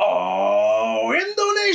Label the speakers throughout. Speaker 1: Oh,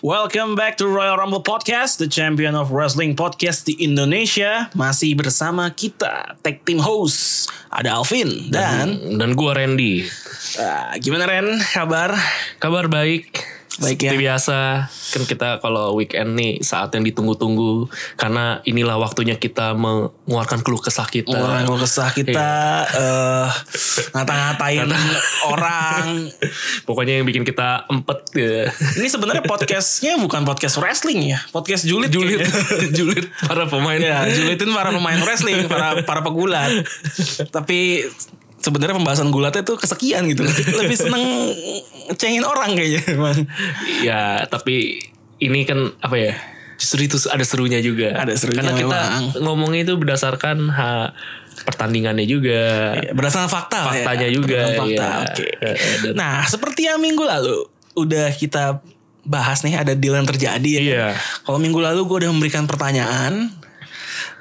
Speaker 1: Welcome back to Royal Rumble Podcast, the champion of wrestling podcast di Indonesia. Masih bersama kita, tag team host. Ada Alvin dan...
Speaker 2: dan gua Randy.
Speaker 1: Ah, gimana Ren, kabar?
Speaker 2: Kabar baik.
Speaker 1: Baik
Speaker 2: Seperti
Speaker 1: ya.
Speaker 2: biasa, kan kita kalau weekend nih saat yang ditunggu-tunggu karena inilah waktunya kita mengeluarkan keluh kesah kita.
Speaker 1: Orang keluh kesah kita eh ngata-ngatain orang.
Speaker 2: Pokoknya yang bikin kita empet ya.
Speaker 1: Ini sebenarnya podcastnya bukan podcast wrestling ya, podcast julid.
Speaker 2: Julid,
Speaker 1: kayaknya.
Speaker 2: julid para pemain.
Speaker 1: ya, julitin para pemain wrestling, para para pegulat. Tapi sebenarnya pembahasan gulatnya itu kesekian gitu. Lebih seneng cengin orang kayaknya. emang.
Speaker 2: Ya, tapi ini kan apa ya? Justru itu ada serunya juga.
Speaker 1: Ada serunya
Speaker 2: Karena kita
Speaker 1: memang.
Speaker 2: ngomongnya itu berdasarkan ha, pertandingannya juga.
Speaker 1: Ya, Berdasarkan fakta. lah ya.
Speaker 2: Faktanya juga,
Speaker 1: Berdasarkan fakta.
Speaker 2: ya.
Speaker 1: Oke.
Speaker 2: Eh, dan-
Speaker 1: Nah, seperti yang minggu lalu udah kita bahas nih ada deal yang terjadi ya.
Speaker 2: Iya.
Speaker 1: Kalau minggu lalu gue udah memberikan pertanyaan.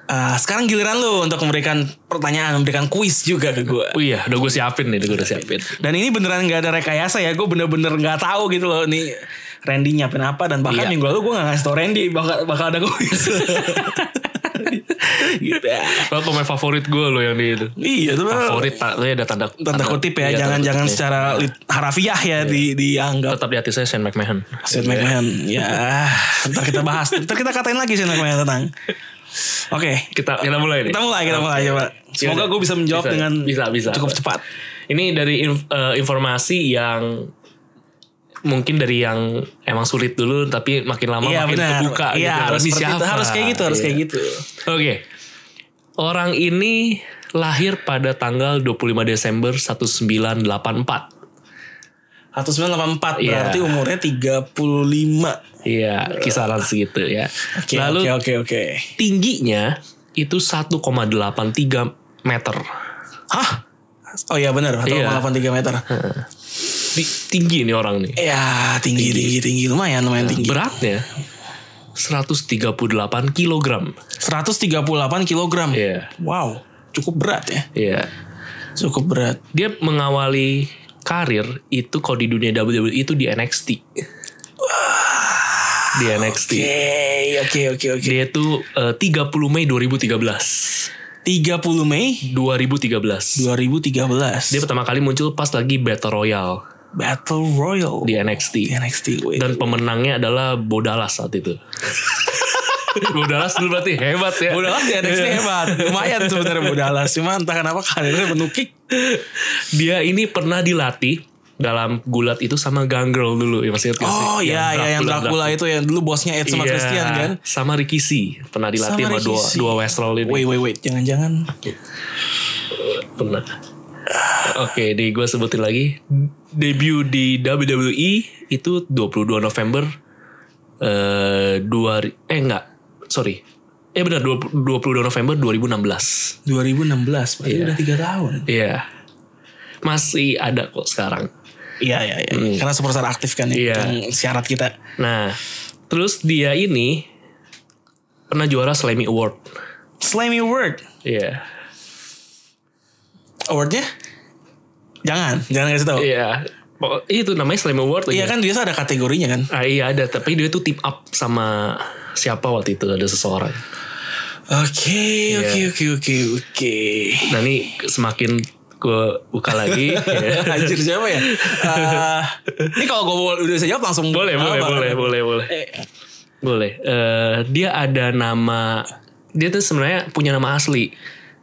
Speaker 1: Eh, sekarang giliran lo untuk memberikan pertanyaan, memberikan kuis juga ke gue.
Speaker 2: Oh iya, udah gue siapin nih, udah gue udah siapin.
Speaker 1: Dan ini beneran gak ada rekayasa ya. Gue bener-bener gak tahu gitu loh. Nih Randy nyiapin apa. Dan bahkan
Speaker 2: Iya.
Speaker 1: minggu lalu gue gak ngasih tau Randy. Bakal, bakal ada kuis. gitu ya.
Speaker 2: Lo pemain favorit gue lo yang di itu.
Speaker 1: Iya tuh.
Speaker 2: Favorit tak lo ada tanda
Speaker 1: Tanda kutip
Speaker 2: iya,
Speaker 1: ya.
Speaker 2: tanda
Speaker 1: Jangan-jangan
Speaker 2: kutip.
Speaker 1: secara lit- harafiah ya di, dianggap.
Speaker 2: tetap di hati saya Shane McMahon.
Speaker 1: Seth McMahon. Ya, ntar kita bahas. Ntar kita katain lagi Seth McMahon tentang. Oke,
Speaker 2: Kita kita mulai nih.
Speaker 1: kita mulai, kita mulai coba. Semoga
Speaker 2: Yaudah.
Speaker 1: gue bisa menjawab
Speaker 2: Bisa,
Speaker 1: dengan
Speaker 2: bisa, bisa.
Speaker 1: cukup cepat.
Speaker 2: Ini dari inf- eh, informasi yang mungkin dari yang emang sulit dulu tapi makin lama
Speaker 1: Iya
Speaker 2: makin
Speaker 1: benar.
Speaker 2: terbuka
Speaker 1: Iya
Speaker 2: gitu.
Speaker 1: harus
Speaker 2: Ini
Speaker 1: seperti itu.
Speaker 2: siapa?
Speaker 1: harus kayak gitu, harus
Speaker 2: Iya.
Speaker 1: kayak gitu.
Speaker 2: Oke. Orang ini lahir pada tanggal 25 Desember 1984.
Speaker 1: 1984
Speaker 2: Iya.
Speaker 1: berarti umurnya 35.
Speaker 2: Iya, kisaran segitu ya.
Speaker 1: Oke,
Speaker 2: Lalu
Speaker 1: oke, oke, oke.
Speaker 2: tingginya itu 1,83 meter.
Speaker 1: Hah? Oh iya benar,
Speaker 2: Iya.
Speaker 1: 1,83 meter.
Speaker 2: Di- tinggi nih orang nih.
Speaker 1: Ya, tinggi, Iya. tinggi, tinggi, lumayan, lumayan tinggi.
Speaker 2: Beratnya 138 kilogram.
Speaker 1: 138 kilogram.
Speaker 2: Iya.
Speaker 1: Wow, cukup berat ya.
Speaker 2: Iya.
Speaker 1: Cukup berat.
Speaker 2: Dia mengawali karir itu kalau di dunia WWE itu di NXT. di NXT.
Speaker 1: Oke, oke, oke, oke.
Speaker 2: Dia itu eh, 30 Mei 2013.
Speaker 1: 30 Mei
Speaker 2: 2013.
Speaker 1: 2013
Speaker 2: Dia pertama kali muncul pas lagi Battle Royale
Speaker 1: Battle Royal
Speaker 2: di NXT.
Speaker 1: di NXT wait.
Speaker 2: dan pemenangnya adalah Bodalas saat itu. Bodalas dulu berarti hebat ya.
Speaker 1: Bodalas di NXT
Speaker 2: Iya.
Speaker 1: hebat lumayan sebenarnya Bodalas cuma entah kenapa karirnya menukik
Speaker 2: Iya Dia ini pernah dilatih dalam gulat itu sama Gangrel dulu ya masih
Speaker 1: oh iya ya yang Dracula itu yang dulu bosnya Ed sama
Speaker 2: Iya,
Speaker 1: Christian kan
Speaker 2: Sama Ricky C. Pernah dilatih
Speaker 1: Sama
Speaker 2: sama,
Speaker 1: Ricky
Speaker 2: dua,
Speaker 1: C.
Speaker 2: dua Westerl ini.
Speaker 1: wait wait wait jangan-jangan
Speaker 2: Pernah. Oke, di gue sebutin lagi. Debut di WWE itu 22 November eh dua ri- eh enggak, sorry. Eh benar 20 22 November 2016.
Speaker 1: 2016 berarti
Speaker 2: Iya.
Speaker 1: udah 3 tahun
Speaker 2: Iya. Masih ada kok sekarang.
Speaker 1: iya iya iya karena superstar aktif kan ya
Speaker 2: Hmm. Iya.
Speaker 1: yang syarat kita
Speaker 2: Nah, terus dia ini pernah juara Slammy Award.
Speaker 1: Slammy Award
Speaker 2: Iya.
Speaker 1: awardnya jangan jangan kasih tahu
Speaker 2: Iya. Pokok- Itu namanya Slammy Award
Speaker 1: iya
Speaker 2: lagi.
Speaker 1: kan biasa ada kategorinya kan
Speaker 2: Ah, iya ada, tapi dia tuh team up sama siapa waktu itu ada seseorang.
Speaker 1: Oke,
Speaker 2: Iya.
Speaker 1: oke, oke, oke, oke.
Speaker 2: Nah ini semakin gue buka lagi. ya.
Speaker 1: Anjir siapa ya? Eh, ini kalau gue udah saya jawab langsung
Speaker 2: Boleh, boleh,
Speaker 1: apa?
Speaker 2: boleh, boleh, boleh.
Speaker 1: Eh,
Speaker 2: Boleh. Eh, dia ada nama, dia tuh sebenarnya punya nama asli.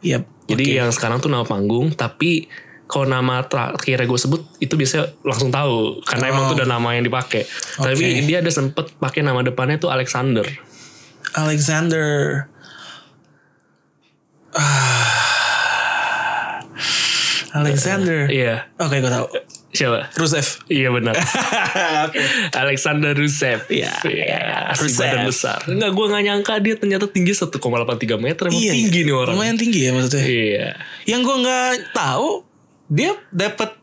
Speaker 1: Iya.
Speaker 2: Jadi ya. yang sekarang tuh nama panggung, tapi kalau nama terakhir gue sebut itu biasanya langsung tahu karena emang
Speaker 1: Oh.
Speaker 2: tuh udah nama yang dipakai. Tapi dia ada sempet pakai nama depannya tuh Alexander.
Speaker 1: Alexander. Ah. Alexander.
Speaker 2: Iya.
Speaker 1: Ah. Oke, gue tahu.
Speaker 2: Siapa?
Speaker 1: Rusev.
Speaker 2: Iya benar.
Speaker 1: Oke.
Speaker 2: Alexander Rusev.
Speaker 1: Iya, iya,
Speaker 2: si
Speaker 1: Rusev.
Speaker 2: badan besar. Enggak, gue nggak nyangka dia ternyata tinggi 1,83 meter. Emang tinggi nih orang.
Speaker 1: Iya, Lumayan tinggi ya maksudnya.
Speaker 2: Iya.
Speaker 1: Yang gue nggak tahu dia dapat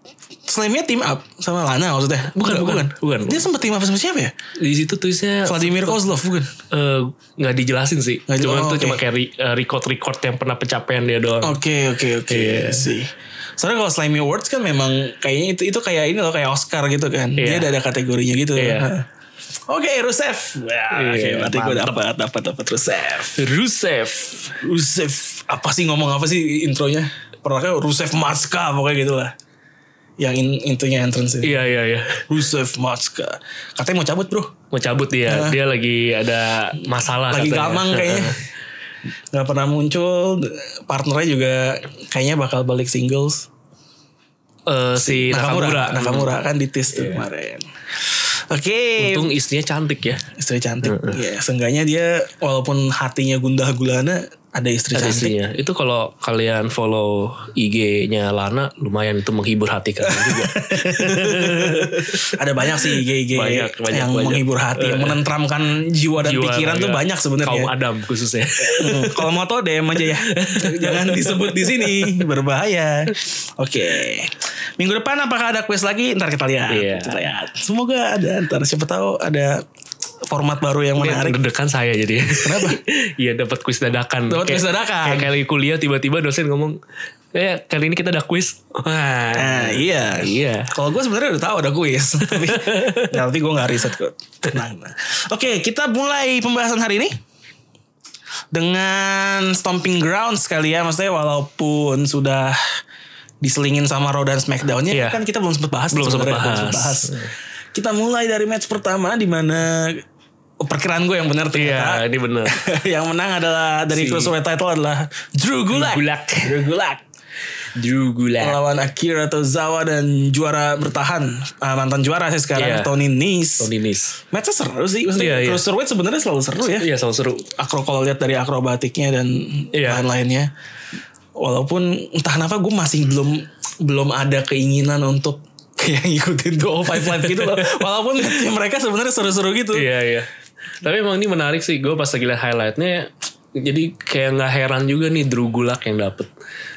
Speaker 1: slamnya team up sama Lana maksudnya.
Speaker 2: Bukan,
Speaker 1: Nggak,
Speaker 2: bukan, bukan,
Speaker 1: Dia sempat team up sama siapa ya?
Speaker 2: Di situ tulisnya
Speaker 1: Vladimir Kozlov bukan?
Speaker 2: eh, nggak dijelasin sih.
Speaker 1: Nggak di-
Speaker 2: Cuman
Speaker 1: oh,
Speaker 2: tuh
Speaker 1: oke. Oh,
Speaker 2: cuma kayak re- eh, record-record yang pernah pencapaian dia doang.
Speaker 1: Oke oke oke
Speaker 2: Iya.
Speaker 1: sih. Soalnya kalau Slimy Awards kan memang kayaknya itu itu kayak ini loh kayak Oscar gitu kan.
Speaker 2: Iya.
Speaker 1: Dia ada, ada kategorinya gitu.
Speaker 2: Iya.
Speaker 1: Oke Rusev. Wah, oke,
Speaker 2: Iya,
Speaker 1: berarti gue
Speaker 2: mantep.
Speaker 1: dapat dapat dapat Rusev.
Speaker 2: Rusev.
Speaker 1: Rusev apa sih ngomong apa sih intronya? Pernahnya Rusev Maska pokoknya gitu lah. Yang in, intinya entrance itu.
Speaker 2: Iya iya iya.
Speaker 1: Rusev Maska. Katanya mau cabut bro.
Speaker 2: Mau cabut dia. Dia lagi ada masalah.
Speaker 1: Eh. Lagi
Speaker 2: katanya. Eh,
Speaker 1: gamang kayaknya. Gak pernah muncul. Partnernya juga kayaknya bakal balik singles.
Speaker 2: Eh, si
Speaker 1: Nakamura.
Speaker 2: Nakamura. Hmm. Iya.
Speaker 1: Nakamura kan ditis tuh kemarin. Oke.
Speaker 2: Untung istrinya cantik ya.
Speaker 1: Istri cantik. Ya, seenggaknya dia walaupun hatinya gundah gulana ada istri
Speaker 2: Ada
Speaker 1: cantik.
Speaker 2: istrinya. Itu kalau kalian follow IG-nya Lana lumayan itu menghibur hati kalian juga.
Speaker 1: ada banyak sih IG-IG
Speaker 2: Banyak, banyak,
Speaker 1: yang
Speaker 2: banyak. Eh.
Speaker 1: menghibur hati, yang menentramkan jiwa dan
Speaker 2: Jiwa
Speaker 1: pikiran tuh
Speaker 2: raga
Speaker 1: banyak sebenarnya.
Speaker 2: Kaum Adam khususnya.
Speaker 1: Hmm, Kalau mau tau DM aja ya. Jangan disebut di sini, berbahaya. Oke. Minggu depan apakah ada quiz lagi? Ntar kita lihat.
Speaker 2: Iya.
Speaker 1: Kita lihat. Semoga ada. Ntar siapa tahu ada format baru yang menarik.
Speaker 2: Dedekan saya jadi.
Speaker 1: Kenapa?
Speaker 2: Iya dapat kuis dadakan. Kayak-
Speaker 1: Dapat kuis dadakan.
Speaker 2: Kayak kali kuliah tiba-tiba dosen ngomong, "Eh, kali ini kita ada kuis." Wah.
Speaker 1: Nah, iya.
Speaker 2: Iya.
Speaker 1: Kalau gue sebenarnya udah tahu ada kuis, tapi nanti gue nggak riset kok. Tenang. tenang. Oke, kita mulai pembahasan hari ini dengan stomping ground sekali ya, maksudnya walaupun sudah diselingin sama Raw dan Smackdownnya
Speaker 2: Iya.
Speaker 1: kan kita belum sempat bahas
Speaker 2: Belum sempet
Speaker 1: sebenarnya, belum sempet
Speaker 2: bahas.
Speaker 1: Kita mulai dari match pertama di mana oh, perkiraan gue yang benar
Speaker 2: Iya,
Speaker 1: ternyata
Speaker 2: ini bener.
Speaker 1: yang menang adalah dari
Speaker 2: Si-
Speaker 1: cruiserweight title adalah Drew Gulak.
Speaker 2: Gulak.
Speaker 1: Drew Gulak
Speaker 2: Drew Gulak.
Speaker 1: melawan Akira Tozawa dan juara bertahan Ah, mantan juara sih
Speaker 2: Iya.
Speaker 1: sekarang Tony Nese.
Speaker 2: Tony Nis.
Speaker 1: Matchnya seru sih, maksudnya
Speaker 2: Iya, iya.
Speaker 1: cruiserweight sebenarnya selalu seru ya.
Speaker 2: Iya, sama seru.
Speaker 1: Akro kalau lihat dari akrobatiknya dan
Speaker 2: Iya.
Speaker 1: lain-lainnya, walaupun entah kenapa gue masih belum belum ada keinginan untuk kayak ngikutin 205 Live gitu loh. Walaupun matchnya mereka sebenarnya seru-seru gitu.
Speaker 2: Iya iya. Tapi emang ini menarik sih. Gue pas lagi liat highlightnya, jadi kayak nggak heran juga nih Drew Gulak yang dapet.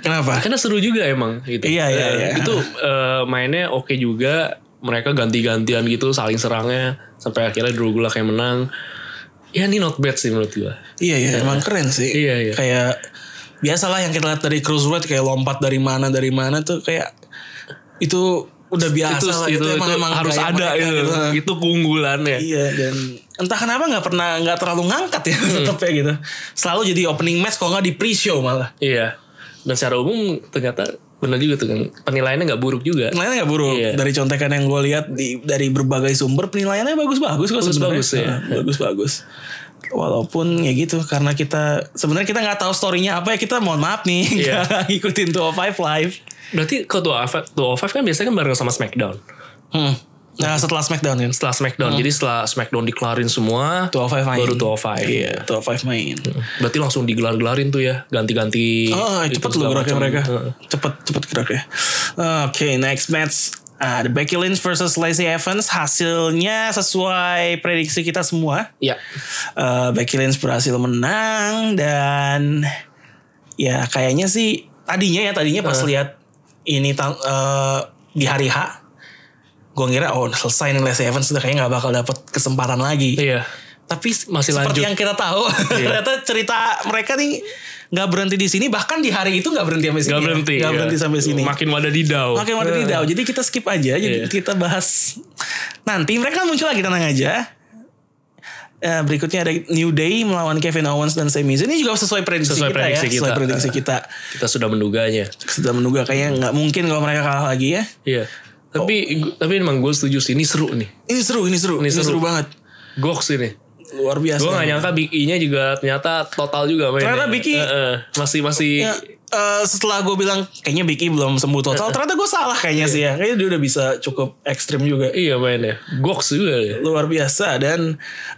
Speaker 1: Kenapa?
Speaker 2: Karena seru juga emang gitu.
Speaker 1: Iya, iya,
Speaker 2: Eh,
Speaker 1: iya.
Speaker 2: Itu eh, mainnya oke juga. Mereka ganti-gantian gitu saling serangnya sampai akhirnya Drew Gulak yang menang. Ya ini not bad sih menurut gue.
Speaker 1: Iya iya emang keren sih.
Speaker 2: Iya, iya.
Speaker 1: Kayak biasalah yang kita lihat dari cruiserweight kayak lompat dari mana dari mana tuh kayak itu udah biasa
Speaker 2: itu,
Speaker 1: lah
Speaker 2: itu,
Speaker 1: gitu.
Speaker 2: itu harus
Speaker 1: gaya
Speaker 2: ada
Speaker 1: mereka
Speaker 2: itu.
Speaker 1: gitu.
Speaker 2: Itu keunggulannya.
Speaker 1: Iya dan entah kenapa nggak pernah nggak terlalu ngangkat ya
Speaker 2: Hmm.
Speaker 1: tetep ya gitu. Selalu jadi opening match kalau nggak di pre-show malah.
Speaker 2: Iya. Dan secara umum ternyata benar juga tuh kan penilaiannya nggak buruk juga.
Speaker 1: Penilaiannya nggak buruk
Speaker 2: Iya.
Speaker 1: dari contekan yang gue lihat di- dari berbagai sumber penilaiannya bagus-bagus kok sebenarnya.
Speaker 2: Bagus-bagus, ya.
Speaker 1: Nah, Bagus-bagus. Walaupun ya gitu karena kita sebenarnya kita nggak tahu story-nya apa ya kita mohon maaf nih
Speaker 2: Iya.
Speaker 1: nggak ngikutin 205 live.
Speaker 2: Berarti kalau 205 205 kan biasanya kan bareng sama SmackDown.
Speaker 1: Hmm. Nah setelah Smackdown kan
Speaker 2: Setelah SmackDown. Jadi setelah SmackDown dikelarin semua,
Speaker 1: 205 main
Speaker 2: baru 205.
Speaker 1: Iya 205 main
Speaker 2: Berarti langsung digelar-gelarin tuh ya, ganti-ganti.
Speaker 1: Oh
Speaker 2: itu
Speaker 1: cepet loh
Speaker 2: segala
Speaker 1: geraknya
Speaker 2: macam.
Speaker 1: mereka
Speaker 2: Heeh.
Speaker 1: Cepet cepet geraknya Oke next match Ada Becky Lynch versus Lacey Evans Hasilnya sesuai prediksi kita semua
Speaker 2: Iya.
Speaker 1: Eh, Becky Lynch berhasil menang Dan Ya kayaknya sih Tadinya ya tadinya pas
Speaker 2: Eh.
Speaker 1: lihat Ini tang- eh, di hari H Gue ngira oh selesai nih Lacey Evans Udah kayaknya gak bakal dapet kesempatan lagi
Speaker 2: Iya.
Speaker 1: tapi
Speaker 2: Masih
Speaker 1: seperti
Speaker 2: lanjut. Iya.
Speaker 1: yang kita tahu ternyata cerita mereka nih nggak berhenti di sini bahkan di hari itu nggak berhenti sampai sini ya,
Speaker 2: Gak berhenti.
Speaker 1: nggak
Speaker 2: iya.
Speaker 1: berhenti sampai sini
Speaker 2: Makin wadah didau.
Speaker 1: Oke, Mario
Speaker 2: Heeh.
Speaker 1: Didau. Jadi kita skip aja. Jadi
Speaker 2: Iya.
Speaker 1: kita bahas nanti. Mereka muncul lagi tenang aja. Eh, berikutnya ada New Day melawan Kevin Owens dan Sami Zayn. Ini juga sesuai prediksi
Speaker 2: Sesuai
Speaker 1: kita
Speaker 2: prediksi
Speaker 1: ya.
Speaker 2: kita.
Speaker 1: Sesuai prediksi kita.
Speaker 2: Kita sudah menduganya.
Speaker 1: Sudah menduga kayaknya nggak mungkin kalau mereka kalah lagi ya.
Speaker 2: Iya. Tapi
Speaker 1: Oh.
Speaker 2: gu- tapi emang gue setuju sih ini seru nih.
Speaker 1: Ini seru, ini seru, ini, seru.
Speaker 2: seru.
Speaker 1: banget.
Speaker 2: Goks ini.
Speaker 1: Luar biasa.
Speaker 2: Gue gak nyangka Big E-nya juga ternyata total juga mainnya.
Speaker 1: Ternyata Big E-
Speaker 2: Heeh. masih masih
Speaker 1: Ya, eh, setelah gue bilang kayaknya Biki belum sembuh
Speaker 2: Eh,
Speaker 1: total, ternyata gue salah kayaknya sih ya. Kayaknya dia udah bisa cukup ekstrim juga.
Speaker 2: iya mainnya. Goks juga ya.
Speaker 1: Luar biasa dan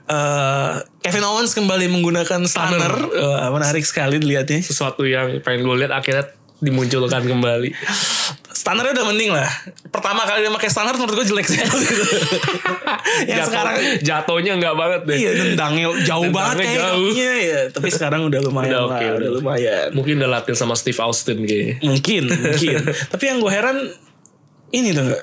Speaker 1: eh, Kevin Owens kembali menggunakan stunner, Eh, menarik sekali dilihatnya.
Speaker 2: Sesuatu yang pengen gue lihat akhirnya dimunculkan kembali.
Speaker 1: Standarnya udah mending lah. Pertama kali dia pakai standar menurut gue jelek sih. yang
Speaker 2: Jatuh-
Speaker 1: sekarang
Speaker 2: jatuhnya nggak banget deh.
Speaker 1: iya nendangnya jauh
Speaker 2: Nendangnya
Speaker 1: banget kayak
Speaker 2: jauh.
Speaker 1: kakinya ya. Tapi sekarang udah lumayan
Speaker 2: Udah
Speaker 1: lah,
Speaker 2: oke,
Speaker 1: udah
Speaker 2: udah.
Speaker 1: lumayan.
Speaker 2: Mungkin udah latihan sama Steve Austin kayaknya.
Speaker 1: Mungkin, mungkin. Tapi yang gue heran ini tuh enggak.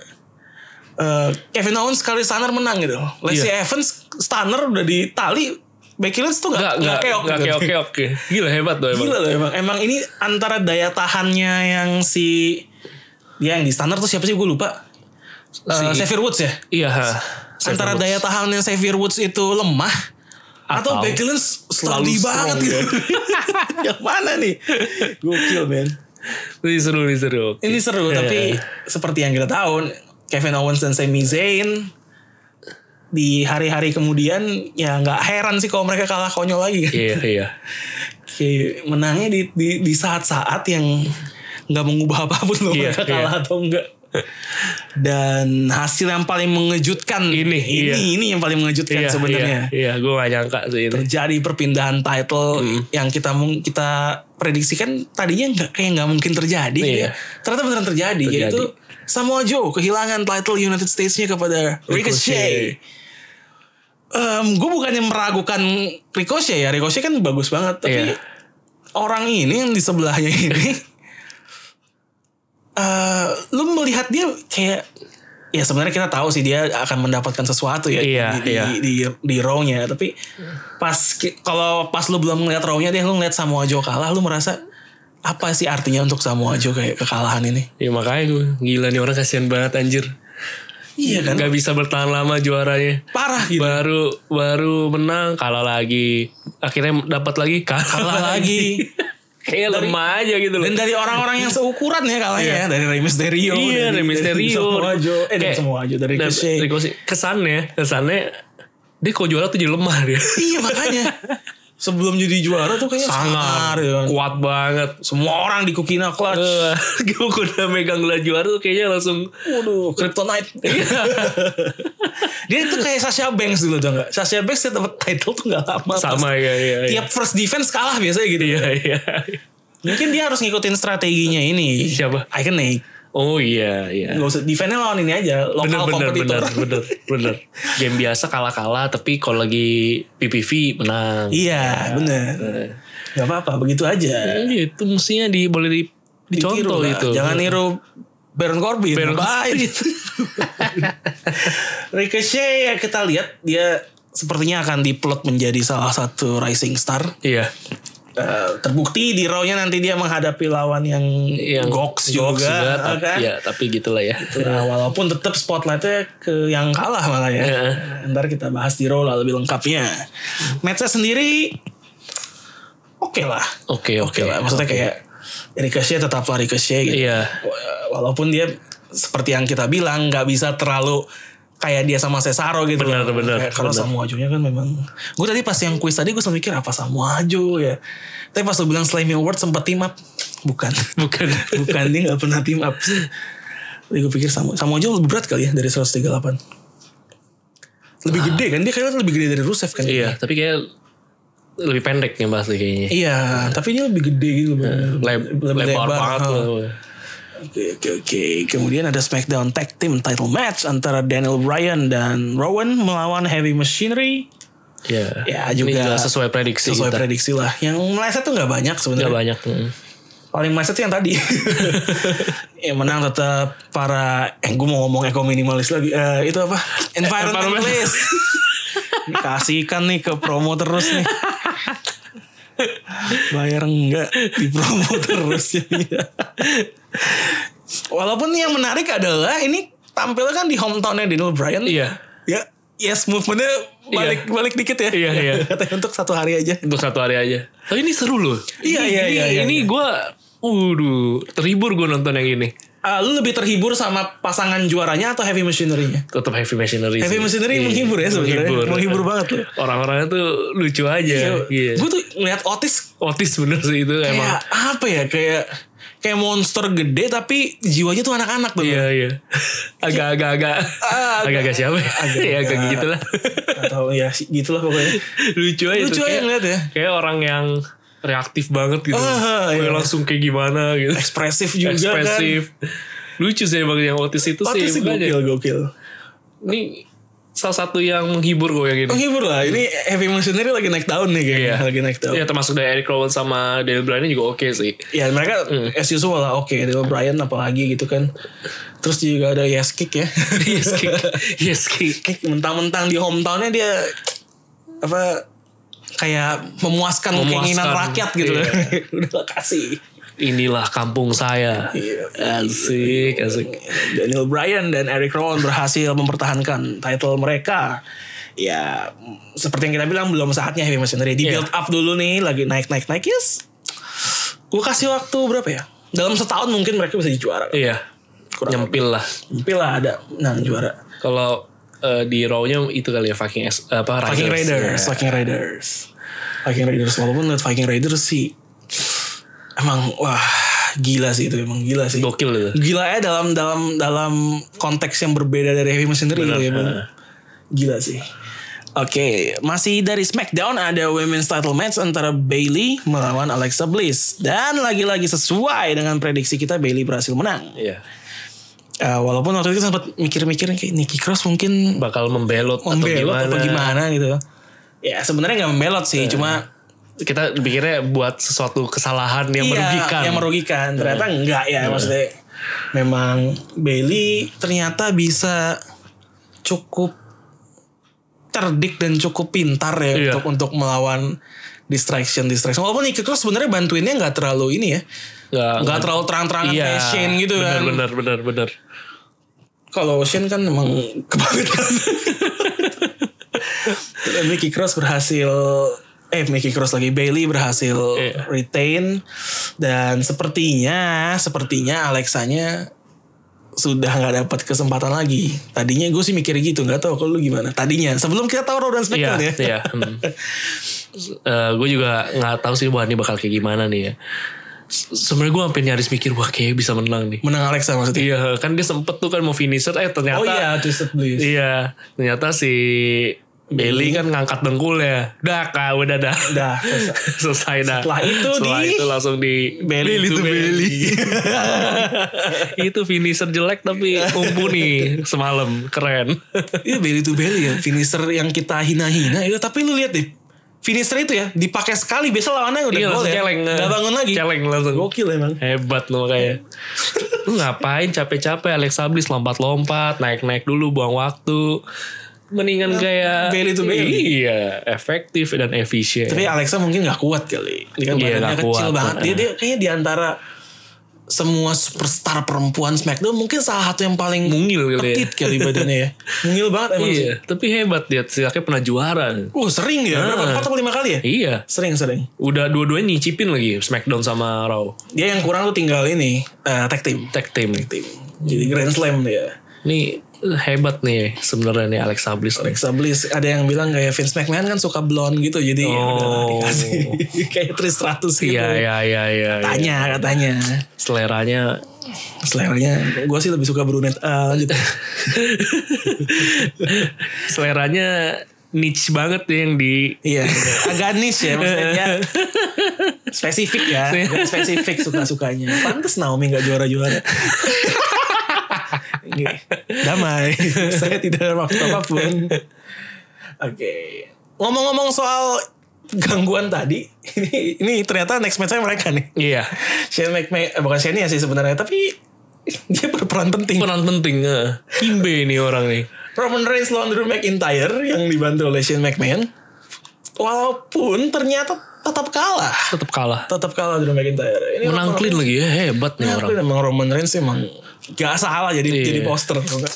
Speaker 1: Eh, Kevin Owens sekali stunner menang gitu. Lacey
Speaker 2: Iya.
Speaker 1: Evans stunner udah di tali. Becky Lynch tuh
Speaker 2: Nggak
Speaker 1: gak,
Speaker 2: nggak
Speaker 1: gak, keok.
Speaker 2: nggak
Speaker 1: gitu.
Speaker 2: keok keok. Gila hebat loh emang.
Speaker 1: Gila loh emang. Emang ini antara daya tahannya yang si... Dia yang di stunner tuh siapa sih gue lupa. Eh,
Speaker 2: Si-
Speaker 1: Xavier Woods ya?
Speaker 2: Iya. ha.
Speaker 1: antara
Speaker 2: Woods.
Speaker 1: daya tahannya Xavier Woods itu lemah
Speaker 2: Atau
Speaker 1: atau, Becky Lynch
Speaker 2: selalu
Speaker 1: selalu
Speaker 2: strong,
Speaker 1: banget
Speaker 2: ya.
Speaker 1: gitu. yang mana nih? Gokil men.
Speaker 2: Ini seru ini seru.
Speaker 1: Ini seru
Speaker 2: Iya.
Speaker 1: tapi seperti yang kita tahu Kevin Owens dan Sami Zayn di hari-hari kemudian ya nggak heran sih kalau mereka kalah konyol lagi.
Speaker 2: Iya iya.
Speaker 1: Kayak menangnya di di, di saat-saat yang nggak mengubah apapun loh
Speaker 2: Iya,
Speaker 1: mereka
Speaker 2: iya.
Speaker 1: kalah atau enggak. Dan hasil yang paling mengejutkan
Speaker 2: Ini,
Speaker 1: ini
Speaker 2: iya.
Speaker 1: ini yang paling
Speaker 2: Iya,
Speaker 1: mengejutkan Kan sebenarnya.
Speaker 2: Iya, iya. gue gak nyangka sih itu.
Speaker 1: terjadi perpindahan title yang kita mung- kita prediksikan tadinya nggak kayak nggak mungkin terjadi
Speaker 2: Iya.
Speaker 1: ya. ternyata beneran terjadi,
Speaker 2: Terjadi.
Speaker 1: yaitu Samoa Joe kehilangan title United States-nya kepada Ricochet.
Speaker 2: Ricochet.
Speaker 1: gue bukannya meragukan Ricochet ya Ricochet kan bagus banget tapi
Speaker 2: Iya.
Speaker 1: orang ini yang di sebelahnya ini eh lu melihat dia kayak ya sebenarnya kita tahu sih dia akan mendapatkan sesuatu ya
Speaker 2: Iya,
Speaker 1: di, di,
Speaker 2: iya.
Speaker 1: di, di Raw-nya tapi pas ki- kalau pas lu belum ngeliat Raw-nya dia lu ngeliat Samoa Joe kalah lu merasa apa sih artinya untuk Samoa Joe kayak kekalahan ini
Speaker 2: Ya makanya gue gila nih orang kasihan banget anjir.
Speaker 1: iya kan
Speaker 2: Gak bisa bertahan lama juaranya.
Speaker 1: parah gitu
Speaker 2: Baru baru menang kalah lagi. Akhirnya dapat lagi kalah,
Speaker 1: kalah lagi
Speaker 2: Kayak lemah aja gitu loh.
Speaker 1: dan dari orang-orang yang seukuran ya kalahnya ya dari Rey Mysterio
Speaker 2: Iya,
Speaker 1: dari,
Speaker 2: Rey Mysterio.
Speaker 1: Samoa Joe eh dari
Speaker 2: Kayak-
Speaker 1: Samoa Joe dari
Speaker 2: Dan
Speaker 1: Ricochet
Speaker 2: Ricochet. Kesannya, kesannya dia kok juara tuh jadi lemah dia.
Speaker 1: Iya makanya sebelum jadi juara tuh kayaknya sangar,
Speaker 2: Sangar,
Speaker 1: ya kan.
Speaker 2: kuat banget.
Speaker 1: Semua orang di Kukina clutch.
Speaker 2: Eh, Gue udah megang gelar juara tuh kayaknya langsung Iya.
Speaker 1: Waduh, kryptonite. dia tuh kayak Sasha Banks dulu tuh enggak. Sasha Banks dia dapat title tuh enggak lama.
Speaker 2: sama
Speaker 1: Pas-
Speaker 2: ya, ya, ya.
Speaker 1: Tiap first defense kalah biasanya gitu.
Speaker 2: Iya, iya.
Speaker 1: Mungkin dia harus ngikutin strateginya ini.
Speaker 2: Siapa?
Speaker 1: Iconic.
Speaker 2: Oh iya, iya.
Speaker 1: Gak usah defense-nya lawan ini aja,
Speaker 2: bener
Speaker 1: lokal
Speaker 2: bener
Speaker 1: kompetitor.
Speaker 2: bener bener bener game biasa kalah kalah tapi kalau lagi PPV menang
Speaker 1: Iya, bener. Gak apa-apa, begitu aja.
Speaker 2: Iya, itu mestinya di boleh di, dicontoh gitu.
Speaker 1: Ditiru lah.
Speaker 2: itu Iya.
Speaker 1: Jangan niru Baron Corbin.
Speaker 2: Baron
Speaker 1: Baik. Ricochet ya kita lihat dia sepertinya akan diplot menjadi salah satu rising star.
Speaker 2: iya
Speaker 1: Eh, terbukti di Raw-nya nanti dia menghadapi lawan yang,
Speaker 2: Iya, yang
Speaker 1: Gox juga,
Speaker 2: tapi,
Speaker 1: kan?
Speaker 2: ya tapi gitulah ya
Speaker 1: Nah, walaupun tetap spotlightnya ke yang kalah malah ya.
Speaker 2: Iya.
Speaker 1: Ntar kita bahas di Raw lah lebih lengkapnya. Matchnya sendiri oke lah.
Speaker 2: oke oke
Speaker 1: Oke lah, maksudnya kayak Ricochet tetaplah Ricochet gitu.
Speaker 2: iya
Speaker 1: walaupun dia seperti yang kita bilang nggak bisa terlalu kayak dia sama Cesaro gitu
Speaker 2: Benar,
Speaker 1: loh.
Speaker 2: benar,
Speaker 1: Kayak kalau
Speaker 2: benar.
Speaker 1: Samoa Joe-nya kan memang gue tadi pas yang kuis tadi gue sempat mikir apa Samoa Joe ya tapi pas lu bilang Slimy Award sempat team up bukan
Speaker 2: bukan Iya,
Speaker 1: bukan dia nggak pernah team up Tapi gue pikir Samoa Samoa Joe lebih berat kali ya dari 138 lebih gede kan dia kayaknya lebih gede dari Rusev kan
Speaker 2: iya tapi kayak lebih pendek yang bahas kayaknya
Speaker 1: Iya, tapi dia lebih gede gitu. bener.
Speaker 2: Leb- Iya, lebar, banget
Speaker 1: ha.
Speaker 2: loh
Speaker 1: Oke, oke, oke. Kemudian ada SmackDown Tag Team Title Match antara Daniel Bryan dan Rowan melawan Heavy Machinery.
Speaker 2: Iya.
Speaker 1: Ya,
Speaker 2: Ini
Speaker 1: juga
Speaker 2: jelas sesuai prediksi kita.
Speaker 1: Sesuai prediksi lah. Yang meleset tuh nggak banyak
Speaker 2: Nggak
Speaker 1: sebenarnya.
Speaker 2: banyak mm.
Speaker 1: Paling meleset tuh yang tadi. yang menang tetap para eh gue mau ngomong eko minimalis lagi. Eh, itu apa? Environment
Speaker 2: Environment.
Speaker 1: please. Kasihkan nih ke promo terus nih. Bayar enggak di promo terus jadinya. Walaupun yang menarik adalah ini tampilnya kan di hometownnya Daniel Bryan.
Speaker 2: iya
Speaker 1: Ya, yes movementnya balik balik dikit ya.
Speaker 2: Iya, iya.
Speaker 1: Katanya untuk satu hari aja.
Speaker 2: untuk satu hari aja tapi ini seru loh
Speaker 1: Iya,
Speaker 2: Ini-
Speaker 1: iya,
Speaker 2: ini,
Speaker 1: iya, iya,
Speaker 2: ini gue Waduh, terhibur gue nonton yang ini.
Speaker 1: Ah, lu lebih terhibur sama pasangan juaranya atau heavy machinery-nya?
Speaker 2: tetap heavy machinery.
Speaker 1: Heavy
Speaker 2: sih.
Speaker 1: machinery
Speaker 2: Iya.
Speaker 1: menghibur ya sebenarnya. Menghibur banget loh.
Speaker 2: Orang-orangnya tuh lucu aja. Iya.
Speaker 1: Gue tuh ngeliat Otis
Speaker 2: Otis bener sih itu emang.
Speaker 1: kayak apa ya? Kayak kayak monster gede tapi jiwanya tuh anak-anak tuh.
Speaker 2: Iya iya. Agak-agak-agak.
Speaker 1: Ah,
Speaker 2: Agak-agak siapa? ya? Iya agak gitu lah.
Speaker 1: Atau ya gitulah pokoknya.
Speaker 2: lucu aja.
Speaker 1: Lucu
Speaker 2: tuh,
Speaker 1: aja
Speaker 2: kayak-
Speaker 1: ngeliat ya.
Speaker 2: Kayak orang yang reaktif banget gitu.
Speaker 1: Ah,
Speaker 2: Gue
Speaker 1: iya.
Speaker 2: langsung kayak gimana gitu.
Speaker 1: Ekspresif juga
Speaker 2: Ekspresif. Lucu sih emang yang Otis itu
Speaker 1: kan. Otis
Speaker 2: sih.
Speaker 1: sih
Speaker 2: makanya.
Speaker 1: gokil, gokil.
Speaker 2: Ini salah satu yang menghibur gue yang ini.
Speaker 1: Menghibur lah. Ini Heavy Machinery lagi naik daun nih kayaknya.
Speaker 2: Iya.
Speaker 1: Oh, Lagi naik daun.
Speaker 2: Ya termasuk dari Eric Rowan sama Daniel Bryan juga oke sih.
Speaker 1: Ya mereka
Speaker 2: Hmm.
Speaker 1: as usual lah oke. Daniel Bryan apalagi gitu kan. Terus juga ada Yes Kick ya.
Speaker 2: yes kick. Yes kick.
Speaker 1: Kick mentang-mentang di hometownnya dia apa kayak memuaskan,
Speaker 2: Memuaskan.
Speaker 1: keinginan rakyat gitu.
Speaker 2: Iya.
Speaker 1: Udah lah, kasih.
Speaker 2: Inilah kampung saya.
Speaker 1: Iya.
Speaker 2: Asik, asik.
Speaker 1: Daniel Bryan dan Eric Rowan berhasil mempertahankan title mereka. Ya, mm, seperti yang kita bilang belum saatnya Heavy Machinery di build up dulu nih, lagi naik naik naik yes. Gue kasih waktu berapa ya? Dalam setahun mungkin mereka bisa jadi juara.
Speaker 2: Iya. Nyempil lah.
Speaker 1: Mimpi lah ada nah juara.
Speaker 2: Kalau eh, di Raw-nya itu kali ya Viking S- apa Iya.
Speaker 1: Viking
Speaker 2: Raiders.
Speaker 1: Raiders, Viking Raiders. Viking Raiders walaupun liat Viking Raiders sih emang wah gila sih itu emang gila sih.
Speaker 2: Gokil gitu. itu.
Speaker 1: Gila ya dalam dalam dalam konteks yang berbeda dari Heavy Machinery gitu ya. Bang. Gila sih. Oke, masih dari SmackDown ada Women's Title Match antara Bailey melawan Alexa Bliss dan lagi-lagi sesuai dengan prediksi kita Bailey berhasil menang.
Speaker 2: Iya.
Speaker 1: Eh, walaupun waktu itu sempat mikir-mikir kayak Nikki Cross mungkin
Speaker 2: Bakal membelot,
Speaker 1: membelot
Speaker 2: atau
Speaker 1: apa gimana gitu. Ya sebenarnya nggak membelot sih, cuma
Speaker 2: kita pikirnya buat sesuatu kesalahan yang
Speaker 1: Iya,
Speaker 2: merugikan.
Speaker 1: yang merugikan. Ternyata enggak ya maksudnya. Memang Bailey ternyata bisa cukup cerdik dan cukup pintar ya
Speaker 2: Iya.
Speaker 1: untuk untuk melawan distraction distraction. Walaupun Nikki Cross sebenarnya bantuinnya nggak terlalu ini ya.
Speaker 2: Nggak-
Speaker 1: Nggak terlalu
Speaker 2: Ah,
Speaker 1: terang-terangan
Speaker 2: Iya,
Speaker 1: kayak Shane gitu kan.
Speaker 2: Bener, bener, bener.
Speaker 1: Kalau Shane kan emang kebangetan. Dan Nikki Cross berhasil eh Nikki Cross lagi Bailey berhasil
Speaker 2: Iya.
Speaker 1: retain dan sepertinya sepertinya Alexanya sudah nggak dapat kesempatan lagi. Tadinya gue sih mikir gitu, nggak tahu kalau lu gimana. Tadinya sebelum kita tahu Raw dan
Speaker 2: Iya,
Speaker 1: SmackDown ya.
Speaker 2: iya. hmm. Eh, gue juga nggak tahu sih wah ini bakal kayak gimana nih ya. Se- Sebenarnya gue hampir nyaris mikir wah kayak bisa menang nih.
Speaker 1: Menang Alexa maksudnya.
Speaker 2: Iya, kan dia sempet tuh kan mau finisher, eh ternyata
Speaker 1: Oh iya, Twisted Bliss.
Speaker 2: Iya, ternyata si Bailey kan ngangkat dengkulnya. Dah kak, udah dah.
Speaker 1: Dah, selesai.
Speaker 2: selesai dah.
Speaker 1: Setelah itu
Speaker 2: Setelah
Speaker 1: di-
Speaker 2: itu langsung di
Speaker 1: Bailey to Bailey.
Speaker 2: itu finisher jelek tapi mumpuni semalam, keren.
Speaker 1: Iya belly to belly ya finisher yang kita hina-hina itu tapi lu lihat deh finisher itu ya dipakai sekali biasa lawannya udah
Speaker 2: Iya,
Speaker 1: gol
Speaker 2: langsung
Speaker 1: ya
Speaker 2: celeng.
Speaker 1: Nggak bangun lagi
Speaker 2: Celeng langsung.
Speaker 1: gokil emang
Speaker 2: Hebat lo kayak. Lu ngapain capek-capek Alexa Bliss lompat-lompat, naik-naik dulu buang waktu. Mendingan kayak
Speaker 1: Iya. Bailey to Bailey.
Speaker 2: Iya, efektif dan efisien.
Speaker 1: tapi Alexa mungkin nggak kuat kali dia kan
Speaker 2: Iya,
Speaker 1: badannya
Speaker 2: nggak
Speaker 1: kecil
Speaker 2: kuat. Iya.
Speaker 1: banget dia dia kayaknya diantara semua superstar perempuan SmackDown mungkin salah satu yang paling
Speaker 2: Mungil kali ya.
Speaker 1: petit kali badannya ya mungil banget emang sih
Speaker 2: Iya, tapi hebat dia. Setidaknya pernah juara.
Speaker 1: uh sering dia berapa empat atau lima kali ya
Speaker 2: Ah. Iya.
Speaker 1: sering sering
Speaker 2: Udah dua-duanya nyicipin lagi Smackdown sama Raw.
Speaker 1: dia yang kurang tuh tinggal ini eh, tag team
Speaker 2: Tag team.
Speaker 1: tim jadi grand slam dia
Speaker 2: Nih hebat nih sebenarnya nih Alexa Bliss. nih.
Speaker 1: Alexa Bliss ada yang bilang kayak Vince McMahon kan suka blonde gitu jadi ya
Speaker 2: Oh.
Speaker 1: udahlah, dikasih kayak 300 gitu
Speaker 2: Iya, iya, iya, iya. iya.
Speaker 1: tanya katanya
Speaker 2: Seleranya
Speaker 1: seleranya gue sih lebih suka brunette Ah, lanjut
Speaker 2: seleranya niche banget nih yang di
Speaker 1: iya agak niche ya maksudnya spesifik ya agak spesifik suka sukanya pantes Naomi nggak juara juara damai Iya. saya tidak ada waktu apapun Oke. Ngomong-ngomong soal gangguan tadi, ini ini ternyata next match mereka nih.
Speaker 2: Iya.
Speaker 1: Shane McMahon, eh, bukan Shane ya sih sebenarnya, tapi dia berperan penting.
Speaker 2: Peran penting. eh. Kimbe nih orang nih.
Speaker 1: Roman Reigns lawan Drew McIntyre yang dibantu oleh Shane McMahon. Walaupun ternyata tetap kalah.
Speaker 2: Tetap kalah.
Speaker 1: Tetap kalah Drew McIntyre. Ini
Speaker 2: Menang
Speaker 1: Roman-
Speaker 2: clean lagi ya. Hebat nih
Speaker 1: Menang
Speaker 2: orang.
Speaker 1: clean. Emang Roman Reigns emang gak salah jadi
Speaker 2: Iya.
Speaker 1: jadi poster. tau nggak?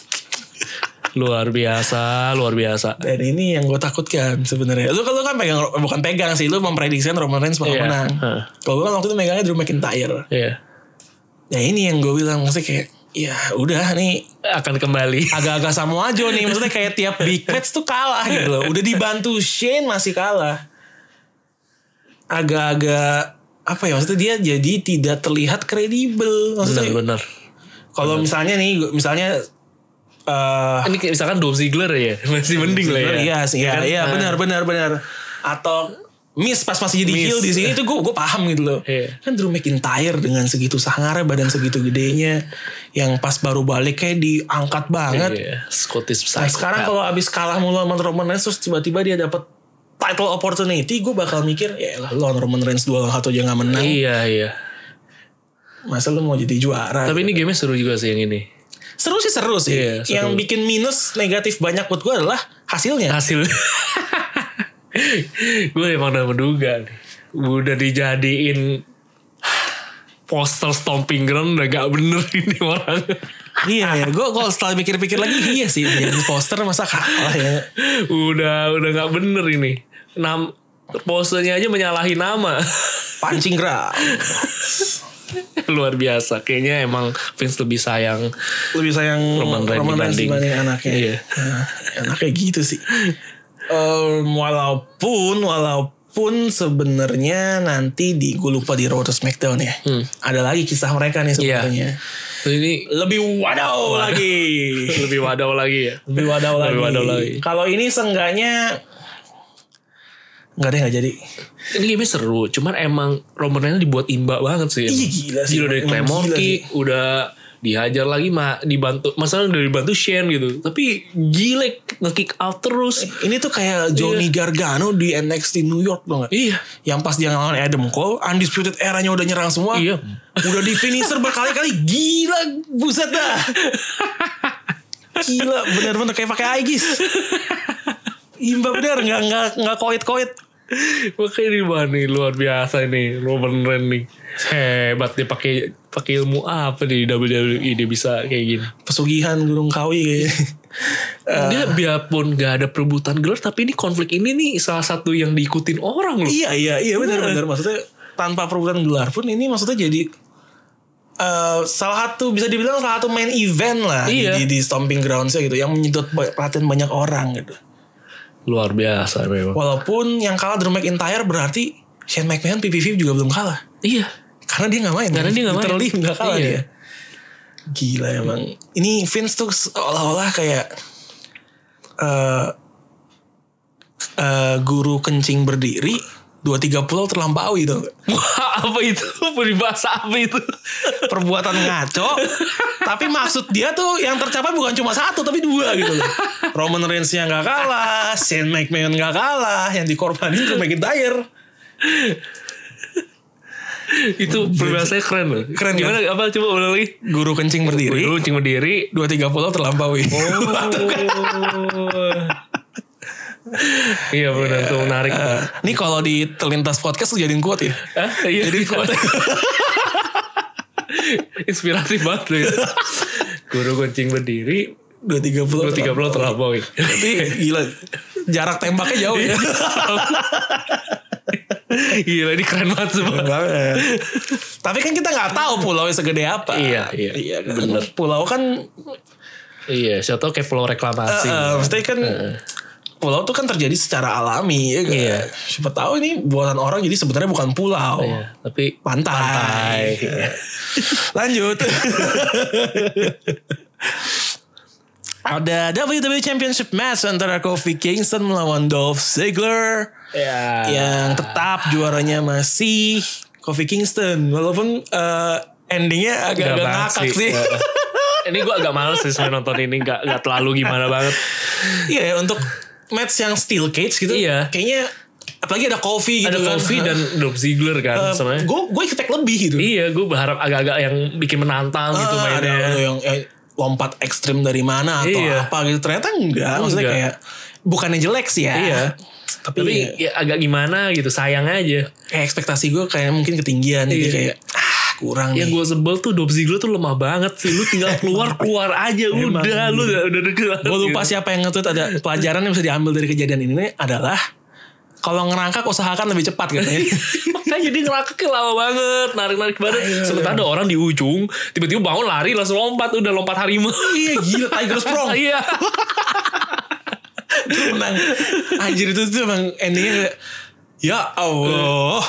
Speaker 2: Luar biasa, luar biasa.
Speaker 1: Dan ini yang gue takutkan sebenarnya. Lu kalau kan pegang eh, bukan pegang sih, lu memprediksikan Roman Reigns
Speaker 2: Iya.
Speaker 1: bakal menang.
Speaker 2: Heeh.
Speaker 1: Kalau gue kan waktu itu megangnya Drew McIntyre.
Speaker 2: Iya.
Speaker 1: Nah ini yang gue bilang maksudnya kayak ya udah nih
Speaker 2: Akan kembali.
Speaker 1: agak-agak sama aja nih maksudnya kayak tiap big match tuh kalah gitu loh udah dibantu Shane masih kalah agak-agak apa ya maksudnya dia jadi tidak terlihat kredibel maksudnya
Speaker 2: Benar-benar.
Speaker 1: kalau misalnya nih gua- misalnya eh
Speaker 2: Ini kayak misalkan Dolph Ziggler ya. Masih mending lah ya.
Speaker 1: iya sih, iya
Speaker 2: kan?
Speaker 1: iya
Speaker 2: Nah.
Speaker 1: benar benar benar atau Miss pas masih jadi
Speaker 2: Miss.
Speaker 1: heel di sini itu gue gue paham gitu loh.
Speaker 2: Iya.
Speaker 1: Kan Drew McIntyre dengan segitu sangarnya badan segitu gedenya yang pas baru balik kayak diangkat banget.
Speaker 2: Iya, Scottish
Speaker 1: Nah,
Speaker 2: Psycho.
Speaker 1: sekarang kalau abis kalah mulu sama Roman Reigns terus tiba-tiba dia dapat title opportunity, gue bakal mikir ya lah lawan Roman Reigns dua lawan satu aja nggak menang,
Speaker 2: Iya, iya.
Speaker 1: masa lu mau jadi juara?
Speaker 2: Tapi ini gamenya seru juga sih yang ini.
Speaker 1: seru sih seru sih.
Speaker 2: Iya, seru. Ah.
Speaker 1: Yang bikin minus negatif banyak buat gue adalah hasilnya.
Speaker 2: Hasil. gue emang udah menduga nih. Udah dijadiin poster stomping ground udah gak bener ini orang.
Speaker 1: iya ya, gue kalau setelah mikir-pikir lagi iya sih jadi poster masa kalah ya.
Speaker 2: udah udah gak bener ini. Nam posternya aja menyalahi nama.
Speaker 1: Pancing ground.
Speaker 2: Luar biasa. Kayaknya emang Vince lebih sayang
Speaker 1: Lebih sayang
Speaker 2: Roman
Speaker 1: Roman
Speaker 2: Reigns
Speaker 1: Reigns
Speaker 2: dibanding.
Speaker 1: dibanding anaknya.
Speaker 2: Iya.
Speaker 1: Nah, anaknya gitu sih. Em, walaupun walaupun sebenarnya nanti di gue lupa di Raw atau SmackDown ya. Ada lagi kisah mereka nih
Speaker 2: Hmm. Iya.
Speaker 1: sebenarnya.
Speaker 2: Ini
Speaker 1: Lebih wadaw lagi.
Speaker 2: lebih wadaw lagi ya.
Speaker 1: lebih wadaw lagi.
Speaker 2: Lebih wadaw lagi.
Speaker 1: Kalau ini seenggaknya nggak deh nggak jadi.
Speaker 2: Ini game seru, cuman emang Roman Reigns dibuat imba banget sih.
Speaker 1: Iya, gila sih.
Speaker 2: Gila dari
Speaker 1: Emang
Speaker 2: Claymore
Speaker 1: gila
Speaker 2: kick, udah dihajar lagi mah dibantu masalah udah dibantu Shane gitu tapi gile nge-kick out terus
Speaker 1: Ini tuh kayak Johnny Gargano di NXT New York tuh nggak?
Speaker 2: iya
Speaker 1: Yang pas dia ngelawan Adam Cole, undisputed eranya udah nyerang semua.
Speaker 2: Iya.
Speaker 1: Udah di finisher berkali-kali, gila buset dah. Gila bener-bener kayak pakai Aegis. Imba bener nggak nggak nggak koit koit.
Speaker 2: makanya di mana nih luar biasa ini Roman Reigns nih hebat dia pakai pakai ilmu apa di WWE dia bisa kayak gini
Speaker 1: Pesugihan Gunung Kawi kayaknya. Ah.
Speaker 2: dia biarpun gak ada perebutan gelar tapi ini konflik ini nih salah satu yang diikutin orang loh
Speaker 1: Iya iya iya benar benar maksudnya tanpa perebutan gelar pun ini maksudnya jadi eh, salah satu bisa dibilang salah satu main event lah di-
Speaker 2: Iya.
Speaker 1: di, di stomping groundsnya gitu yang menyedot ba- perhatian banyak orang gitu.
Speaker 2: luar biasa memang
Speaker 1: Walaupun yang kalah Drew McIntyre berarti Shane McMahon PPV juga belum kalah
Speaker 2: iya
Speaker 1: karena dia nggak main.
Speaker 2: Karena dia nggak main.
Speaker 1: Literally nggak kalah
Speaker 2: Iya.
Speaker 1: dia. Gila emang. Ini Vince tuh seolah-olah kayak eh eh, guru kencing berdiri dua tiga pulau terlampaui tuh.
Speaker 2: Wah, apa itu? Peribahasa apa itu?
Speaker 1: perbuatan ngaco tapi maksud dia tuh yang tercapai bukan cuma satu tapi dua gitu loh Roman Reigns yang gak kalah Shane McMahon gak kalah yang dikorbanin Drew McIntyre
Speaker 2: itu peribahasanya keren loh.
Speaker 1: Keren,
Speaker 2: Gimana? Apa? Coba ulang lagi.
Speaker 1: guru Oh. kencing berdiri
Speaker 2: Dulu cing berdiri.
Speaker 1: dua tiga puluh terlampaui
Speaker 2: iya benar tuh menarik. tuh.
Speaker 1: Nah, ini kalau di terlintas podcast tuh jadiin quote ya
Speaker 2: Hah? Iya.
Speaker 1: jadi quote
Speaker 2: Inspiratif banget loh itu. Guru kucing berdiri.
Speaker 1: dua tiga puluh
Speaker 2: Dua tiga puluh terlampaui.
Speaker 1: tapi gila jarak tembaknya jauh ya
Speaker 2: Gila ini keren banget semua.
Speaker 1: banget. Tapi kan kita nggak tahu pulau segede apa.
Speaker 2: Iya, iya.
Speaker 1: kan?
Speaker 2: Bener.
Speaker 1: Pulau kan
Speaker 2: Iya, saya tau kayak pulau reklamasi.
Speaker 1: Eh, eh, maksudnya kan pulau tuh kan terjadi secara alami ya kan?
Speaker 2: Iya.
Speaker 1: Siapa tahu ini buatan orang jadi sebenarnya bukan pulau.
Speaker 2: Iya, tapi Iya.
Speaker 1: Pantai.
Speaker 2: Pantai.
Speaker 1: Lanjut. Ada WWE Championship match antara Kofi Kingston melawan Dolph Ziggler
Speaker 2: ya.
Speaker 1: yang tetap juaranya masih Kofi Kingston walaupun eh, endingnya
Speaker 2: Nggak
Speaker 1: agak-agak
Speaker 2: banget
Speaker 1: ngakak sih.
Speaker 2: Iya. ini gue agak males sih sebenarnya nonton ini nggak nggak terlalu gimana banget.
Speaker 1: Iya ya, untuk match yang steel cage gitu.
Speaker 2: Iya.
Speaker 1: Kayaknya apalagi ada Kofi gitu
Speaker 2: Ada
Speaker 1: kan. Eh,
Speaker 2: Kofi dan Dolph Ziegler kan sebenarnya.
Speaker 1: Gue gue expect lebih gitu.
Speaker 2: Iya, gue berharap agak-agak yang bikin menantang gitu
Speaker 1: Ah, ada
Speaker 2: mainnya.
Speaker 1: yang, yang lompat ekstrim dari mana atau
Speaker 2: Iya.
Speaker 1: apa gitu. Ternyata enggak. Maksudnya
Speaker 2: Enggak.
Speaker 1: kayak bukannya jelek sih ya.
Speaker 2: Iya.
Speaker 1: Tapi,
Speaker 2: Tapi
Speaker 1: ya,
Speaker 2: ya agak gimana gitu, sayang aja.
Speaker 1: kayak ekspektasi gue kayak mungkin ketinggian jadi
Speaker 2: Iya.
Speaker 1: kayak ah kurang
Speaker 2: Yang
Speaker 1: nih.
Speaker 2: gue sebel tuh Dolph Ziegler tuh lemah banget sih. Lu tinggal keluar keluar aja
Speaker 1: Emang.
Speaker 2: udah lu udah udah udah-
Speaker 1: Gue lupa siapa yang nge-tweet ada pelajaran yang bisa diambil dari kejadian ini adalah kalau ngerangkak usahakan lebih cepat gitu ya. katanya.
Speaker 2: Makanya dia ngerangkak lama banget Narik-narik badan
Speaker 1: Iya,
Speaker 2: Sementara ada orang di ujung Tiba-tiba bangun lari Langsung lompat Udah lompat harimau
Speaker 1: Iya gila Tiger Sprong.
Speaker 2: Iya
Speaker 1: Itu menang anjir itu tuh emang endingnya kayak, ya Allah
Speaker 2: Oh,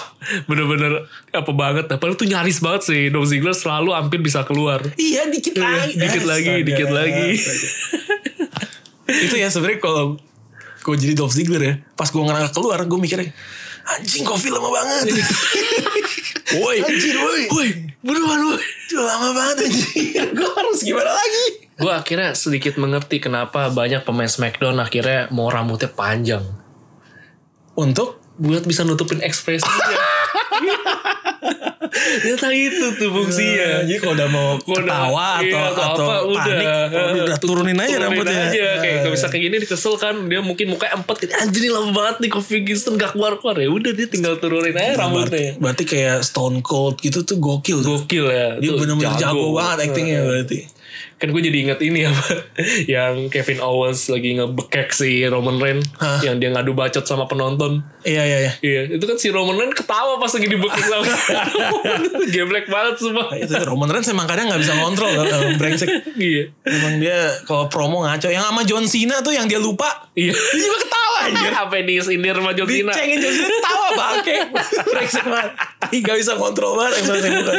Speaker 2: Bener-bener Apa banget nah, Padahal tuh nyaris banget sih Dolph Ziggler selalu hampir bisa keluar
Speaker 1: iya dikit lagi
Speaker 2: Dikit lagi
Speaker 1: Astaga.
Speaker 2: Dikit lagi
Speaker 1: itu ya sebenarnya kalau gue jadi Dolph Ziggler ya pas gue ngerangkak keluar gue mikirnya
Speaker 3: Anjing Kofi lama banget.
Speaker 2: Iya. Woi.
Speaker 3: Anjir, woi.
Speaker 2: Woi, buruan woi.
Speaker 3: Duh, lama banget anjing. Gue harus gimana lagi?
Speaker 2: Gue akhirnya sedikit mengerti kenapa banyak pemain Smackdown akhirnya mau rambutnya panjang.
Speaker 1: Untuk
Speaker 2: Buat bisa nutupin ekspresinya. Ternyata Ya, itu tuh fungsinya.
Speaker 1: Jadi kalau udah mau
Speaker 2: Iya. Kalau udah-
Speaker 1: ketawa
Speaker 2: iya,
Speaker 1: atau atau, panik, udah, udah turunin aja
Speaker 2: Turunin
Speaker 1: rambutnya. ya? Nah.
Speaker 2: aja. Kayak kalau bisa kayak gini dikesel kan dia mungkin mukanya empat gitu. Anjir ini lama banget nih Kofi Kingston gak keluar-keluar ya. Udah dia tinggal turunin aja
Speaker 1: Nah, Berarti,
Speaker 2: rambutnya.
Speaker 1: berarti kayak Stone Cold gitu tuh gokil. tuh.
Speaker 2: Gokil ya.
Speaker 1: Dia
Speaker 2: tuh,
Speaker 1: bener-bener jago, banget actingnya berarti.
Speaker 2: Eh, Kan gue jadi ingat ini apa yang Kevin Owens lagi ngebekek si Roman Reigns
Speaker 1: Hah?
Speaker 2: yang dia ngadu bacot sama penonton.
Speaker 1: Iya iya iya.
Speaker 2: Iya, itu kan si Roman Reigns ketawa pas lagi dibekek sama Geblek banget semua.
Speaker 1: Itu Roman Reigns emang kadang nggak bisa ngontrol kalau brengsek.
Speaker 2: Iya.
Speaker 1: Emang dia kalau promo ngaco. Yang sama John Cena tuh yang dia lupa.
Speaker 2: Iya.
Speaker 1: Dia juga ketawa anjir.
Speaker 2: Apa disindir sama John Cena? Iya,
Speaker 1: Dicengin John Cena ketawa bangke. Brengsek banget. Ih, Gak bisa kontrol banget yang saya bukan.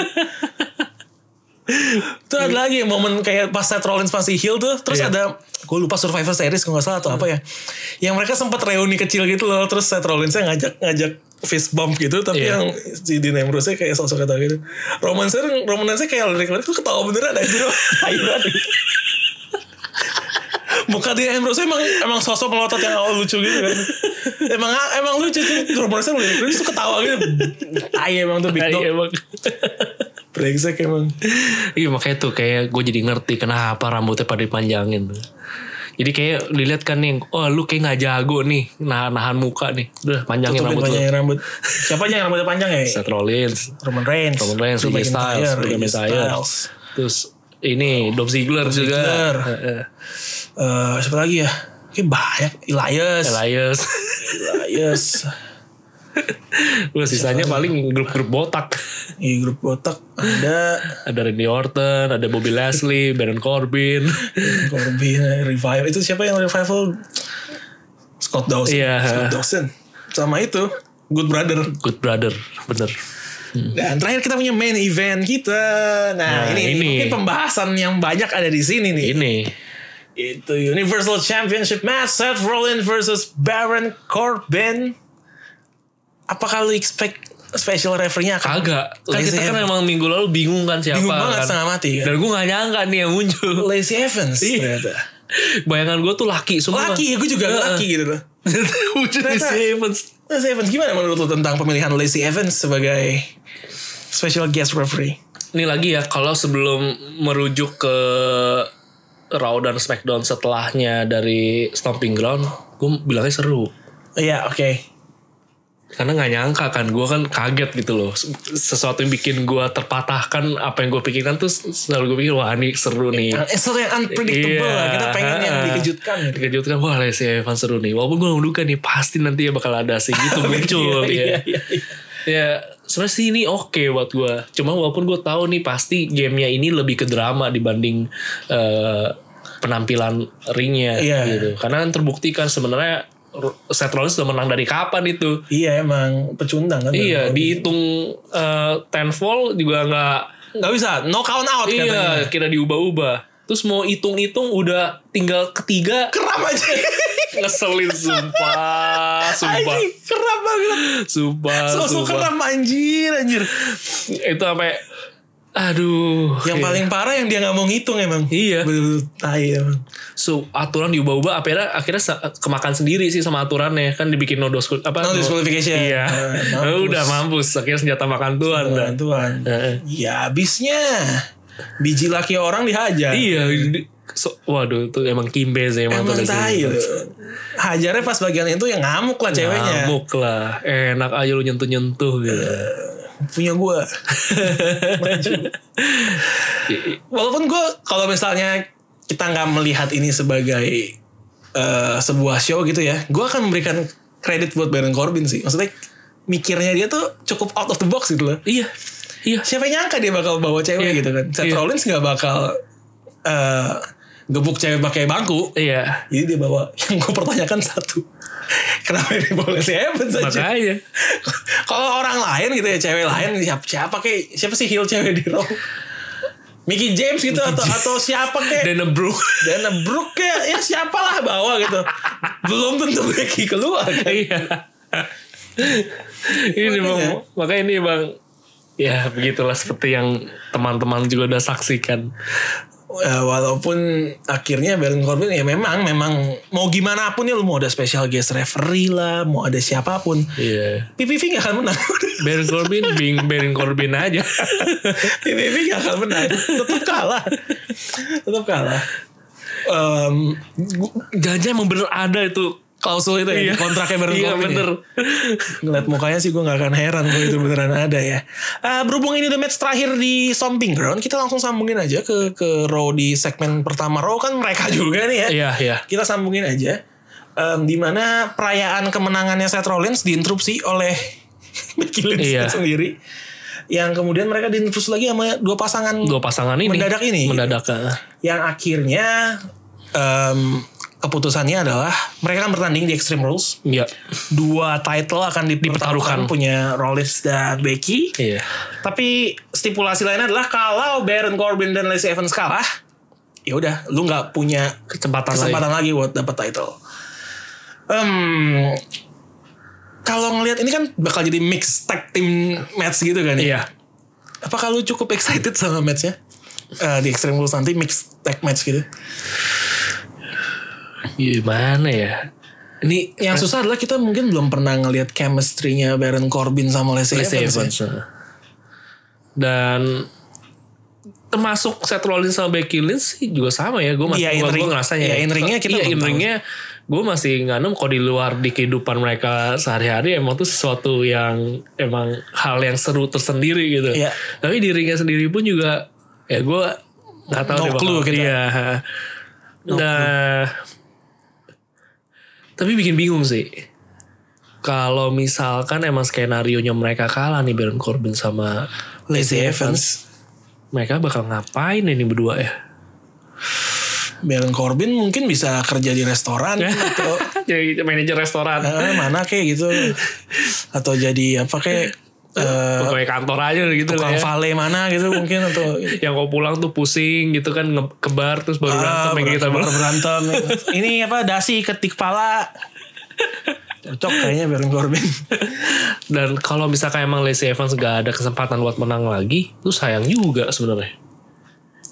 Speaker 1: Itu ada lagi momen kayak pas Seth Rollins masih heel tuh. Terus
Speaker 2: Iya.
Speaker 1: ada gue lupa Survivor Series kalau nggak salah atau apa ya. Yang mereka sempat reuni kecil gitu loh. Terus Seth Rollinsnya ngajak ngajak fist bump gitu. Tapi
Speaker 2: Iya.
Speaker 1: yang si Dean Ambrose kayak sosok ketawa gitu. Roman Reigns Roman Reigns kayak lirik-lirik tuh ketawa beneran aja. Muka Dean Ambrose emang emang sosok melotot yang awal lucu gitu kan. emang emang lucu sih. Roman Reigns lirik-lirik tuh ketawa gitu. Tai emang tuh big
Speaker 2: Iya,
Speaker 1: dog.
Speaker 2: emang.
Speaker 1: Brengsek emang.
Speaker 2: Iya makanya tuh kayak gue jadi ngerti kenapa rambutnya pada dipanjangin. Jadi kayak dilihat kan nih, oh lu kayak nggak jago nih nahan-nahan muka nih, udah panjangin
Speaker 1: Tutupin
Speaker 2: rambut lu.
Speaker 1: panjangin rambut. Siapa aja yang rambutnya panjang ya?
Speaker 2: Seth Rollins,
Speaker 1: Roman Reigns,
Speaker 2: Roman Reigns,
Speaker 1: Drew
Speaker 2: AJ
Speaker 1: McIntyre,
Speaker 2: Styles, Drew
Speaker 1: AJ
Speaker 2: McIntyre.
Speaker 1: Styles.
Speaker 2: Terus ini Dolph Ziggler juga.
Speaker 1: Ziggler.
Speaker 2: Heeh.
Speaker 1: Eh, siapa lagi ya? Kayak banyak. Elias,
Speaker 2: Elias.
Speaker 1: Elias,
Speaker 2: Terus sisanya paling grup-grup botak.
Speaker 1: di grup botak ada
Speaker 2: Ada Randy Orton, ada Bobby Leslie, Baron Corbin.
Speaker 1: Corbin, Revival. Itu siapa yang revival? Scott Dawson.
Speaker 2: Iya.
Speaker 1: Scott Dawson. Sama itu Good Brother.
Speaker 2: Good brother, bener.
Speaker 1: Dan terakhir kita punya main event kita.
Speaker 2: Nah,
Speaker 1: Nah, ini, ini
Speaker 2: ini.
Speaker 1: mungkin pembahasan yang banyak ada di sini nih.
Speaker 2: Ini
Speaker 1: Itu Universal Championship match Seth Rollins versus Baron Corbin. Apakah lu expect special referee-nya akan
Speaker 2: kagak. Kan
Speaker 1: Lacey
Speaker 2: kita kan
Speaker 1: Evans.
Speaker 2: emang minggu lalu bingung kan siapa.
Speaker 1: ya. bingung banget
Speaker 2: kan.
Speaker 1: setengah mati kan?
Speaker 2: Dan gue gak nyangka nih yang muncul.
Speaker 1: Lacey Evans
Speaker 2: Iya.
Speaker 1: ternyata.
Speaker 2: Bayangan gue tuh laki semua.
Speaker 1: Laki ya, gue juga
Speaker 2: Heeh.
Speaker 1: laki gitu loh.
Speaker 2: Wujud Lacey Evans.
Speaker 1: Lacey Evans gimana menurut lu tentang pemilihan Lacey Evans sebagai special guest referee?
Speaker 2: Ini lagi ya kalau sebelum merujuk ke Raw dan Smackdown setelahnya dari Stomping Ground, gue bilangnya seru.
Speaker 1: Iya, oke.
Speaker 2: Karena nggak nyangka kan, gue kan kaget gitu loh. Sesuatu yang bikin gue terpatahkan apa yang gue pikirkan tuh selalu gue pikir wah ini seru nih.
Speaker 1: Eh, Sesuatu yang unpredictable
Speaker 2: Iya.
Speaker 1: lah. Kita pengen yang
Speaker 2: Ah.
Speaker 1: dikejutkan gitu.
Speaker 2: Dikejutkan wah Lacey Evans seru nih. Walaupun gue menduga nih pasti nanti bakal ada sih gitu muncul
Speaker 1: Iya,
Speaker 2: ya.
Speaker 1: iya, iya.
Speaker 2: Ya sebenarnya sih ini oke buat gue. Cuma walaupun gue tahu nih pasti gamenya ini lebih ke drama dibanding eh, penampilan ringnya
Speaker 1: Iya.
Speaker 2: gitu. Karena kan terbukti kan sebenarnya Seth Rollins sudah menang dari kapan itu.
Speaker 1: Iya emang pecundang kan.
Speaker 2: Iya, dihitung eh, tenfold juga nggak
Speaker 1: Gak bisa, no count out katanya.
Speaker 2: iya kira diubah-ubah. Terus mau hitung-hitung udah tinggal ketiga
Speaker 1: Keram aja.
Speaker 2: ngeselin sumpah, sumpah,
Speaker 1: Anjing, keram banget.
Speaker 2: sumpah,
Speaker 1: Sosok
Speaker 2: sumpah.
Speaker 1: keram anjir, anjir.
Speaker 2: Itu sampai aduh.
Speaker 1: Yang
Speaker 2: kayak-
Speaker 1: paling parah yang dia gak mau ngitung emang.
Speaker 2: Iya.
Speaker 1: Betul-betul tai emang.
Speaker 2: so, aturan diubah-ubah akhirnya akhirnya sa- kemakan sendiri sih sama aturannya kan dibikin no dos apa
Speaker 1: No disqualification.
Speaker 2: Iya.
Speaker 1: Ah, mampus.
Speaker 2: udah mampus akhirnya senjata makan Tuhan dah.
Speaker 1: Tuhan, Tuhan.
Speaker 2: Heeh.
Speaker 1: Ya abisnya. Biji laki orang dihajar.
Speaker 2: Iya. di- so- waduh itu emang kimbe sih emang,
Speaker 1: Emang
Speaker 2: tuh dari
Speaker 1: tai
Speaker 2: sini.
Speaker 1: loh. Hajarnya pas bagian itu ya ngamuk lah ceweknya. Eh.
Speaker 2: Ngamuk lah. Enak aja lu nyentuh-nyentuh gitu.
Speaker 1: Punya gue. Maju. Walaupun gue kalau misalnya kita nggak melihat ini sebagai eh, sebuah show gitu ya, gue akan memberikan kredit buat Baron Corbin sih. Maksudnya mikirnya dia tuh cukup out of the box gitu loh.
Speaker 2: iya. Iya.
Speaker 1: Siapa yang nyangka dia bakal bawa cewek
Speaker 2: Iya.
Speaker 1: gitu kan? Seth
Speaker 2: Iya.
Speaker 1: Rollins nggak bakal eh, gebuk cewek pakai bangku.
Speaker 2: Iya.
Speaker 1: Jadi dia bawa yang gue pertanyakan satu. Kenapa ini boleh si Evans aja?
Speaker 2: Makanya.
Speaker 1: Kalau orang lain gitu ya cewek lain siapa, siapa kayak siapa sih heel cewek di Raw? Mickey James gitu atau atau siapa kayak
Speaker 2: Dan bro.
Speaker 1: Dana Brooke kayak ya siapalah bawa gitu. Belum tentu Becky keluar. kan.
Speaker 2: Iya. ini
Speaker 1: Makanya.
Speaker 2: memang makanya ini bang ya begitulah seperti yang teman-teman juga udah saksikan
Speaker 1: Eh, walaupun akhirnya Baron Corbin ya memang memang mau gimana pun ya lu mau ada special guest referee lah, mau ada siapapun,
Speaker 2: iya
Speaker 1: PPV gak akan menang.
Speaker 2: Baron Corbin bing Baron Corbin aja
Speaker 1: PPV gak akan menang, tetap kalah, tetap kalah. Em,
Speaker 2: jangan-jangan emang bener ada itu
Speaker 1: klausul itu ya,
Speaker 2: Iya.
Speaker 1: di kontraknya Baron
Speaker 2: iya
Speaker 1: Corbin. ya.
Speaker 2: bener
Speaker 1: Ngeliat mukanya sih gue gak akan heran kalau itu beneran ada ya. Eh, berhubung ini the match terakhir di Stomping Ground, kita langsung sambungin aja ke ke Raw di segmen pertama. Raw kan mereka juga nih ya.
Speaker 2: iya iya
Speaker 1: kita sambungin aja Em, di mana perayaan kemenangannya Seth Rollins diinterupsi oleh Becky Lynch
Speaker 2: Iya.
Speaker 1: sendiri yang kemudian mereka diinterupsi lagi sama dua pasangan
Speaker 2: dua pasangan ini
Speaker 1: Mendadak ini.
Speaker 2: mendadak eh.
Speaker 1: yang akhirnya em, keputusannya adalah mereka kan bertanding di Extreme Rules
Speaker 2: iya
Speaker 1: dua title akan
Speaker 2: Dipertaruhkan.
Speaker 1: dipertaruhkan punya Rollins dan Becky
Speaker 2: iya
Speaker 1: tapi stipulasi lainnya adalah kalau Baron Corbin dan Lacey Evans kalah ya udah lu nggak punya
Speaker 2: kesempatan,
Speaker 1: kesempatan lagi buat dapat title. Em, kalau ngelihat ini kan bakal jadi mix tag team match gitu kan
Speaker 2: lain
Speaker 1: ya.
Speaker 2: iya
Speaker 1: Apa kalau cukup excited sama matchnya? Eh, di Extreme Rules nanti mix tag match gitu.
Speaker 2: gimana ya ini
Speaker 1: Yang susah adalah kita mungkin belum pernah ngelihat chemistry-nya Baron Corbin sama Lacey,
Speaker 2: Lacey
Speaker 1: Evans. ya.
Speaker 2: Evans. heeh. Dan termasuk Seth Rollins sama Becky Lynch sih juga sama ya. Gue masih
Speaker 1: Iya, in
Speaker 2: gua,
Speaker 1: ring.
Speaker 2: gua ngerasanya.
Speaker 1: Iya, in ringnya
Speaker 2: Iya,
Speaker 1: kita belum
Speaker 2: in
Speaker 1: tahu.
Speaker 2: ringnya gue masih nganem kalau di luar di kehidupan mereka sehari-hari emang tuh sesuatu yang emang hal yang seru tersendiri gitu.
Speaker 1: Iya.
Speaker 2: Tapi di ringnya sendiri pun juga ya gue nggak tahu
Speaker 1: No
Speaker 2: deh bakal-
Speaker 1: clue kita.
Speaker 2: Iya. nah, tapi bikin bingung sih kalau misalkan emang skenario nya mereka kalah nih Baron Corbin sama
Speaker 1: Lacey Evans.
Speaker 2: mereka bakal ngapain ini berdua ya?
Speaker 1: Baron Corbin mungkin bisa kerja di restoran atau
Speaker 2: Jadi manajer restoran,
Speaker 1: eh, mana kayak gitu. Atau jadi apa kayak eh,
Speaker 2: pegawai kantor aja gitu lah
Speaker 1: tukang
Speaker 2: ya.
Speaker 1: vale mana gitu mungkin atau
Speaker 2: Yang kau pulang tuh pusing gitu kan nge- ke bar terus baru berantem gitu. yang kita
Speaker 1: Ah, berantem,
Speaker 2: bilang.
Speaker 1: berantem. ini apa dasi ketik pala cocok kayaknya Baron Corbin
Speaker 2: Dan kalau misalkan emang Lacey Evans gak ada kesempatan buat menang lagi, tuh sayang juga sebenarnya.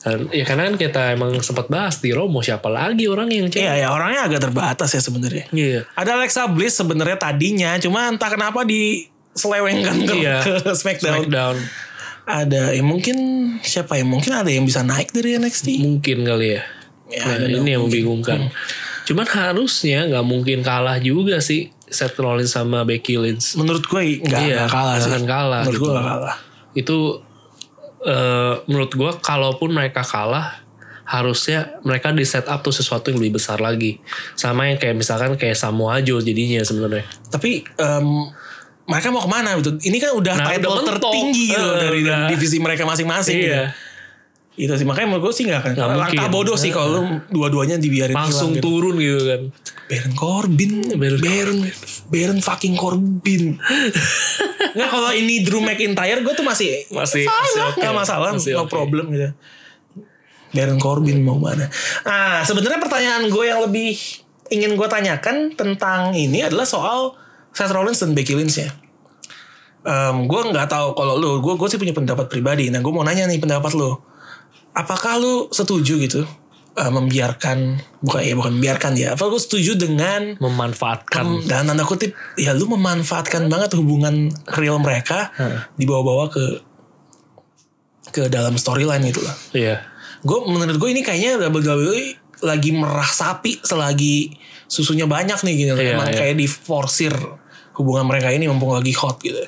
Speaker 2: Dan, ya karena kan kita emang sempat bahas di Romo siapa lagi orang yang cewek.
Speaker 1: iya ya orangnya agak terbatas ya sebenarnya
Speaker 2: Iya.
Speaker 1: ada Alexa Bliss sebenarnya tadinya cuma entah kenapa diselewengkan ke,
Speaker 2: Iya.
Speaker 1: ke Smackdown.
Speaker 2: Smackdown.
Speaker 1: ada ya mungkin siapa ya mungkin ada yang bisa naik dari NXT
Speaker 2: Mungkin kali ya.
Speaker 1: ya,
Speaker 2: Nah,
Speaker 1: I don't
Speaker 2: ini
Speaker 1: know.
Speaker 2: yang membingungkan. Cuman harusnya nggak mungkin kalah juga sih Seth Rollins sama Becky Lynch.
Speaker 1: menurut gue nggak
Speaker 2: Iya,
Speaker 1: nggak kalah
Speaker 2: nggak
Speaker 1: sih
Speaker 2: akan kalah
Speaker 1: menurut gue
Speaker 2: gitu.
Speaker 1: nggak kalah
Speaker 2: Itu eh, menurut gua kalaupun mereka kalah harusnya mereka di set up tuh sesuatu yang lebih besar lagi. Sama yang kayak misalkan kayak Samoa Joe jadinya sebenarnya.
Speaker 1: tapi em, mereka mau kemana gitu ini kan udah
Speaker 2: Nah,
Speaker 1: title
Speaker 2: udah mentok.
Speaker 1: tertinggi
Speaker 2: Eh,
Speaker 1: gitu dari, dari
Speaker 2: udah. Iya.
Speaker 1: divisi mereka masing-masing gitu. Itu sih makanya menurut gue sih gak akan
Speaker 2: Nggak
Speaker 1: langkah
Speaker 2: mungkin.
Speaker 1: bodoh sih kalau lu dua-duanya dibiarin
Speaker 2: Langsung
Speaker 1: hilang gitu.
Speaker 2: turun gitu kan.
Speaker 1: Baron Corbin,
Speaker 2: Baron
Speaker 1: Baron, Baron, fucking Corbin. Nggak kalau ini Drew McIntyre gue tuh masih
Speaker 2: Masih-
Speaker 1: fine
Speaker 2: masih
Speaker 1: lah,
Speaker 2: oke.
Speaker 1: nggak masalah,
Speaker 2: Masih
Speaker 1: no
Speaker 2: oke.
Speaker 1: problem gitu. Baron Corbin mau mana? Ah sebenarnya pertanyaan gue yang lebih ingin gue tanyakan tentang ini adalah soal Seth Rollins dan Becky Lynch ya. Em, gue nggak tahu kalau lu, gue gue sih punya pendapat pribadi. Nah gue mau nanya nih pendapat lu. Apakah lu setuju gitu eh, membiarkan bukan ya bukan membiarkan ya? Apa lu setuju dengan
Speaker 2: Memanfaatkan.
Speaker 1: dan Kan, tanda kutip ya lu memanfaatkan banget hubungan real mereka dibawa-bawa ke ke dalam storyline gitu loh.
Speaker 2: Iya.
Speaker 1: Gue menurut gue ini kayaknya WWE lagi merah sapi selagi susunya banyak nih gitu.
Speaker 2: Iya,
Speaker 1: Emang
Speaker 2: iya.
Speaker 1: kayak diforsir hubungan mereka ini mumpung lagi hot gitu.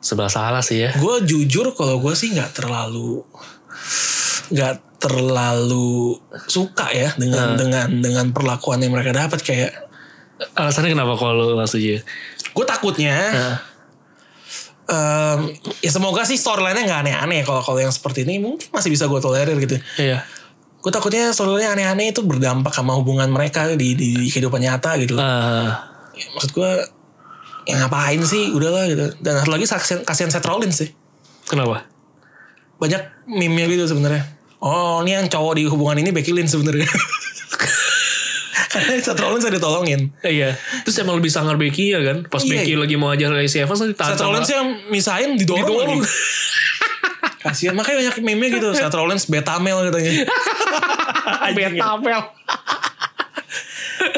Speaker 2: Sebelah salah sih ya.
Speaker 1: Gue jujur kalau gue sih nggak terlalu nggak terlalu suka ya dengan dengan dengan perlakuan yang mereka dapat kayak
Speaker 2: Alasannya kenapa kalau lu nggak setuju?
Speaker 1: gue takutnya
Speaker 2: Heeh.
Speaker 1: em, ya semoga sih storyline-nya nggak aneh-aneh kalau kalau yang seperti ini mungkin masih bisa gue tolerir gitu
Speaker 2: Iya.
Speaker 1: gue takutnya storyline aneh-aneh itu berdampak sama hubungan mereka di, di, di kehidupan nyata gitu loh.
Speaker 2: Eh,
Speaker 1: Ya, maksud gue ya ngapain sih udahlah gitu dan satu lagi saksian- kasihan Seth Rollins sih
Speaker 2: kenapa?
Speaker 1: banyak meme-nya gitu sebenarnya oh ini yang cowok di hubungan ini Becky Lynch sebenarnya Karena Seth Rollins yang ditolongin.
Speaker 2: Iya. Terus emang lebih sangar Becky ya kan? Pas
Speaker 1: Iya,
Speaker 2: Becky lagi mau ajar Lacey Evans kan ditahan
Speaker 1: Seth
Speaker 2: sama-
Speaker 1: Rollins ya? yang misahin didorong.
Speaker 2: Didorong.
Speaker 1: lagi. Kasian makanya banyak meme gitu Seth Rollins betamel katanya.
Speaker 2: Betapel.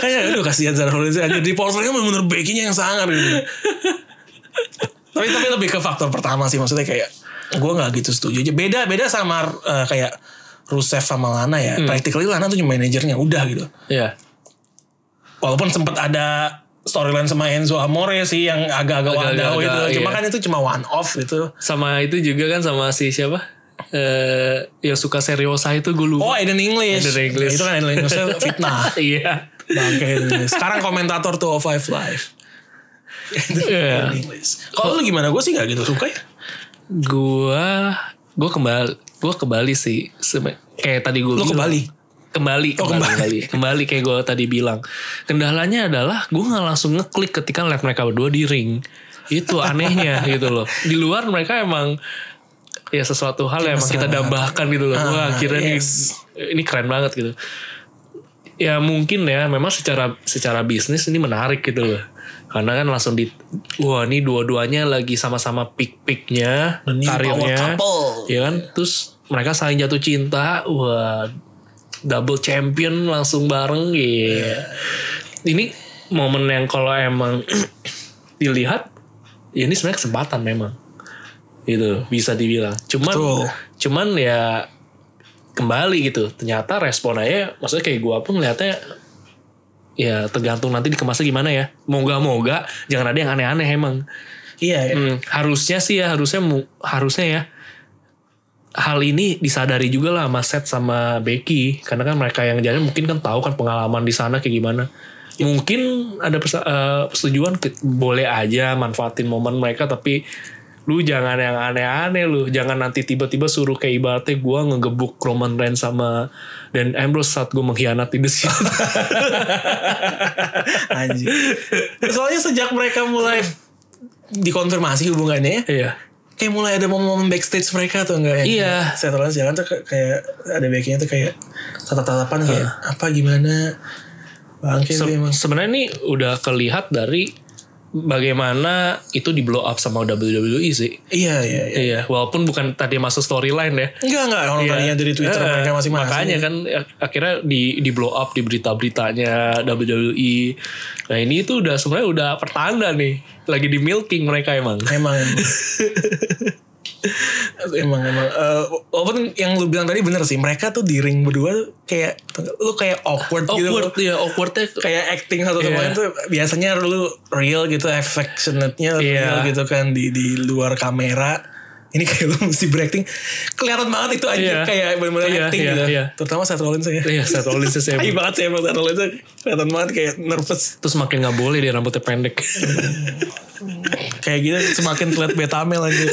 Speaker 1: Kayak aduh kasihan Seth Rollins aja di portraynya bener-bener backingnya yang sangar gitu. tapi tapi lebih ke faktor pertama sih maksudnya kayak gue nggak gitu setuju aja. Beda beda sama eh, kayak Rusev sama Lana ya. Practically Lana tuh cuma manajernya udah gitu.
Speaker 2: Iya.
Speaker 1: Walaupun sempat ada storyline sama Enzo Amore sih yang agak-agak
Speaker 2: Agak-agak,
Speaker 1: wadau itu. Cuma
Speaker 2: iya.
Speaker 1: kan itu cuma one off gitu.
Speaker 2: Sama itu juga kan sama si siapa? Eh yang suka seriosa itu gue
Speaker 1: Oh
Speaker 2: lupa.
Speaker 1: Aiden English.
Speaker 2: Aiden English.
Speaker 1: Itu kan Aiden English fitnah.
Speaker 2: iya.
Speaker 1: Bangke Aiden English. Sekarang komentator 205 Live.
Speaker 2: Iya.
Speaker 1: Aiden English. Kalau lu gimana? Gue sih gak gitu suka ya.
Speaker 2: Gua gua kembali gua ke Bali sih. Sebe- kayak tadi gue
Speaker 1: Lu ke Bali?
Speaker 2: Kembali,
Speaker 1: Oh,
Speaker 2: kembali,
Speaker 1: kembali.
Speaker 2: kembali, kembali kayak gue tadi bilang. Kendalanya adalah gue nggak langsung ngeklik ketika lihat mereka berdua di ring. Itu anehnya gitu loh. Di luar mereka emang ya sesuatu hal yang emang kita
Speaker 1: Mesra.
Speaker 2: dambahkan gitu loh. Wah
Speaker 1: Ah,
Speaker 2: akhirnya nih,
Speaker 1: yes.
Speaker 2: ini keren banget gitu. Ya mungkin ya memang secara secara bisnis ini menarik gitu loh. Karena kan langsung di wah ini dua-duanya lagi sama-sama pik-piknya
Speaker 1: The new
Speaker 2: karirnya.
Speaker 1: power couple.
Speaker 2: Iya kan? Terus mereka saling jatuh cinta. Wah, double champion langsung bareng gitu. Ini momen yang kalau emang dilihat ya ini sebenarnya kesempatan memang. Gitu, bisa dibilang. Cuman
Speaker 1: Betul.
Speaker 2: cuman ya kembali gitu. Ternyata respon aja maksudnya kayak gua pun ngeliatnya ya tergantung nanti dikemasnya gimana ya. Moga-moga jangan ada yang aneh-aneh emang.
Speaker 1: Iya ya.
Speaker 2: Hmm, harusnya sih ya harusnya mu- harusnya ya hal ini disadari juga lah sama Seth sama Becky karena kan mereka yang jalan mungkin kan tahu kan pengalaman di sana kayak gimana mungkin ada pesa- eh, persetujuan ke- boleh aja manfaatin momen mereka tapi lu jangan yang aneh-aneh lu jangan nanti tiba-tiba suruh kayak ibaratnya gue ngegebuk Roman Reigns sama dan Ambrose saat gue mengkhianati The Shield
Speaker 1: Anjing. Soalnya sejak mereka mulai dikonfirmasi hubungannya ya,
Speaker 2: iya
Speaker 1: kayak mulai ada momen-momen backstage mereka atau enggak ya?
Speaker 2: Iya.
Speaker 1: Seth Rollins jalan tuh kayak- kayak ada backingnya tuh kayak tatap-tatapan kayak
Speaker 2: Ah.
Speaker 1: apa gimana bangke
Speaker 2: Se-
Speaker 1: sih emang.
Speaker 2: sebenarnya ini udah kelihat dari bagaimana itu di blow up sama WWE sih.
Speaker 1: Iya iya iya.
Speaker 2: Iya, walaupun bukan tadi masuk storyline ya.
Speaker 1: Enggak enggak orang
Speaker 2: Iya.
Speaker 1: tadinya dari Twitter
Speaker 2: Eh,
Speaker 1: mereka masing-masing.
Speaker 2: Makanya kan ak- akhirnya di di blow up di berita-beritanya WWE. Nah, ini itu udah sebenarnya udah pertanda nih. Lagi di milking mereka emang.
Speaker 1: Emang emang emang Eh, walaupun yang lu bilang tadi bener sih mereka tuh di ring berdua tuh kayak lu kayak awkward, gitu
Speaker 2: Awkward ya, awkwardnya
Speaker 1: kayak acting satu
Speaker 2: Iya.
Speaker 1: sama lain tuh biasanya lu real gitu affectionate-nya real
Speaker 2: Iya.
Speaker 1: gitu kan di di luar kamera ini kayak lu mesti berakting kelihatan banget itu
Speaker 2: Iya.
Speaker 1: aja kayak benar-benar
Speaker 2: Iya,
Speaker 1: acting
Speaker 2: iya,
Speaker 1: gitu
Speaker 2: iya.
Speaker 1: terutama Seth Rollins ya
Speaker 2: Iya, Seth Rollins sih,
Speaker 1: Tai
Speaker 2: emang.
Speaker 1: banget sih emang Seth Rollins tuh kelihatan banget kayak nervous
Speaker 2: terus makin nggak boleh dia rambutnya pendek.
Speaker 1: kayak gitu semakin terlihat betamel aja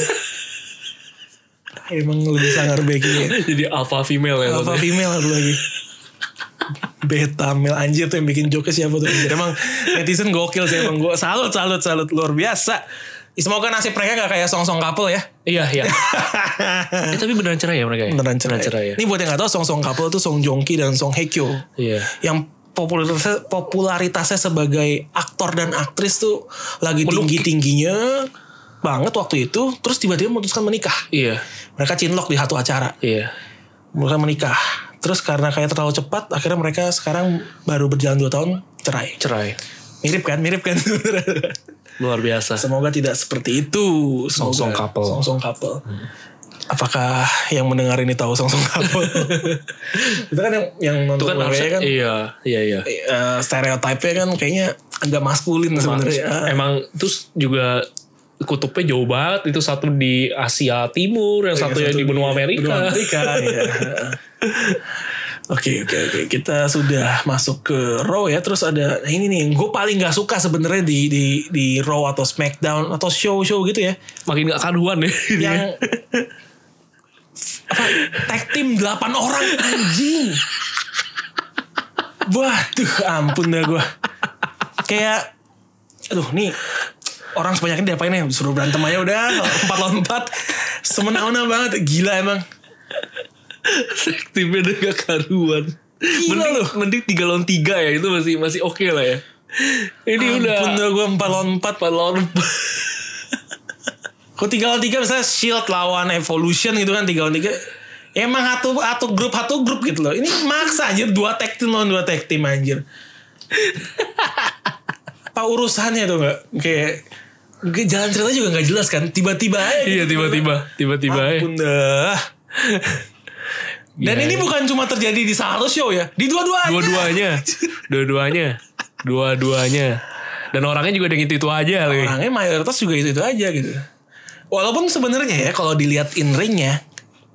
Speaker 1: emang lebih sangar Becky ya
Speaker 2: Jadi alpha female ya.
Speaker 1: Alpha
Speaker 2: maksudnya.
Speaker 1: female satu lagi Beta male anjir tuh yang bikin joke siapa tuh anjir. Emang netizen gokil sih emang gue salut salut salut luar biasa. Semoga nasib mereka gak kayak song-song couple ya.
Speaker 2: Iya, iya. eh, tapi beneran cerai ya mereka ya?
Speaker 1: Beneran cerai.
Speaker 2: cerai ya.
Speaker 1: Ini buat yang gak tau song-song couple tuh Song Joong Ki dan Song Hye Kyo.
Speaker 2: Iya.
Speaker 1: Yang popularitasnya, popularitasnya sebagai aktor dan aktris tuh lagi tinggi-tingginya banget waktu itu. Terus tiba-tiba memutuskan menikah.
Speaker 2: Iya.
Speaker 1: Mereka cinlok di satu acara.
Speaker 2: Iya.
Speaker 1: mereka menikah. Terus karena kayak terlalu cepat, akhirnya mereka sekarang baru berjalan 2 tahun cerai.
Speaker 2: Cerai.
Speaker 1: Mirip kan, mirip kan.
Speaker 2: Luar biasa.
Speaker 1: Semoga tidak seperti itu. Semoga-
Speaker 2: Song-song couple. Hmm.
Speaker 1: Song-song couple. Apakah yang mendengar ini tahu song-song couple? itu kan yang, yang
Speaker 2: Itu
Speaker 1: nonton
Speaker 2: kan
Speaker 1: WWE
Speaker 2: harusnya
Speaker 1: kan,
Speaker 2: Iya, iya, iya.
Speaker 1: eh, stereotype-nya kan kayaknya agak maskulin sebenarnya. Ah.
Speaker 2: Emang terus juga kutubnya jauh banget itu satu di Asia Timur
Speaker 1: Oh
Speaker 2: yang satu yang di benua Amerika.
Speaker 1: iya, Benua Amerika, ya. Oke oke oke kita sudah masuk ke Raw ya terus ada nah ini nih yang gue paling nggak suka sebenarnya di di di Raw atau Smackdown atau show show gitu ya
Speaker 2: Makin gak karuan ya. ini.
Speaker 1: yang apa tag team 8 orang anjing waduh ampun dah gue kayak aduh nih orang sebanyak ini diapain ya suruh berantem aja udah empat lawan empat semena-mena banget gila emang
Speaker 2: Timnya udah gak karuan. mending, mending 3 lawan 3 ya itu masih masih oke lah ya. Ini udah
Speaker 1: Ampun dah gue 4 lawan
Speaker 2: ya,
Speaker 1: 4
Speaker 2: empat lawan empat.
Speaker 1: Kok 3 lawan 3 misalnya Shield lawan Evolution gitu kan 3 lawan 3 Ya, Emang satu satu grup satu grup gitu loh. Ini maksa anjir dua tag team lawan dua tag team anjir. Apa urusannya tuh enggak? Kayak kayak jalan cerita juga nggak jelas kan tiba-tiba aja
Speaker 2: Iya
Speaker 1: gitu.
Speaker 2: tiba-tiba tiba-tiba ya.
Speaker 1: Ampun dah. Dan
Speaker 2: Iya,
Speaker 1: ini
Speaker 2: iya.
Speaker 1: bukan cuma terjadi di satu show ya, di dua-duanya.
Speaker 2: dua-duanya dua-duanya dua-duanya dan orangnya juga dengan itu itu aja lagi.
Speaker 1: Orangnya mayoritas juga itu-itu aja gitu. Walaupun sebenarnya ya kalau dilihat in ringnya,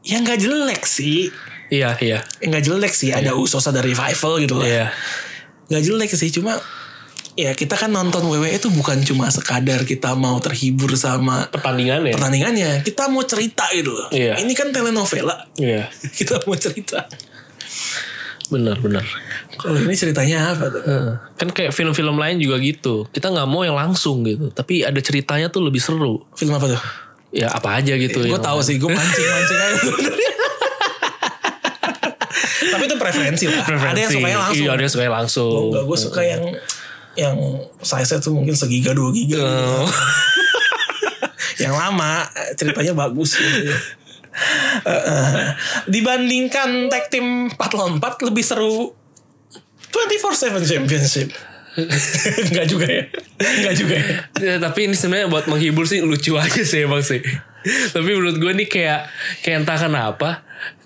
Speaker 1: ya nggak jelek sih.
Speaker 2: Iya iya
Speaker 1: Ya nggak jelek sih, ada usos ada revival gitu lah.
Speaker 2: iya
Speaker 1: Nggak jelek sih, cuma ya kita kan nonton WWE itu bukan cuma sekadar kita mau terhibur sama
Speaker 2: pertandingan ya.
Speaker 1: pertandingannya. Kita mau cerita gitu loh.
Speaker 2: Iya.
Speaker 1: Ini kan telenovela.
Speaker 2: Iya
Speaker 1: kita mau cerita.
Speaker 2: benar benar.
Speaker 1: Kalau ini ceritanya apa tuh?
Speaker 2: Heeh. Kan kayak film-film lain juga gitu. Kita nggak mau yang langsung gitu, tapi ada ceritanya tuh lebih seru.
Speaker 1: Film apa tuh?
Speaker 2: Ya apa aja gitu.
Speaker 1: Gue
Speaker 2: yang-
Speaker 1: tahu sih, gue mancing mancing aja. sebenarnya. Tapi itu preferensi lah. Ada yang
Speaker 2: Preferensi.
Speaker 1: sukanya langsung.
Speaker 2: Iya, ada yang suka yang langsung.
Speaker 1: Enggak, gue suka yang yang size-nya tuh mungkin segiga dua giga. gitu. yang lama ceritanya bagus. gitu. Eh, eh. dibandingkan tag team 4 lawan 4 lebih seru 24/7 championship. Enggak juga ya. Enggak juga ya.
Speaker 2: Ya, tapi ini sebenarnya buat menghibur sih lucu aja sih emang sih. tapi menurut gue nih kayak kayak entah kenapa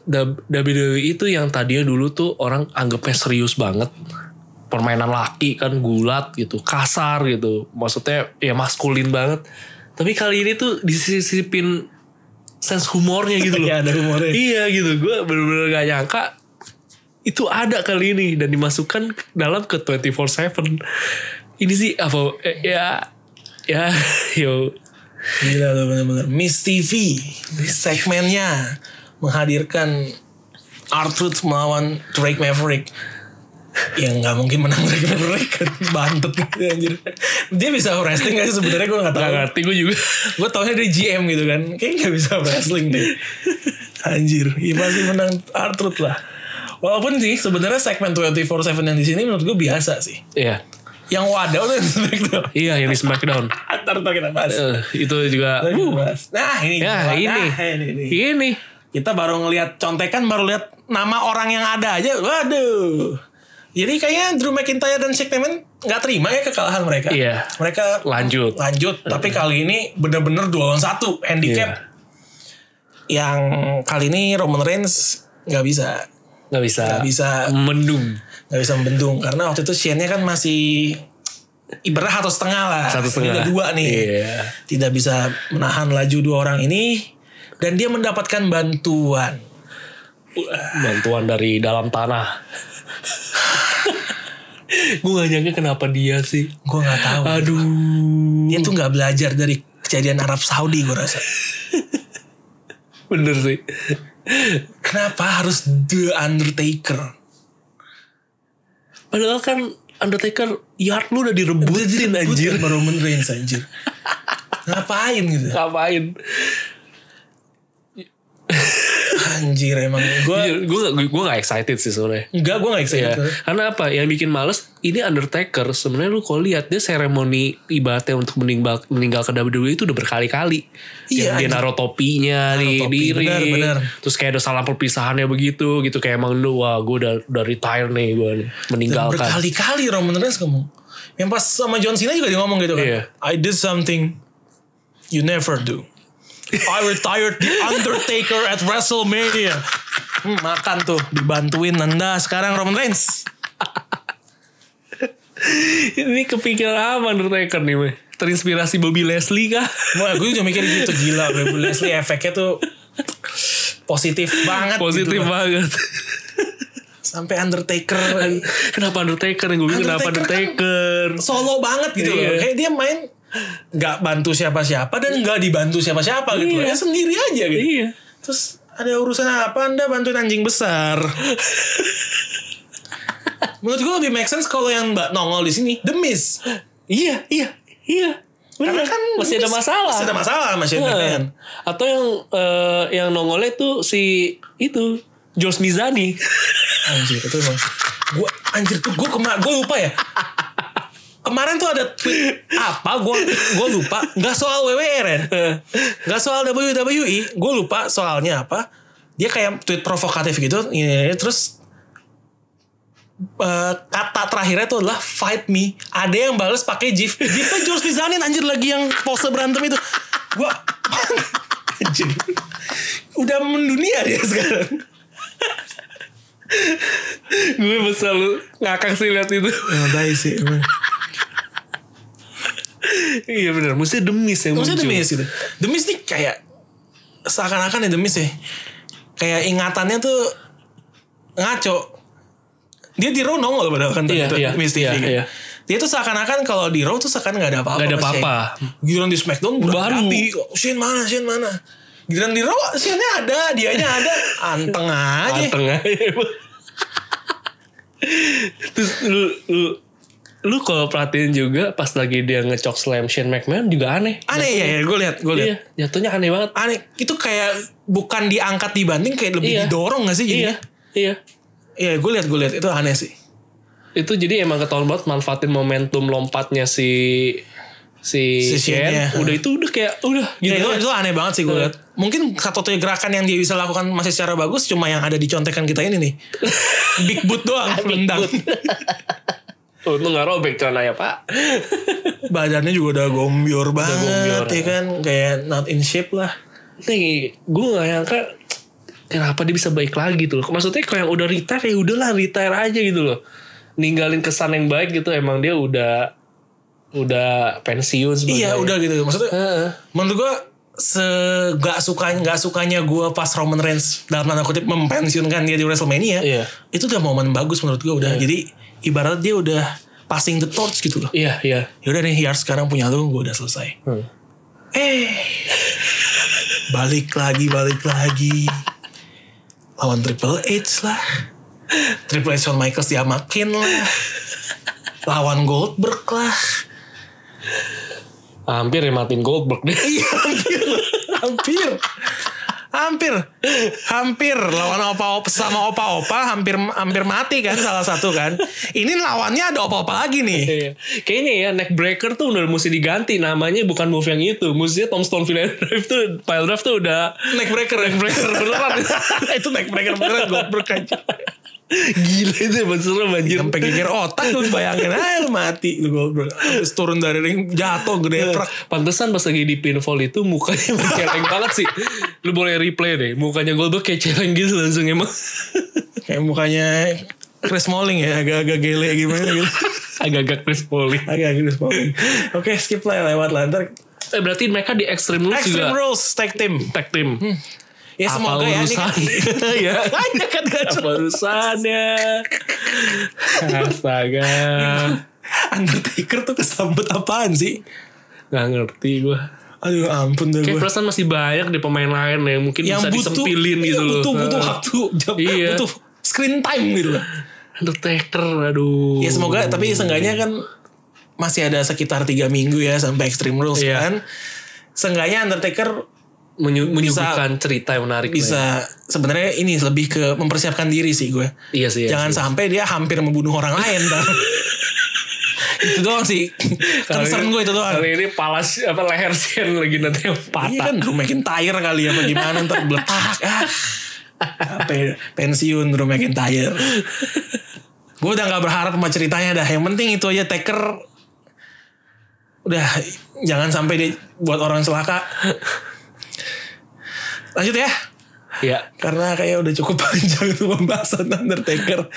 Speaker 2: W- WWE itu yang tadinya dulu tuh orang anggapnya serius banget. Permainan laki kan gulat gitu, kasar gitu. Maksudnya ya maskulin banget. Tapi kali ini tuh disisipin sense humornya gitu loh.
Speaker 1: Iya, ada humornya.
Speaker 2: Iya gitu, gue bener-bener gak nyangka itu ada kali ini dan dimasukkan dalam ke 24/7. Ini sih apa eh, ya ya yo
Speaker 1: Gila tuh bener-bener Miss TV di segmennya menghadirkan Artruth melawan Drake Maverick yang nggak mungkin menang Drake Maverick kan bantet gitu anjir dia bisa wrestling gak sih sebenarnya gue nggak
Speaker 2: gak
Speaker 1: tahu
Speaker 2: ngerti gue juga.
Speaker 1: gue taunya dia GM gitu kan kayaknya nggak bisa wrestling deh anjir ya pasti menang Artruth lah walaupun sih sebenarnya segmen 24/7 yang di sini menurut gue biasa sih
Speaker 2: Iya.
Speaker 1: yang wadah tuh yang SmackDown
Speaker 2: Iya yang di SmackDown.
Speaker 1: ntar ntar kita bahas
Speaker 2: Eh, itu juga
Speaker 1: Ntar kita bahas. nah ini
Speaker 2: ya
Speaker 1: nah,
Speaker 2: ini.
Speaker 1: ini, ini
Speaker 2: Ini.
Speaker 1: kita baru ngelihat contekan baru lihat nama orang yang ada aja waduh jadi kayaknya Drew McIntyre dan Shane McMahon nggak terima ya kekalahan mereka
Speaker 2: Iya.
Speaker 1: mereka
Speaker 2: Lanjut. Iya.
Speaker 1: lanjut tapi kali ini bener-bener dua lawan satu handicap yang kali ini Roman Reigns nggak bisa
Speaker 2: Gak bisa.
Speaker 1: Nggak bisa.
Speaker 2: Mendung.
Speaker 1: nggak bisa membendung karena waktu itu Shane-nya kan masih ibarat satu setengah lah
Speaker 2: Satu setengah.
Speaker 1: Ini udah dua nih
Speaker 2: Iya.
Speaker 1: tidak bisa menahan laju dua orang ini dan dia mendapatkan bantuan
Speaker 2: Bantuan dari dalam tanah. gue gak nyangka kenapa dia sih.
Speaker 1: gue nggak tahu
Speaker 2: Aduh.
Speaker 1: dia tuh nggak belajar dari kejadian Arab Saudi gue rasa
Speaker 2: Bener sih.
Speaker 1: kenapa harus The Undertaker
Speaker 2: Padahal kan Undertaker yard lu udah direbutin anjir.
Speaker 1: Bukan Roman Reigns anjir ngapain gitu
Speaker 2: Ngapain?
Speaker 1: anjir emang gue
Speaker 2: Gue gue gak excited sih sebenarnya.
Speaker 1: enggak gue nggak
Speaker 2: Ya,
Speaker 1: excited gitu.
Speaker 2: karena apa? Yang bikin males ini Undertaker sebenarnya lu kalau lihat dia seremoni ibaratnya untuk meninggal meninggal ke WWE itu udah berkali-kali. Yang
Speaker 1: Iya,
Speaker 2: dia
Speaker 1: anjir.
Speaker 2: naruh topinya di
Speaker 1: topi,
Speaker 2: diri.
Speaker 1: benar, benar.
Speaker 2: Terus kayak ada salam perpisahannya begitu gitu kayak emang lu wah gue udah, udah retire nih gue
Speaker 1: Dan
Speaker 2: meninggalkan.
Speaker 1: berkali-kali Roman Reigns ngomong yang pas sama John Cena juga dia ngomong gitu kan
Speaker 2: Iya.
Speaker 1: I did something you never do I retired The Undertaker at WrestleMania Hmm, makan tuh dibantuin Nanda sekarang Roman Reigns
Speaker 2: ini kepikiran apa Undertaker nih? Meh? Terinspirasi Bobby Leslie kah?
Speaker 1: Wah, gue juga mikir gitu gila Bobby Leslie efeknya tuh positif banget
Speaker 2: Positif
Speaker 1: gitu.
Speaker 2: banget.
Speaker 1: sampai Undertaker
Speaker 2: kenapa Undertaker yang gue bilang kenapa Undertaker?
Speaker 1: Undertaker solo banget gitu loh
Speaker 2: Iya.
Speaker 1: kayak dia main nggak bantu siapa-siapa dan nggak dibantu siapa-siapa gitu
Speaker 2: Iya.
Speaker 1: loh. ya sendiri aja gitu
Speaker 2: Iya.
Speaker 1: Terus ada urusan apa anda bantuin anjing besar? Menurut gue lebih make sense kalau yang mbak nongol di sini The Miz.
Speaker 2: Iya, iya, iya. Bener
Speaker 1: Karena
Speaker 2: kan
Speaker 1: kan
Speaker 2: masih ada
Speaker 1: The Miz-
Speaker 2: masalah.
Speaker 1: Masih ada masalah sama Shane
Speaker 2: Iya.
Speaker 1: McMahon.
Speaker 2: Atau yang eh, yang nongolnya tuh si itu George Mizani.
Speaker 1: anjir itu emang gue anjir tuh gue kemar gue lupa ya kemarin tuh ada tweet apa gue gue lupa nggak soal WWE Ren nggak soal WWE gue lupa soalnya apa dia kayak tweet provokatif gitu ini, ini, terus eh, kata terakhirnya tuh adalah fight me ada yang bales pakai gif gifnya George Nizanin anjir lagi yang pose berantem itu gue anjir udah mendunia dia sekarang
Speaker 2: gue besar lu ngakak sih lihat itu
Speaker 1: Emang tai sih emang.
Speaker 2: iya benar mesti demis yang
Speaker 1: Maksudnya
Speaker 2: muncul.
Speaker 1: demis gitu Demis nih kayak Seakan-akan ya demis ya Kayak ingatannya tuh Ngaco Dia di Raw nongol padahal kan
Speaker 2: Iya,
Speaker 1: tuh,
Speaker 2: iya,
Speaker 1: Demis TV
Speaker 2: iya,
Speaker 1: gitu.
Speaker 2: iya.
Speaker 1: Dia tuh seakan-akan kalau di Raw tuh seakan gak ada apa-apa
Speaker 2: Nggak ada
Speaker 1: sama Shane.
Speaker 2: apa-apa.
Speaker 1: Giliran di Smackdown udah
Speaker 2: Baru.
Speaker 1: ganti. Shane mana, Shane mana Giliran di Raw Shane-nya ada Dianya ada Anteng aja
Speaker 2: Anteng aja. Terus lu, lu, lu kalau perhatiin juga pas lagi dia ngecok slam Shane McMahon juga aneh.
Speaker 1: Aneh ya, ya gue lihat gue lihat
Speaker 2: Iya, jatuhnya aneh banget.
Speaker 1: Aneh itu kayak bukan diangkat dibanting kayak lebih
Speaker 2: Iya.
Speaker 1: didorong gak sih
Speaker 2: Iya,
Speaker 1: jadinya?
Speaker 2: iya.
Speaker 1: Iya, gue lihat gue lihat itu aneh sih.
Speaker 2: Itu jadi emang ketahuan banget manfaatin momentum lompatnya si si,
Speaker 1: Si
Speaker 2: Shane.
Speaker 1: Shane-nya.
Speaker 2: Udah itu udah kayak udah gitu.
Speaker 1: Ya, Iya. itu,
Speaker 2: aja.
Speaker 1: itu aneh banget sih gue lihat. Mungkin satu-satunya gerakan yang dia bisa lakukan masih secara bagus cuma yang ada di contekan kita ini nih. Big boot doang rendang.
Speaker 2: Untung Oh, nggak robek celananya pak.
Speaker 1: Badannya juga udah gombior banget
Speaker 2: gombior,
Speaker 1: ya
Speaker 2: ya.
Speaker 1: kan kayak not in shape lah.
Speaker 2: Nih, gue gak nyangka kenapa dia bisa baik lagi tuh. loh. Maksudnya kalau yang udah retire ya udahlah retire aja gitu loh. Ninggalin kesan yang baik gitu emang dia udah udah pensiun sebenarnya.
Speaker 1: Iya, udah gitu. Maksudnya
Speaker 2: Heeh.
Speaker 1: menurut gue se gak sukanya gak sukanya gue pas Roman Reigns dalam tanda kutip mempensiunkan dia di WrestleMania
Speaker 2: Iya.
Speaker 1: itu udah momen bagus menurut gue udah jadi ibarat dia udah passing the torch gitu loh
Speaker 2: Iya, iya.
Speaker 1: yaudah nih Yar sekarang punya lu gue udah selesai
Speaker 2: Hmm.
Speaker 1: Eh. Balik lagi, balik lagi. Lawan Triple H lah. Triple H Shawn Michaels diamakin lah. Lawan Goldberg lah.
Speaker 2: Hampir ya matiin Goldberg deh.
Speaker 1: Iya, Hampir. Hampir. Hampir lawan opa-opa sama opa-opa hampir hampir mati kan salah satu kan. Ini lawannya ada opa-opa lagi nih.
Speaker 2: Iya. Kayaknya ya neck breaker tuh udah mesti diganti namanya bukan move yang itu. Mestinya Tombstone Pile Drive tuh Pile Drive tuh udah
Speaker 1: Neck breaker, neck breaker beneran. Itu neck breaker beneran Goldberg aja.
Speaker 2: gila itu emang serem anjir.
Speaker 1: Sampai geger otak lu bayangin aja lu mati lu goblok. Terus turun dari ring jatuh gede truk.
Speaker 2: Pantesan pas lagi di pinfall itu mukanya emang celeng banget sih. Lu boleh replay deh. Mukanya Goldberg kayak celeng gitu langsung emang.
Speaker 1: Kayak mukanya Chris Smalling ya agak-agak gele gimana gitu.
Speaker 2: Agak-agak Chris Pauli.
Speaker 1: Agak-agak Chris Smalling. Oke, skip lah ya, lewat lah ntar.
Speaker 2: Eh berarti mereka di Extreme Rules
Speaker 1: Extreme
Speaker 2: juga
Speaker 1: Rules tag team.
Speaker 2: tag team.
Speaker 1: Ya
Speaker 2: Apa
Speaker 1: semoga ya ini kan.
Speaker 2: urusannya?
Speaker 1: Ya. Hanya kan
Speaker 2: Apa
Speaker 1: gak jelas.
Speaker 2: urusannya? Astaga.
Speaker 1: Undertaker tuh kesambet apaan sih?
Speaker 2: Gak ngerti gue.
Speaker 1: Aduh ya ampun dah
Speaker 2: Kayak
Speaker 1: gue.
Speaker 2: perasaan masih banyak di pemain lain yang mungkin
Speaker 1: Yang
Speaker 2: bisa
Speaker 1: butuh
Speaker 2: disempilin
Speaker 1: iya,
Speaker 2: gitu loh.
Speaker 1: Butuh butuh
Speaker 2: Ah.
Speaker 1: waktu jam,
Speaker 2: Iya.
Speaker 1: butuh screen time gitu loh.
Speaker 2: Undertaker, aduh.
Speaker 1: Ya semoga tapi seenggaknya kan masih ada sekitar tiga minggu ya sampai Extreme Rules
Speaker 2: Iya.
Speaker 1: kan. Seenggaknya Undertaker
Speaker 2: Menyu- menyuguhkan cerita yang menarik. lah ya.
Speaker 1: bisa sebenarnya ini lebih ke mempersiapkan diri sih gue.
Speaker 2: Iya sih. iya sih.
Speaker 1: Jangan sampai dia hampir membunuh orang lain. ntar. itu doang sih.
Speaker 2: Kali
Speaker 1: Concern
Speaker 2: ini-
Speaker 1: gue itu doang.
Speaker 2: Kali ini palas apa leher Shane lagi nanti yang
Speaker 1: Iya
Speaker 2: patah.
Speaker 1: kan Drew McIntyre kali ya bagaimana ntar beletak ah. Apa, ya? pensiun Drew McIntyre. gue udah nggak berharap sama ceritanya dah. Yang penting itu aja Taker udah jangan sampai dia buat orang celaka. Lanjut ya.
Speaker 2: Iya.
Speaker 1: Karena kayak udah cukup panjang tuh pembahasan Undertaker.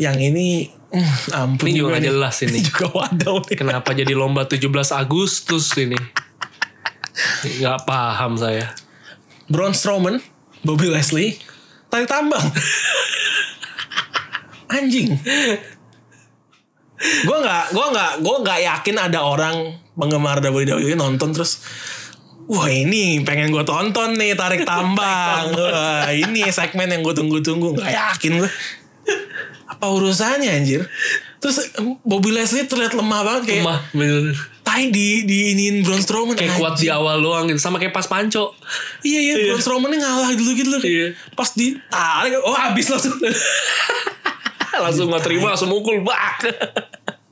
Speaker 1: Yang ini mm, ampun
Speaker 2: Ini juga nggak
Speaker 1: nih.
Speaker 2: jelas ini.
Speaker 1: Ini juga wadaw nih.
Speaker 2: Kenapa jadi lomba 17 Agustus ini? Gak paham saya.
Speaker 1: Braun Strowman, Bobby Leslie, tali tambang. Anjing. Gue nggak, gue nggak, gue nggak yakin ada orang penggemar WWE nonton terus. Wah ini pengen gue tonton nih tarik tambang. Wah, ini segmen yang gue tunggu-tunggu. Gak yakin gue. Apa urusannya anjir? Terus em, Bobby Leslie terlihat lemah banget kayak
Speaker 2: Mah, bener.
Speaker 1: tai di diinin Braun Strowman.
Speaker 2: Kayak
Speaker 1: anjing.
Speaker 2: kuat di awal doang gitu. Sama kayak pas panco.
Speaker 1: Iya iya Braun Strowman ngalah dulu gitu loh.
Speaker 2: Iya.
Speaker 1: Pas di tarik oh habis langsung.
Speaker 2: langsung nggak terima langsung mukul bak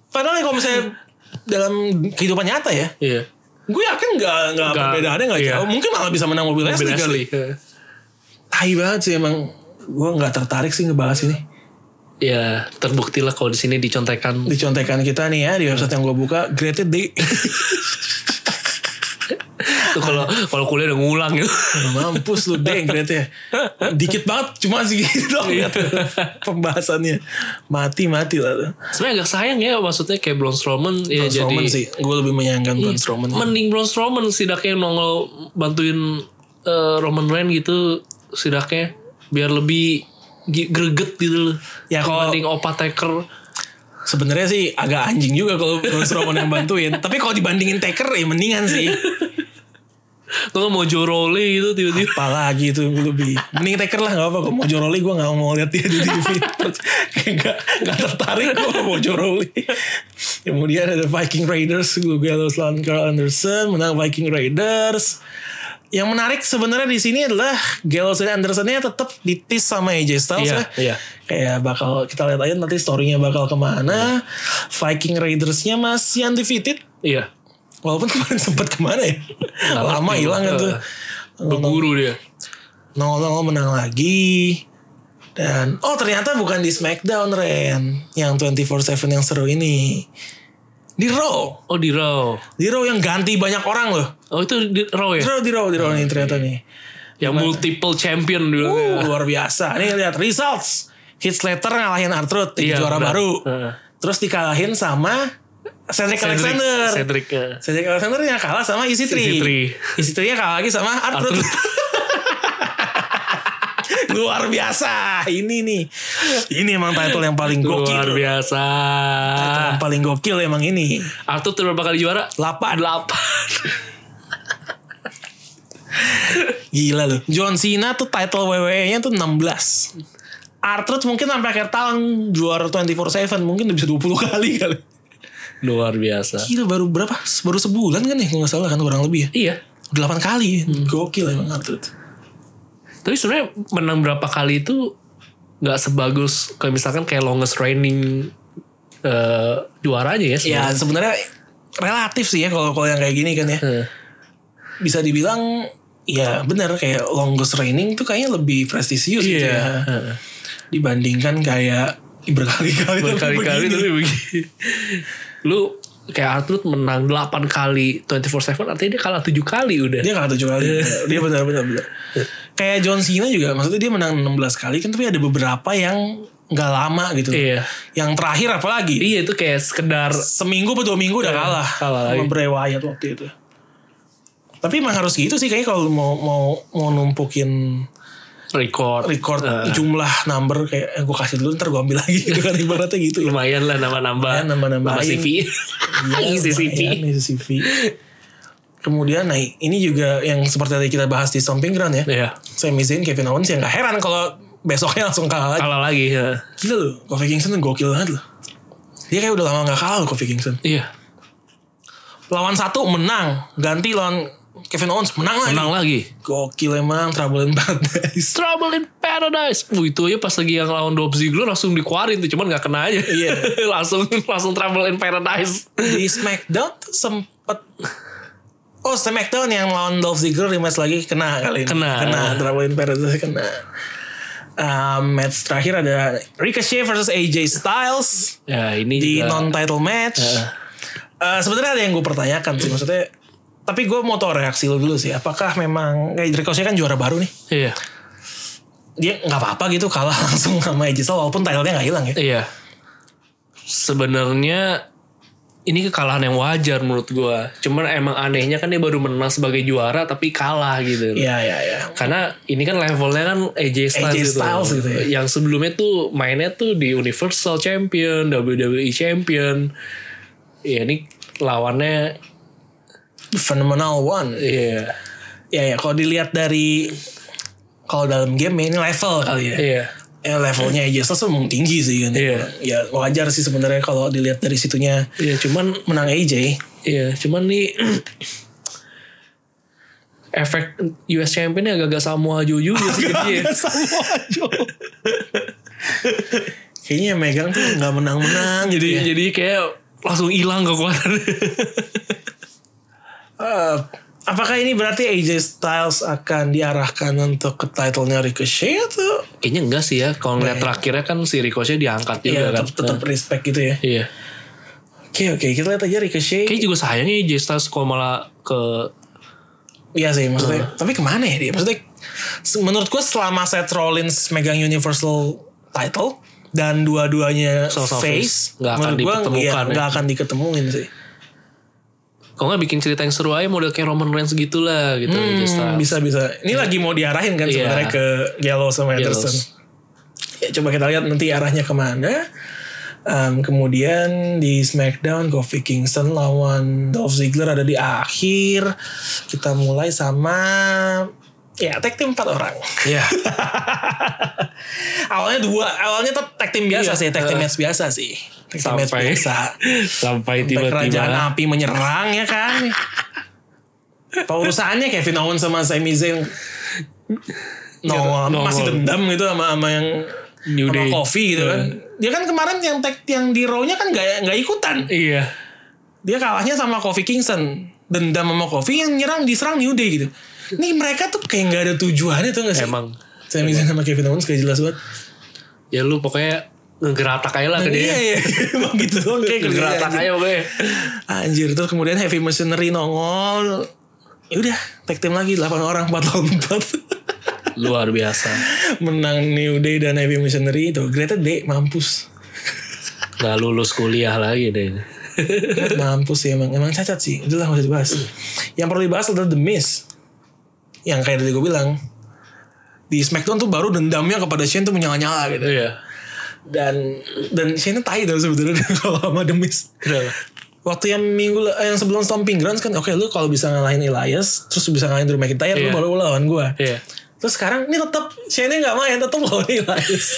Speaker 1: Padahal ya kalau misalnya dalam kehidupan nyata ya,
Speaker 2: iya
Speaker 1: gue yakin nggak nggak
Speaker 2: Nggak,
Speaker 1: perbedaannya nggak
Speaker 2: iya.
Speaker 1: jauh. Mungkin malah bisa menang mobil Leslie
Speaker 2: Mobil
Speaker 1: kali.
Speaker 2: Leslie. Heeh.
Speaker 1: Tai banget sih emang. Gue nggak tertarik sih ngebahas ini.
Speaker 2: ya terbuktilah kalau di sini dicontekan
Speaker 1: Dicontekan kita nih ya di website yang gue buka, graded D.
Speaker 2: tuh kalau kalau kuliah udah ngulang gitu
Speaker 1: Mampus lu deh grade-nya. Dikit banget cuma segitu doang
Speaker 2: Iya.
Speaker 1: gitu. Pembahasannya. Mati-mati lah tuh.
Speaker 2: sebenarnya agak sayang ya maksudnya kayak Braun Strowman ya
Speaker 1: Braun Strowman
Speaker 2: jadi Iya.
Speaker 1: sih. iya. Gue lebih menyayangkan Braun Strowman.
Speaker 2: mending Braun Strowman setidaknya yang nongol bantuin eh, Roman Reigns gitu setidaknya biar lebih gi- greget gitu loh.
Speaker 1: Ya,
Speaker 2: kalau
Speaker 1: kalau-
Speaker 2: mending Opateker
Speaker 1: Sebenarnya sih agak anjing juga kalau Braun Strowman yang bantuin. Tapi kalau dibandingin Taker ya mendingan sih.
Speaker 2: Tuh mau jorole gitu
Speaker 1: Ah.
Speaker 2: tiba-tiba
Speaker 1: Apalagi itu lebih. Mending Taker lah gak apa. Kalau Mojo Rawley gue gak mau lihat dia di TV. Terus kayak gak, gak tertarik gue sama Mojo Rawley. Kemudian ada Viking Raiders. Gue harus lawan Carl Anderson. Menang Viking Raiders. Yang menarik sebenarnya di sini adalah Gallows dan Andersonnya tetap ditis sama AJ
Speaker 2: Iya,
Speaker 1: Styles ya.
Speaker 2: iya.
Speaker 1: Kayak bakal kita lihat aja nanti storynya bakal kemana. Viking Raidersnya masih undefeated.
Speaker 2: Iya
Speaker 1: Walaupun kemarin sempat kemana ya. Lama hilang kan tuh.
Speaker 2: Berguru dia
Speaker 1: 0-0 menang lagi. Dan oh ternyata bukan di SmackDown Ren yang 24/7 yang seru ini. Di Raw,
Speaker 2: Oh di Raw
Speaker 1: di Raw yang ganti banyak orang loh.
Speaker 2: Oh itu di Raw ya
Speaker 1: Di Raw, di Raw, di Raw nih ternyata nih.
Speaker 2: Yang multiple champion dulu
Speaker 1: Uh, luar biasa. Nih lihat results. Hits later ngalahin Artrud
Speaker 2: Iya,
Speaker 1: jadi juara
Speaker 2: benar.
Speaker 1: baru.
Speaker 2: Heeh.
Speaker 1: Terus dikalahin sama Cedric, Alexander.
Speaker 2: Cedric eh.
Speaker 1: Cedric Alexander yang ya kalah sama EC3.
Speaker 2: EC3.
Speaker 1: EC3 nya ya kalah lagi sama Arthur. Luar biasa ini nih. Ini emang title yang paling
Speaker 2: Luar
Speaker 1: gokil.
Speaker 2: biasa
Speaker 1: Title Yang paling gokil emang ini.
Speaker 2: Arthur tuh berapa kali juara?
Speaker 1: Lapan.
Speaker 2: Delapan
Speaker 1: Gila loh. John Cena tuh title WWE-nya tuh 16. Arthur mungkin sampai akhir tahun juara 24/7 mungkin udah bisa 20 kali kali.
Speaker 2: Luar biasa
Speaker 1: Gila baru berapa? Baru sebulan kan ya kalau nggak salah kan kurang lebih ya.
Speaker 2: Iya
Speaker 1: Udah 8 kali.
Speaker 2: Hmm.
Speaker 1: Gokil emang Arthur.
Speaker 2: Tapi sebenarnya menang berapa kali itu nggak sebagus kayak misalkan kayak longest reigning eh, juaranya ya
Speaker 1: Ya
Speaker 2: sebenarnya.
Speaker 1: sebenarnya relatif sih ya kalau kalau yang kayak gini kan ya.
Speaker 2: Eh,
Speaker 1: bisa dibilang ya benar kayak longest reigning tuh kayaknya lebih prestisius gitu
Speaker 2: Iya.
Speaker 1: ya dibandingkan kayak berkali-kali tapi
Speaker 2: Berkali-kali
Speaker 1: begini.
Speaker 2: tapi begini. Lu kayak Arthur menang 8 kali 24/7 artinya dia kalah 7 kali udah.
Speaker 1: dia kalah tujuh kali
Speaker 2: Iya.
Speaker 1: dia benar-benar benar. kayak John Cena juga maksudnya dia menang 16 kali kan tapi ada beberapa yang nggak lama gitu
Speaker 2: Iya.
Speaker 1: yang terakhir apalagi
Speaker 2: Iya itu kayak sekedar
Speaker 1: seminggu atau dua minggu udah kalah,
Speaker 2: Iya, kalah
Speaker 1: sama
Speaker 2: lagi.
Speaker 1: Bray Wyatt waktu itu tapi emang harus gitu sih kayaknya kalau mau mau mau numpukin
Speaker 2: record.
Speaker 1: record
Speaker 2: Eh,
Speaker 1: jumlah number kayak eh, gue kasih dulu ntar gue ambil lagi gitu kan ibaratnya gitu ya.
Speaker 2: lumayan lah nambah-nambah.
Speaker 1: Lumayan, nambah-nambahin.
Speaker 2: Nambah CV. Iya, Isi CV.
Speaker 1: Lumayan, Iya, isi CV. Kemudian nah ini juga yang seperti tadi kita bahas di Stomping Ground ya.
Speaker 2: Iya.
Speaker 1: Sami Zayn, Kevin Owens yang gak heran kalau besoknya langsung kalah lagi.
Speaker 2: Kalah lagi. eh.
Speaker 1: Gila loh, Kofi Kingston gokil banget loh. Dia kayak udah lama gak kalah loh Kofi Kingston.
Speaker 2: Iya.
Speaker 1: Lawan satu menang, ganti lawan Kevin Owens menang lagi.
Speaker 2: Menang lagi.
Speaker 1: Gokil emang, trouble in paradise.
Speaker 2: Trouble in Paradise. Wuh, itu aja pas lagi yang lawan Dolph Ziggler langsung dikeluarin tuh, cuman nggak kena aja.
Speaker 1: Iya.
Speaker 2: langsung langsung Trouble in Paradise.
Speaker 1: di SmackDown tuh sempet Oh SmackDown yang lawan Dolph Ziggler rematch lagi kena kali ini
Speaker 2: Kena.
Speaker 1: Kena Trouble in Paradise kena Um, match terakhir ada Ricochet versus AJ Styles
Speaker 2: Ya, ini
Speaker 1: di
Speaker 2: juga
Speaker 1: non title match. Eh, Sebenarnya ada yang gue pertanyakan sih maksudnya, tapi gue mau tau reaksi lo dulu sih. Apakah memang kayak Ricochet kan juara baru nih?
Speaker 2: Iya.
Speaker 1: Dia nggak apa-apa gitu kalah langsung sama AJ Styles walaupun titlenya nggak hilang ya.
Speaker 2: Iya. Sebenarnya ini kekalahan yang wajar menurut gua. Cuman emang anehnya kan dia baru menang sebagai juara tapi kalah gitu.
Speaker 1: Iya iya iya.
Speaker 2: Karena ini kan levelnya kan AJ Styles,
Speaker 1: AJ
Speaker 2: gitu.
Speaker 1: Styles gitu ya.
Speaker 2: Yang sebelumnya tuh mainnya tuh di Universal Champion, WWE Champion. Ya ini lawannya
Speaker 1: Phenomenal one.
Speaker 2: Iya.
Speaker 1: Ya ya kalau dilihat dari kalau dalam game ya, ini level kali ya.
Speaker 2: Iya.
Speaker 1: Ya levelnya aja Styles memang tinggi sih kan.
Speaker 2: Iya.
Speaker 1: Ya wajar sih sebenarnya kalau dilihat dari situnya
Speaker 2: Iya, cuman
Speaker 1: menang AJ.
Speaker 2: iya, cuman nih efek US Champion Iya.
Speaker 1: Iya.
Speaker 2: ya. agak-agak Samoa Joe juga sih ke dia.
Speaker 1: Sama aja. Kayaknya yang megang tuh nggak menang-menang.
Speaker 2: Jadi jadi kayak langsung hilang kekuatan.
Speaker 1: Eh, apakah ini berarti AJ Styles akan diarahkan untuk ke title-nya Ricochet atau?
Speaker 2: Kayaknya enggak sih ya. Kalau ngeliat terakhirnya kan si Ricochet diangkat juga
Speaker 1: Iya,
Speaker 2: kan.
Speaker 1: tetap, tetap respect gitu ya.
Speaker 2: Iya.
Speaker 1: Oke, oke. Kita lihat aja Ricochet.
Speaker 2: Kayaknya juga sayangnya AJ Styles kalau malah ke
Speaker 1: Iya sih maksudnya. Tapi kemana ya dia? Maksudnya se- menurut gue selama Seth Rollins megang Universal title dan dua-duanya
Speaker 2: Sama-sama face.
Speaker 1: face,
Speaker 2: Nggak akan
Speaker 1: menurut gua
Speaker 2: dipertemukan ya.
Speaker 1: nggak akan diketemuin sih.
Speaker 2: kalau nggak bikin cerita yang seru aja model kayak Roman Reigns gitu lah gitu AJ Styles.
Speaker 1: Hmm, Bisa bisa. Ini lagi mau diarahin kan
Speaker 2: Iya.
Speaker 1: sebenarnya ke Gallows sama
Speaker 2: Gallows.
Speaker 1: Anderson. Ya coba kita lihat nanti arahnya kemana. Em, kemudian di SmackDown Kofi Kingston lawan Dolph Ziggler ada di akhir. Kita mulai sama ya tag team empat orang.
Speaker 2: Iya.
Speaker 1: awalnya dua, awalnya tuh tag team biasa
Speaker 2: Iya.
Speaker 1: sih, tag team match biasa sih. Tag team match
Speaker 2: Sampai-
Speaker 1: biasa.
Speaker 2: Sampai
Speaker 1: Sampai kerajaan
Speaker 2: tiba-tiba
Speaker 1: api menyerang ya kan. Apa urusannya Kevin Owens sama Sami Zayn Iya, nongol,
Speaker 2: Nongol.
Speaker 1: masih dendam gitu sama sama yang
Speaker 2: New
Speaker 1: sama
Speaker 2: Day.
Speaker 1: Kofi gitu kan. Dia kan kemarin yang tag yang di Raw-nya kan gak, nggak ikutan.
Speaker 2: Iya.
Speaker 1: Dia kalahnya sama Kofi Kingston. Dendam sama Kofi yang nyerang diserang New Day gitu. Ini mereka tuh kayak nggak ada tujuannya tuh gak sih?
Speaker 2: Emang
Speaker 1: Sami Zayn sama Kevin Owens kayak jelas banget.
Speaker 2: ya lu pokoknya ngegeratak aja lah ke
Speaker 1: Iya
Speaker 2: dia.
Speaker 1: iya emang gitu doang kayak
Speaker 2: Ngegeratak
Speaker 1: kerjaan.
Speaker 2: aja pokoknya.
Speaker 1: Anjir terus kemudian heavy machinery nongol. Ya udah tag team lagi 8 orang 4 lawan 4.
Speaker 2: Luar biasa.
Speaker 1: Menang New Day dan Heavy Machinery itu Greater Day mampus.
Speaker 2: Nggak lulus kuliah lagi deh.
Speaker 1: mampus sih emang emang cacat sih. Itulah harus dibahas. Yang perlu dibahas adalah The Miz. Yang kayak tadi gue bilang di SmackDown tuh baru dendamnya kepada Shane tuh menyala-nyala gitu.
Speaker 2: Iya.
Speaker 1: Dan dan Shane tai tau sebetulnya kalau sama The Miz.
Speaker 2: Kenapa?
Speaker 1: waktu yang minggu eh, yang sebelum Stomping Grounds kan oke lu kalau bisa ngalahin Elias terus bisa ngalahin Drew McIntyre lu
Speaker 2: Iya.
Speaker 1: baru lawan gua
Speaker 2: Iya.
Speaker 1: terus sekarang ini tetap Shane nggak main tetap lawan Elias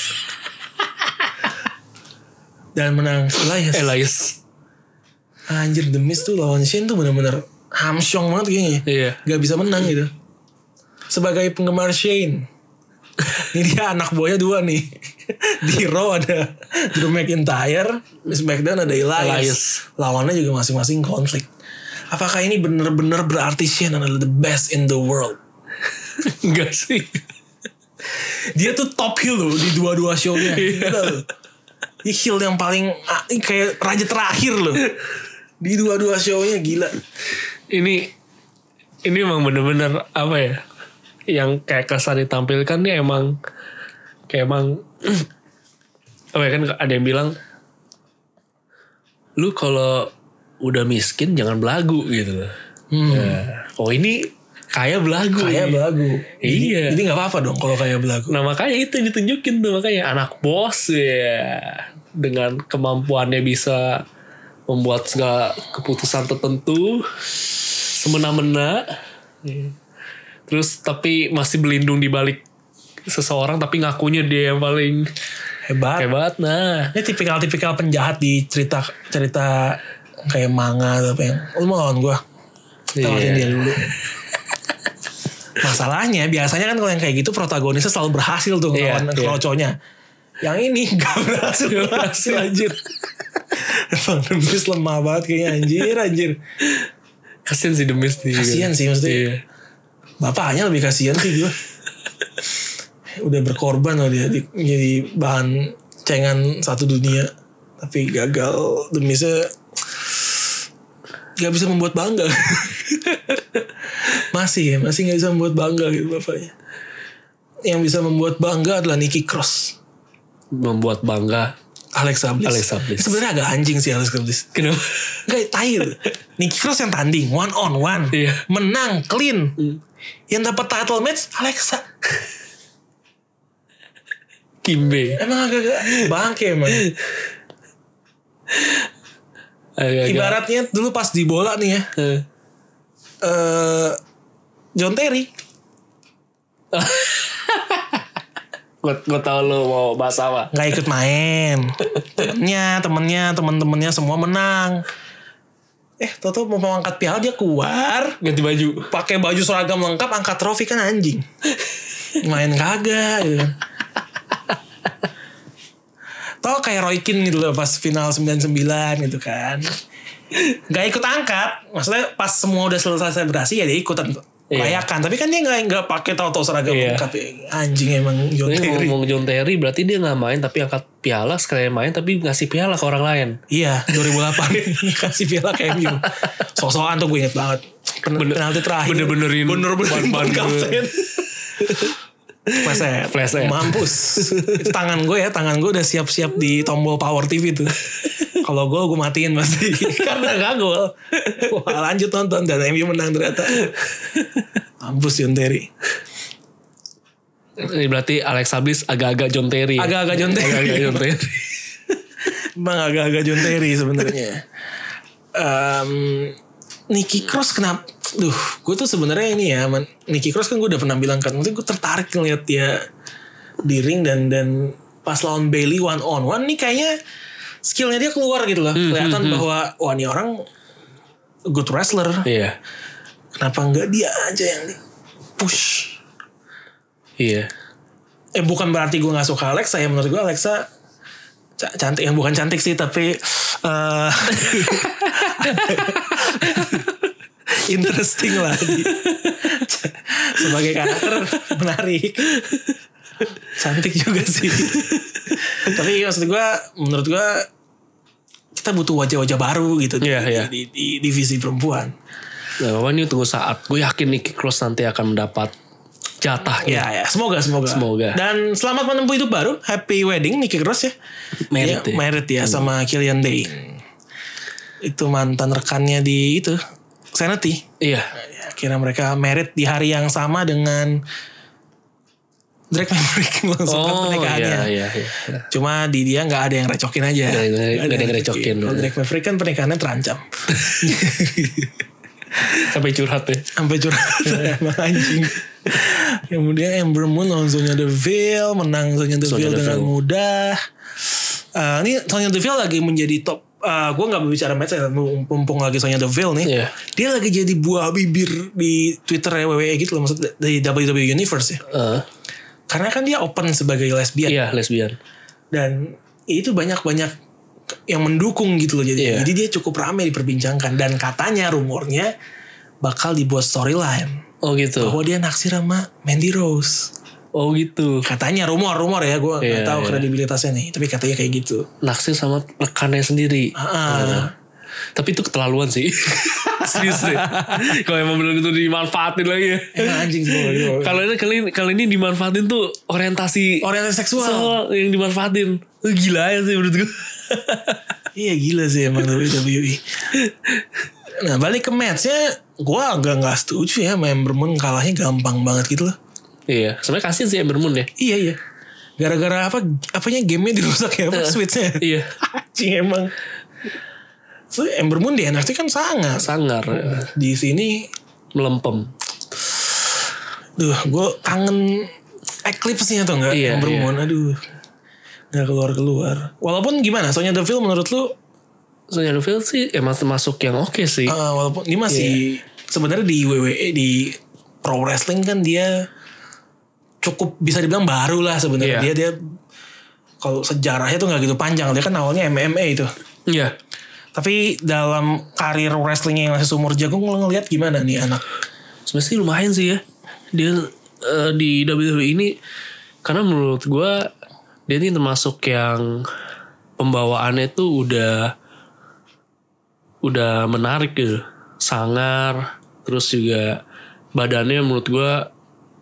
Speaker 1: dan menang Elias
Speaker 2: Elias.
Speaker 1: anjir demis tuh lawan Shane tuh bener-bener hamsyong banget kayaknya
Speaker 2: Iya.
Speaker 1: nggak bisa menang gitu sebagai penggemar Shane ini dia anak buahnya dua nih di Raw ada Drew McIntyre di SmackDown ada Elias,
Speaker 2: Elias.
Speaker 1: lawannya juga masing-masing konflik apakah ini bener-bener berarti Shane adalah the best in the world
Speaker 2: Enggak sih.
Speaker 1: dia tuh top heel loh di dua-dua show-nya
Speaker 2: Iya.
Speaker 1: Gila loh. Dia heel yang paling ah, ini kayak raja terakhir loh di dua-dua show-nya gila
Speaker 2: Ini ini emang bener-bener apa ya? Yang kayak kesan ditampilkan nih emang kayak emang apa ya kan ada yang bilang lu kalau udah miskin jangan belagu gitu loh. Ya. Oh ini kaya belagu.
Speaker 1: kayak belagu
Speaker 2: Iya.
Speaker 1: jadi nggak apa-apa dong kalau kayak belagu
Speaker 2: Nah makanya itu yang ditunjukin tuh makanya anak bos ya dengan kemampuannya bisa membuat segala keputusan tertentu semena-mena. Iya. Terus tapi masih berlindung di balik seseorang tapi ngakunya dia yang paling
Speaker 1: hebat
Speaker 2: hebat. Nah,
Speaker 1: Ini tipikal-tipikal penjahat di cerita cerita kayak manga atau apa yang lu mau lawan gue kita lawan dia
Speaker 2: iya.
Speaker 1: dulu masalahnya biasanya kan kalau yang kayak gitu protagonisnya selalu berhasil tuh
Speaker 2: Iya,
Speaker 1: ngelawan
Speaker 2: iya.
Speaker 1: keroconya yang ini gak berhasil
Speaker 2: Nggak
Speaker 1: berhasil anjir Emang Demis lemah banget kayaknya anjir anjir
Speaker 2: kasian sih demis nih.
Speaker 1: Kasian sih, maksudnya.
Speaker 2: Iya.
Speaker 1: Bapaknya lebih kasihan sih gue. Udah berkorban loh dia di- jadi bahan cengan satu dunia. Tapi gagal demi se nggak bisa membuat bangga. masih ya, masih nggak bisa membuat bangga gitu bapaknya. Yang bisa membuat bangga adalah Nicky Cross.
Speaker 2: Membuat bangga.
Speaker 1: Alexa Bliss.
Speaker 2: Alexa Bliss.
Speaker 1: Sebenarnya agak anjing sih Alexa Bliss.
Speaker 2: Kenapa?
Speaker 1: Gak tai loh. Nicky Cross yang tanding one on one.
Speaker 2: Iya. Hmm.
Speaker 1: Menang clean. Yang dapat title match Alexa.
Speaker 2: Kimbe.
Speaker 1: Emang agak-agak bangke emang.
Speaker 2: Agak-agak.
Speaker 1: Ibaratnya dulu pas di bola nih ya.
Speaker 2: Eh.
Speaker 1: eh John Terry.
Speaker 2: Gua, gua tau lo mau bahas apa.
Speaker 1: Gak ikut main. temennya, temennya, temen-temennya semua menang. Eh, Toto mau angkat piala dia keluar.
Speaker 2: Ganti baju.
Speaker 1: pakai baju seragam lengkap angkat trofi kan anjing main kagak gitu kan Atau kayak Roy Keane gitu loh pas final 99 gitu kan. Gak ikut angkat. Maksudnya pas semua udah selesai selebrasi ya dia ikutan
Speaker 2: Iya.
Speaker 1: layakan. Tapi kan dia gak, nggak pakai tahu-tahu seragam
Speaker 2: Iya.
Speaker 1: lengkap. ya. Anjing emang John
Speaker 2: Ini
Speaker 1: Terry.
Speaker 2: ngomong John Terry berarti dia nggak main tapi angkat piala sekalian main tapi ngasih piala ke orang lain.
Speaker 1: Iya 2008 Kasih piala ke MU Sok-sokan tuh gue inget banget Pen
Speaker 2: Bener-
Speaker 1: Penalti terakhir
Speaker 2: bener-benerin
Speaker 1: Bener-benerin
Speaker 2: ban-ban
Speaker 1: ban kapten Fleset
Speaker 2: Fleset.
Speaker 1: Mampus Itu tangan gue ya Tangan gue udah siap-siap di tombol power TV tuh Kalau gue gue matiin pasti
Speaker 2: Kan
Speaker 1: Karena gak gol Wah lanjut nonton Dan MU menang ternyata Mampus John Terry
Speaker 2: Ini berarti Alex Ablis agak-agak John Terry. ya?
Speaker 1: Agak-agak John Terry.
Speaker 2: Agak-agak John Terry.
Speaker 1: Emang agak-agak John Terry sebenarnya. Em, Nicky Cross kenapa? Duh, gue tuh sebenarnya ini ya, man, Nicky Cross kan gue udah pernah bilang kan, mungkin gue tertarik ngeliat dia di ring dan dan pas lawan Bailey one on one nih kayaknya skillnya dia keluar gitu loh, kelihatan bahwa wah ini orang good wrestler,
Speaker 2: Iya.
Speaker 1: kenapa nggak dia aja yang di push?
Speaker 2: Iya.
Speaker 1: eh bukan berarti gue nggak suka Alexa ya menurut gue Alexa ca- cantik yang bukan cantik sih tapi eh, interesting lah di- ca- sebagai karakter menarik cantik juga sih tapi maksud gue menurut gue kita butuh wajah-wajah baru gitu di-
Speaker 2: Iya,
Speaker 1: di-
Speaker 2: iya.
Speaker 1: di, di divisi perempuan
Speaker 2: Nah, apa ini tunggu saat. Gue yakin Nicky Cross nanti akan mendapat jatahnya.
Speaker 1: Ya, ya, semoga, semoga.
Speaker 2: Semoga.
Speaker 1: Dan selamat menempuh hidup baru. Happy wedding Nicky Cross ya.
Speaker 2: Married
Speaker 1: ya,
Speaker 2: ya.
Speaker 1: married ya sama Killian Day. Itu mantan rekannya di itu Sanity.
Speaker 2: Iya.
Speaker 1: Ya, Akhirnya mereka married di hari yang sama dengan Drake Maverick langsung ke
Speaker 2: Oh
Speaker 1: pernikahannya.
Speaker 2: iya iya. iya.
Speaker 1: Cuma di dia nggak ada yang recokin aja.
Speaker 2: Nggak ada- nggak ada
Speaker 1: Nggak
Speaker 2: yang recokin.
Speaker 1: Kalau Drake Maverick kan pernikahannya terancam.
Speaker 2: Sampai curhat ya.
Speaker 1: sampai curhat emang anjing kemudian Ember Moon lawan Sonya Deville menang Sonya Deville
Speaker 2: Sonya
Speaker 1: dengan
Speaker 2: Deville.
Speaker 1: mudah Eh, ini Sonya Deville lagi menjadi top eh, gue nggak berbicara match ya mumpung lagi Sonya Deville nih
Speaker 2: Iya.
Speaker 1: dia lagi jadi buah bibir di Twitter WWE gitu loh maksud dari WWE Universe ya
Speaker 2: Eh,
Speaker 1: karena kan dia open sebagai lesbian
Speaker 2: iya lesbian.
Speaker 1: dan itu banyak-banyak yang mendukung gitu loh jadi
Speaker 2: Iya.
Speaker 1: jadi dia cukup ramai diperbincangkan dan katanya rumornya bakal dibuat storyline
Speaker 2: Oh gitu.
Speaker 1: bahwa dia naksir sama Mandy Rose.
Speaker 2: Oh gitu.
Speaker 1: Katanya rumor-rumor ya, gue nggak
Speaker 2: Iya,
Speaker 1: tahu
Speaker 2: iya.
Speaker 1: kredibilitasnya nih. Tapi katanya kayak gitu.
Speaker 2: Naksir sama rekannya sendiri.
Speaker 1: Ah,
Speaker 2: Tapi itu keterlaluan sih. Serius deh. Kalau emang bener itu dimanfaatin lagi ya.
Speaker 1: emang anjing semua gitu.
Speaker 2: Kalau ini kali ini, kali ini dimanfaatin tuh orientasi
Speaker 1: Orientasi seksual.
Speaker 2: seksual yang dimanfaatin. Itu gila ya sih menurut gue.
Speaker 1: Iya gila sih emang WWE. Nah balik ke matchnya, gue agak nggak setuju ya. Member Moon kalahnya gampang banget gitu loh.
Speaker 2: iya, sebenarnya kasihan sih Ember Moon ya.
Speaker 1: Iya iya. Gara-gara apa? Apanya gamenya dirusak ya? Apa switchnya?
Speaker 2: Iya,
Speaker 1: Anjing emang. So, Ember Moon di NXT kan sangat.
Speaker 2: sangar,
Speaker 1: Di sini
Speaker 2: melempem.
Speaker 1: Duh, gue kangen Eclipse-nya tuh enggak?
Speaker 2: Iya,
Speaker 1: Ember
Speaker 2: iya.
Speaker 1: Moon, aduh. Nggak keluar-keluar. Walaupun gimana, Sonya Deville menurut lu,
Speaker 2: Sonya Deville sih emang termasuk yang oke sih.
Speaker 1: eh, walaupun dia masih,
Speaker 2: Iya.
Speaker 1: sebenarnya di WWE, di pro wrestling kan dia cukup bisa dibilang baru lah
Speaker 2: Iya.
Speaker 1: sebenarnya. Dia, dia, kalau sejarahnya tuh nggak gitu panjang. Dia kan awalnya MMA itu.
Speaker 2: Iya.
Speaker 1: Tapi dalam karir wrestlingnya yang masih seumur jagung, lo ngeliat gimana nih anak?
Speaker 2: Sebenarnya sih lumayan sih ya. Dia eh, di WWE ini karena menurut gua dia ini termasuk yang pembawaannya tuh udah udah menarik gitu. Sangar, terus juga badannya menurut gua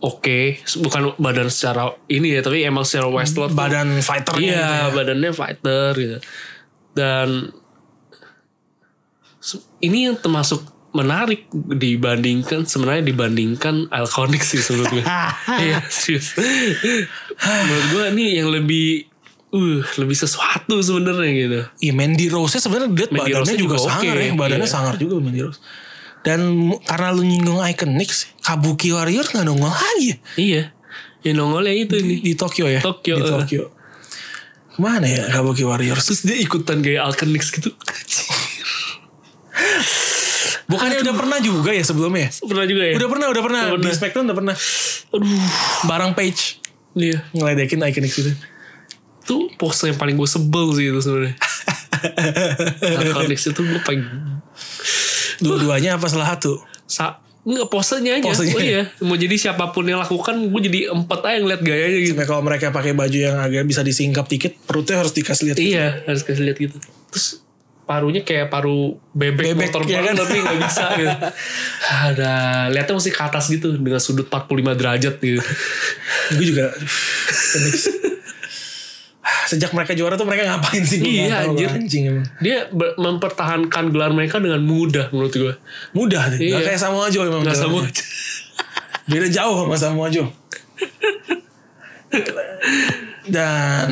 Speaker 2: oke, bukan badan secara ini ya, tapi emang secara wrestler tuh-
Speaker 1: Badan fighternya
Speaker 2: Iya,
Speaker 1: gitu ya.
Speaker 2: badannya fighter gitu. Dan se- ini yang termasuk menarik dibandingkan sebenarnya dibandingkan Alconic sih menurut gue. Iya, serius. menurut gue ini yang lebih uh lebih sesuatu sebenarnya gitu.
Speaker 1: Iya Mandy Rose sebenarnya dia
Speaker 2: Mandy
Speaker 1: badannya
Speaker 2: Rose-nya
Speaker 1: juga,
Speaker 2: juga
Speaker 1: sangar
Speaker 2: oke,
Speaker 1: ya, badannya
Speaker 2: iya.
Speaker 1: sangar juga Mandy Rose. Dan mu- karena lu nyinggung Iconics, Kabuki Warriors nggak nongol lagi ya
Speaker 2: Iya. Yang nongolnya itu
Speaker 1: di,
Speaker 2: nih.
Speaker 1: di Tokyo ya.
Speaker 2: Tokyo,
Speaker 1: Di
Speaker 2: eh.
Speaker 1: Tokyo. Kemana ya Kabuki Warriors?
Speaker 2: Terus dia ikutan gaya Alkenix gitu.
Speaker 1: Bukannya udah pernah juga ya sebelumnya? ya?
Speaker 2: Pernah juga ya?
Speaker 1: Udah pernah, udah pernah.
Speaker 2: Udah
Speaker 1: Di
Speaker 2: pernah.
Speaker 1: Smackdown udah pernah.
Speaker 2: Aduh.
Speaker 1: Barang Page gitu.
Speaker 2: Iya.
Speaker 1: ngeledekin Iconics itu.
Speaker 2: itu poster yang paling gue sebel sih itu sebenarnya. Arconics itu gue paling
Speaker 4: Dua-duanya apa salah satu?
Speaker 2: sa nggak posenya aja.
Speaker 4: Posenya.
Speaker 2: Oh, iya. Mau jadi siapapun yang lakukan, gue jadi empat aja ngeliat gayanya gitu.
Speaker 1: Sampai kalau mereka pakai baju yang agak bisa disingkap dikit, perutnya harus dikasih lihat.
Speaker 2: Iya, harus kasih lihat gitu. Terus parunya kayak paru bebek,
Speaker 4: Bebek,
Speaker 2: motor
Speaker 4: iya
Speaker 2: banget
Speaker 4: kan?
Speaker 2: tapi nggak bisa gitu. Ada lihatnya mesti ke atas gitu dengan sudut 45 derajat gitu.
Speaker 1: Gue juga. Sejak mereka juara tuh mereka ngapain sih? Gua nggak
Speaker 2: Iya,
Speaker 1: tahu,
Speaker 2: anjir.
Speaker 1: Anjing emang.
Speaker 2: Dia ber- mempertahankan gelar mereka dengan mudah menurut gue.
Speaker 1: Mudah deh.
Speaker 2: Iya.
Speaker 1: Nggak kayak Samoa Joe emang.
Speaker 2: Nggak
Speaker 1: jalannya.
Speaker 2: sama.
Speaker 1: Beda jauh sama Samoa Joe. Dan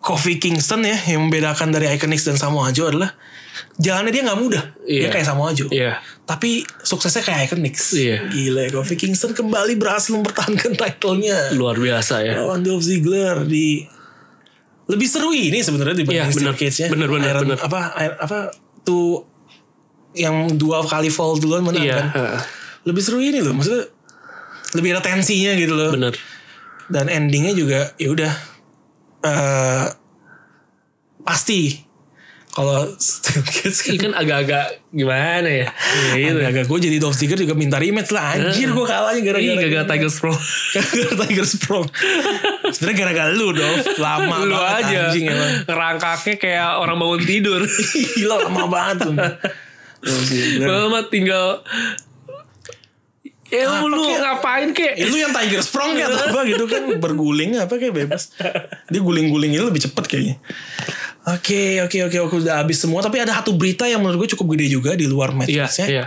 Speaker 1: Kofi Kingston ya yang membedakan dari Iconics dan Samoa Joe adalah jalannya dia nggak mudah.
Speaker 2: Iya.
Speaker 1: Dia kayak Samoa Joe.
Speaker 2: Iya.
Speaker 1: Tapi suksesnya kayak Iconics.
Speaker 2: Iya.
Speaker 1: Gila ya Kofi Kingston kembali berhasil mempertahankan title-nya.
Speaker 2: Luar biasa ya.
Speaker 1: Lawan Dolph Ziggler di lebih seru ini sebenarnya
Speaker 2: Iya,
Speaker 1: dibanding Steel
Speaker 2: bener.
Speaker 1: Cage-nya.
Speaker 2: Bener, bener,
Speaker 1: Iron-
Speaker 2: bener.
Speaker 1: Apa Iron- apa tuh yang dua kali fall duluan menang
Speaker 2: Iya,
Speaker 1: kan?
Speaker 2: heeh.
Speaker 1: Lebih seru ini loh, maksudnya lebih ada tensinya gitu loh.
Speaker 2: Bener.
Speaker 1: Dan endingnya juga ya udah eh, pasti kalau Steel Cage kan
Speaker 2: Ini kan agak-agak gimana ya? Iya, gitu.
Speaker 1: agak gue jadi Dolph Ziggler juga minta rematch lah anjir gue kalahnya
Speaker 2: Ini Iya.
Speaker 1: gara-gara
Speaker 2: gagal Tiger Sprawl.
Speaker 1: gara-gara Tiger Sprong sebenarnya gara-gara lu Dolph lama
Speaker 2: Lu
Speaker 1: banget
Speaker 2: aja.
Speaker 1: anjing emang
Speaker 2: Rangkaknya kayak orang bangun tidur.
Speaker 1: Gila lama banget tuh.
Speaker 2: Iya, Mama tinggal Ya lu
Speaker 1: kek?
Speaker 2: ngapain
Speaker 1: Eh,
Speaker 2: kek?
Speaker 1: lu yang Tiger Sprong kayak atau apa gitu kan berguling apa kayak bebas. Dia guling-gulingnya lebih cepet kayaknya. Oke, oke, oke, oke udah habis semua. Tapi ada satu berita yang menurut gue cukup gede juga di luar match
Speaker 2: Iya,
Speaker 1: matchnya,
Speaker 2: iya.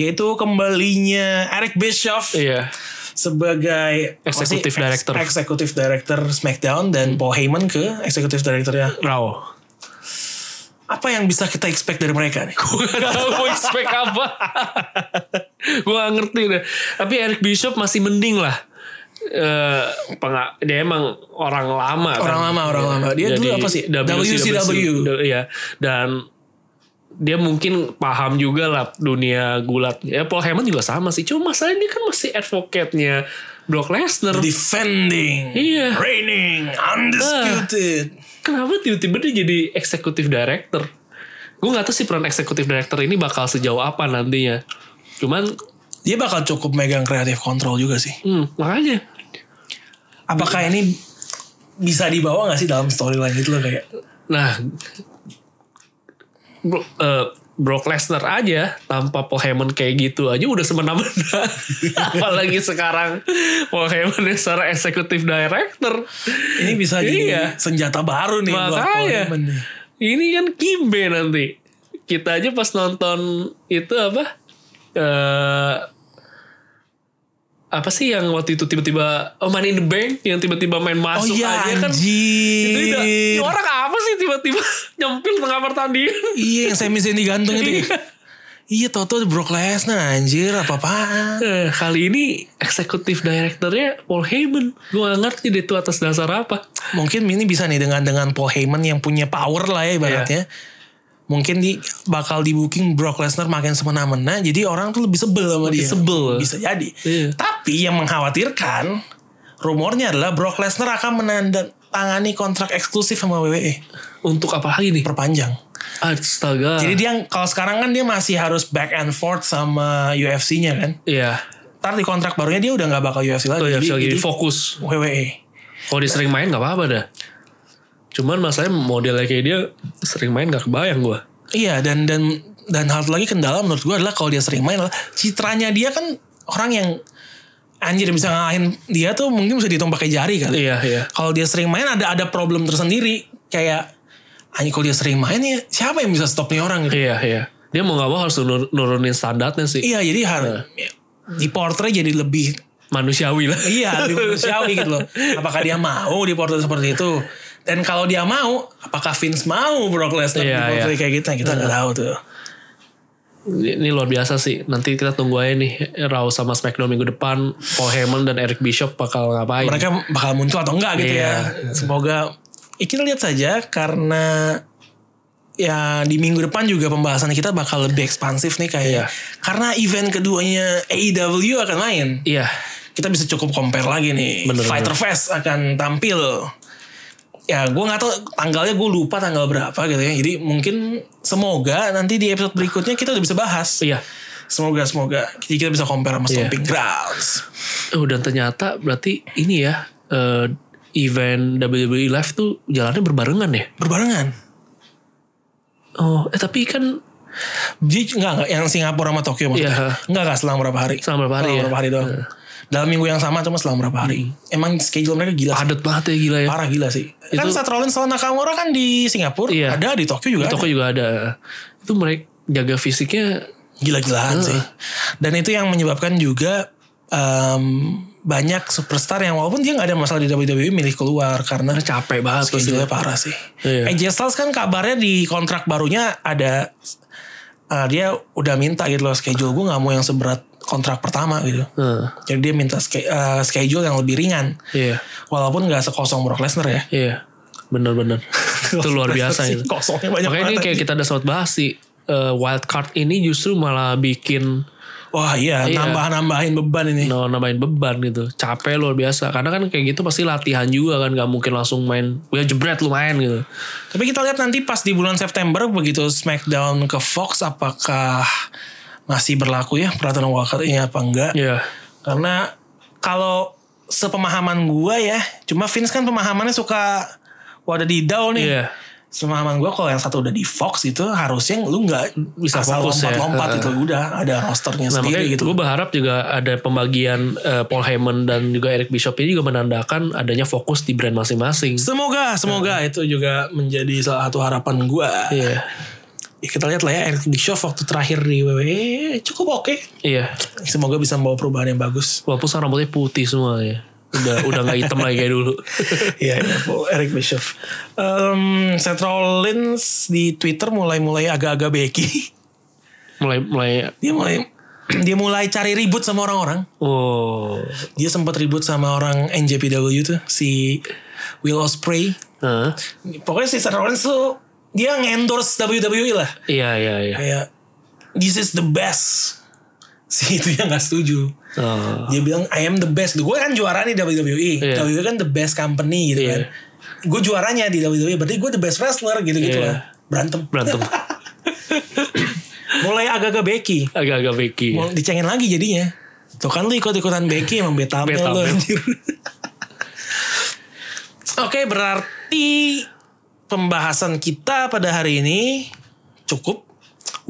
Speaker 1: Yaitu kembalinya Eric Bischoff
Speaker 2: Iya.
Speaker 1: sebagai
Speaker 2: Executive
Speaker 1: apa sih? Ex-
Speaker 2: Director. Hmm.
Speaker 1: Executive Director SmackDown dan Paul Heyman ke Executive Directornya.
Speaker 2: Raw.
Speaker 1: Apa yang bisa kita expect dari mereka nih?
Speaker 2: Gue gak tau gue expect apa. gue gak ngerti deh. Tapi Eric Bishop masih mending lah. Eh, penga- dia emang orang lama kan?
Speaker 1: Orang lama, orang lama. Dia dulu apa sih? WCW.
Speaker 2: Iya. Dan dia mungkin paham juga lah dunia gulat. Ya Paul Heyman juga sama sih. Cuma masalahnya dia kan masih advocate-nya Brock Lesnar.
Speaker 1: Defending,
Speaker 2: Iya.
Speaker 1: reigning, undisputed.
Speaker 2: kenapa tiba-tiba dia jadi eksekutif director? Gue nggak tahu sih peran eksekutif director ini bakal sejauh apa nantinya. Cuman,
Speaker 1: dia bakal cukup megang kreatif kontrol juga sih.
Speaker 2: hmm, makanya
Speaker 1: Apakah ini bisa dibawa gak sih dalam storyline gitu loh kayak
Speaker 2: Nah, Bro- eh, Brock Lesnar aja tanpa Paul Heyman kayak gitu aja udah semena-mena. Apalagi sekarang Paul Heyman yang secara eksekutif director.
Speaker 1: ini bisa jadi
Speaker 2: Iya.
Speaker 1: senjata baru nih buat Paul
Speaker 2: Makanya.
Speaker 1: Heyman nih.
Speaker 2: Ini kan Kimbe nanti. Kita aja pas nonton itu apa? eh apa sih yang waktu itu tiba-tiba oh Money in the Bank yang tiba-tiba main
Speaker 1: Oh
Speaker 2: masuk
Speaker 1: iya
Speaker 2: aja kan itu udah, ini
Speaker 1: anjir.
Speaker 2: orang apa sih tiba-tiba nyempil tengah pertandingan
Speaker 1: Iya yang semi semi gantung itu. ya. Iya Toto Brock Lesnar anjir apa-apaan.
Speaker 2: Eh, kali ini eksekutif direkturnya Paul Heyman gue gak ngerti deh itu atas dasar apa
Speaker 1: Mungkin ini bisa nih dengan dengan Paul Heyman yang punya power lah ya ibaratnya.
Speaker 2: Iya.
Speaker 1: Mungkin di bakal di booking Brock Lesnar makin semena-mena jadi orang tuh lebih sebel sama dia.
Speaker 2: sebel
Speaker 1: bisa jadi.
Speaker 2: Iya.
Speaker 1: Tapi yang mengkhawatirkan rumornya adalah Brock Lesnar akan menandatangani kontrak eksklusif sama E. WWE
Speaker 2: untuk apa lagi nih
Speaker 1: perpanjang.
Speaker 2: astaga
Speaker 1: Jadi dia kalau sekarang kan dia masih harus back and forth sama UFC-nya kan.
Speaker 2: ya
Speaker 1: Ntar di kontrak barunya dia udah nggak bakal UFC lagi.
Speaker 2: tuh ya
Speaker 1: jadi,
Speaker 2: bisa lagi
Speaker 1: jadi
Speaker 2: fokus
Speaker 1: WWE.
Speaker 2: Kalau dia sering main gak apa-apa dah. Cuman masalahnya modelnya kayak dia sering main gak kebayang gue.
Speaker 1: Iya dan dan dan hal lagi kendala menurut gua adalah kalau dia sering main adalah citranya dia kan orang yang anjir bisa ngalahin dia tuh mungkin bisa dihitung pakai jari kali.
Speaker 2: Iya, iya.
Speaker 1: kalau dia sering main ada ada problem tersendiri kayak anjing kalau dia sering main ya siapa yang bisa stop nih orang gitu
Speaker 2: Iya, iya. Dia mau gak mau harus nur- nurunin standarnya sih.
Speaker 1: iya jadi harus di portray jadi lebih
Speaker 2: Manusiawi lah.
Speaker 1: iya lebih manusiawi gitu loh apakah dia mau di portray seperti itu dan kalau dia mau apakah Vince mau Brock Lesnar
Speaker 2: Iya,
Speaker 1: di portray
Speaker 2: iya.
Speaker 1: kayak gitu kita nggak tahu tuh
Speaker 2: Ini ini luar biasa sih. Nanti kita tunggu aja nih. Raw sama SmackDown minggu depan. Paul Heyman dan Eric Bishop bakal ngapain.
Speaker 1: mereka bakal muncul atau enggak gitu
Speaker 2: Iya.
Speaker 1: ya semoga ya, kita lihat saja karena ya di minggu depan juga pembahasan kita bakal lebih ekspansif nih kayak
Speaker 2: Iya.
Speaker 1: karena event keduanya AEW akan main
Speaker 2: Iya.
Speaker 1: kita bisa cukup compare lagi nih.
Speaker 2: Bener,
Speaker 1: Fighter Fest akan tampil ya gue nggak tahu tanggalnya gue lupa tanggal berapa gitu ya jadi mungkin semoga nanti di episode berikutnya kita udah bisa bahas
Speaker 2: Iya.
Speaker 1: semoga semoga jadi kita bisa compare sama
Speaker 2: Iya.
Speaker 1: Stomping Grounds
Speaker 2: Oh dan ternyata berarti ini ya eh, event WWE Live tuh jalannya berbarengan ya.
Speaker 1: berbarengan
Speaker 2: Oh, eh tapi kan
Speaker 1: jadi nggak nggak yang Singapura sama Tokyo
Speaker 2: Iya.
Speaker 1: maksudnya nggak nggak selang berapa hari
Speaker 2: Selang berapa hari ya?
Speaker 1: berapa hari doang dalam minggu yang sama cuma selang berapa hari emang schedule mereka gila sih.
Speaker 2: padat banget ya gila ya.
Speaker 1: parah gila sih kan
Speaker 2: Itu-
Speaker 1: Seth Rollins sama Nakamura kan di Singapura
Speaker 2: Iya.
Speaker 1: ada di Tokyo juga
Speaker 2: Di toko
Speaker 1: ada.
Speaker 2: juga ada. Itu mereka jaga fisiknya
Speaker 1: gila-gilaan
Speaker 2: Heeh.
Speaker 1: sih dan itu yang menyebabkan juga em, banyak superstar yang walaupun dia nggak ada masalah di WWE milih keluar karena
Speaker 2: capek banget gitu. pasti.
Speaker 1: schedule-nya parah sih
Speaker 2: Iya.
Speaker 1: AJ Styles kan kabarnya di kontrak barunya ada eh, dia udah minta gitu loh schedule gue nggak mau yang seberat kontrak pertama gitu
Speaker 2: Heeh.
Speaker 1: jadi dia minta ske- eh, schedule yang lebih ringan
Speaker 2: Iya.
Speaker 1: walaupun nggak sekosong Brock Lesnar ya
Speaker 2: Iya. Bener-bener. itu luar biasa ya.
Speaker 1: Sih,
Speaker 2: itu.
Speaker 1: kosongnya banyak
Speaker 2: Makanya ini
Speaker 1: banget
Speaker 2: kayak kita ada sobat bahas sih. eh, wild card ini justru malah bikin
Speaker 1: wah iya,
Speaker 2: Iya.
Speaker 1: nambah-nambahin beban ini
Speaker 2: no, nambahin beban gitu capek luar biasa karena kan kayak gitu pasti latihan juga kan nggak mungkin langsung main gue jebret lu main gitu
Speaker 1: Tapi kita lihat nanti pas di bulan September begitu Smackdown ke Fox apakah masih berlaku ya peraturan Walker ini apa enggak?
Speaker 2: Iya.
Speaker 1: Karena kalau sepemahaman gua ya, cuma Vince kan pemahamannya suka wadah di down nih.
Speaker 2: Iya.
Speaker 1: Sepemahaman gua kalau yang satu udah di Fox itu harusnya lu nggak
Speaker 2: Bisa
Speaker 1: asal
Speaker 2: fokus ya.
Speaker 1: lompat-lompat
Speaker 2: Heeh.
Speaker 1: itu udah ada rosternya
Speaker 2: Nah,
Speaker 1: sendiri
Speaker 2: makanya
Speaker 1: gitu.
Speaker 2: gue berharap juga ada pembagian eh, Paul Heyman dan juga Eric Bishop ini juga menandakan adanya fokus di brand masing-masing.
Speaker 1: Semoga, semoga itu juga menjadi salah satu harapan gua.
Speaker 2: Iya.
Speaker 1: Ya, kita lihat lah ya Eric Bischoff waktu terakhir di WWE cukup oke.
Speaker 2: Iya.
Speaker 1: Semoga bisa membawa perubahan yang bagus.
Speaker 2: Walaupun sekarang rambutnya putih semua ya. Udah udah nggak hitam lagi kayak dulu.
Speaker 1: Iya, iya, Paul Eric Bischoff. Em, Seth Rollins di Twitter mulai-mulai agak-agak beki.
Speaker 2: mulai mulai
Speaker 1: Dia mulai dia mulai cari ribut sama orang-orang.
Speaker 2: oh.
Speaker 1: Dia sempat ribut sama orang NJPW tuh si Will Ospreay.
Speaker 2: Hah?
Speaker 1: Pokoknya si Seth Rollins tuh dia endorse WWE E lah.
Speaker 2: Iya iya iya.
Speaker 1: Kayak this is the best. Si itu yang gak setuju.
Speaker 2: Oh.
Speaker 1: Dia bilang I am the best. Gue kan juara nih WWE.
Speaker 2: Iya.
Speaker 1: WWE kan the best company gitu
Speaker 2: Iya.
Speaker 1: kan. Gue juaranya di WWE. Berarti gue the best wrestler gitu-gitu
Speaker 2: Iya.
Speaker 1: lah. Berantem.
Speaker 2: Berantem.
Speaker 1: Mulai agak-agak Becky.
Speaker 2: Agak-agak Becky.
Speaker 1: Mau dicengin lagi jadinya. Tuh kan lu ikut-ikutan Becky emang betamel lu
Speaker 2: Betamel.
Speaker 1: anjir. Oke berarti pembahasan kita pada hari ini cukup.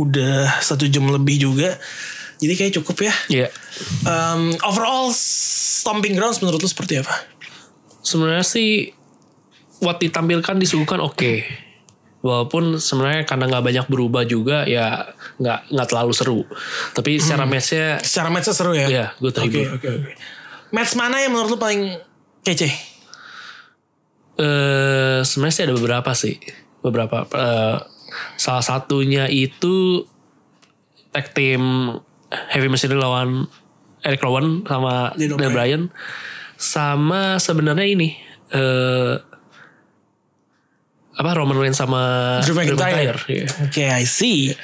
Speaker 1: Udah satu jam lebih juga. Jadi kayak cukup ya.
Speaker 2: Iya.
Speaker 1: Um, overall stomping grounds menurut lu seperti apa?
Speaker 2: Sebenarnya sih what ditampilkan disuguhkan oke. Walaupun sebenarnya karena nggak banyak berubah juga ya nggak nggak terlalu seru. Tapi secara matchnya
Speaker 1: Secara matchnya seru ya?
Speaker 2: Iya, gue
Speaker 1: Hmm. Oke,
Speaker 2: terhibur.
Speaker 1: oke, oke. Match mana yang menurut lu paling kece?
Speaker 2: Eh, sebenarnya sih ada beberapa sih, beberapa. Eh, salah satunya itu tag team Heavy Machinery lawan Eric Rowan sama
Speaker 1: Daniel
Speaker 2: Dan Bryan, sama sebenarnya ini eh apa Roman Reigns sama
Speaker 1: Drew McIntyre.
Speaker 2: Iya.
Speaker 1: Oke, I see.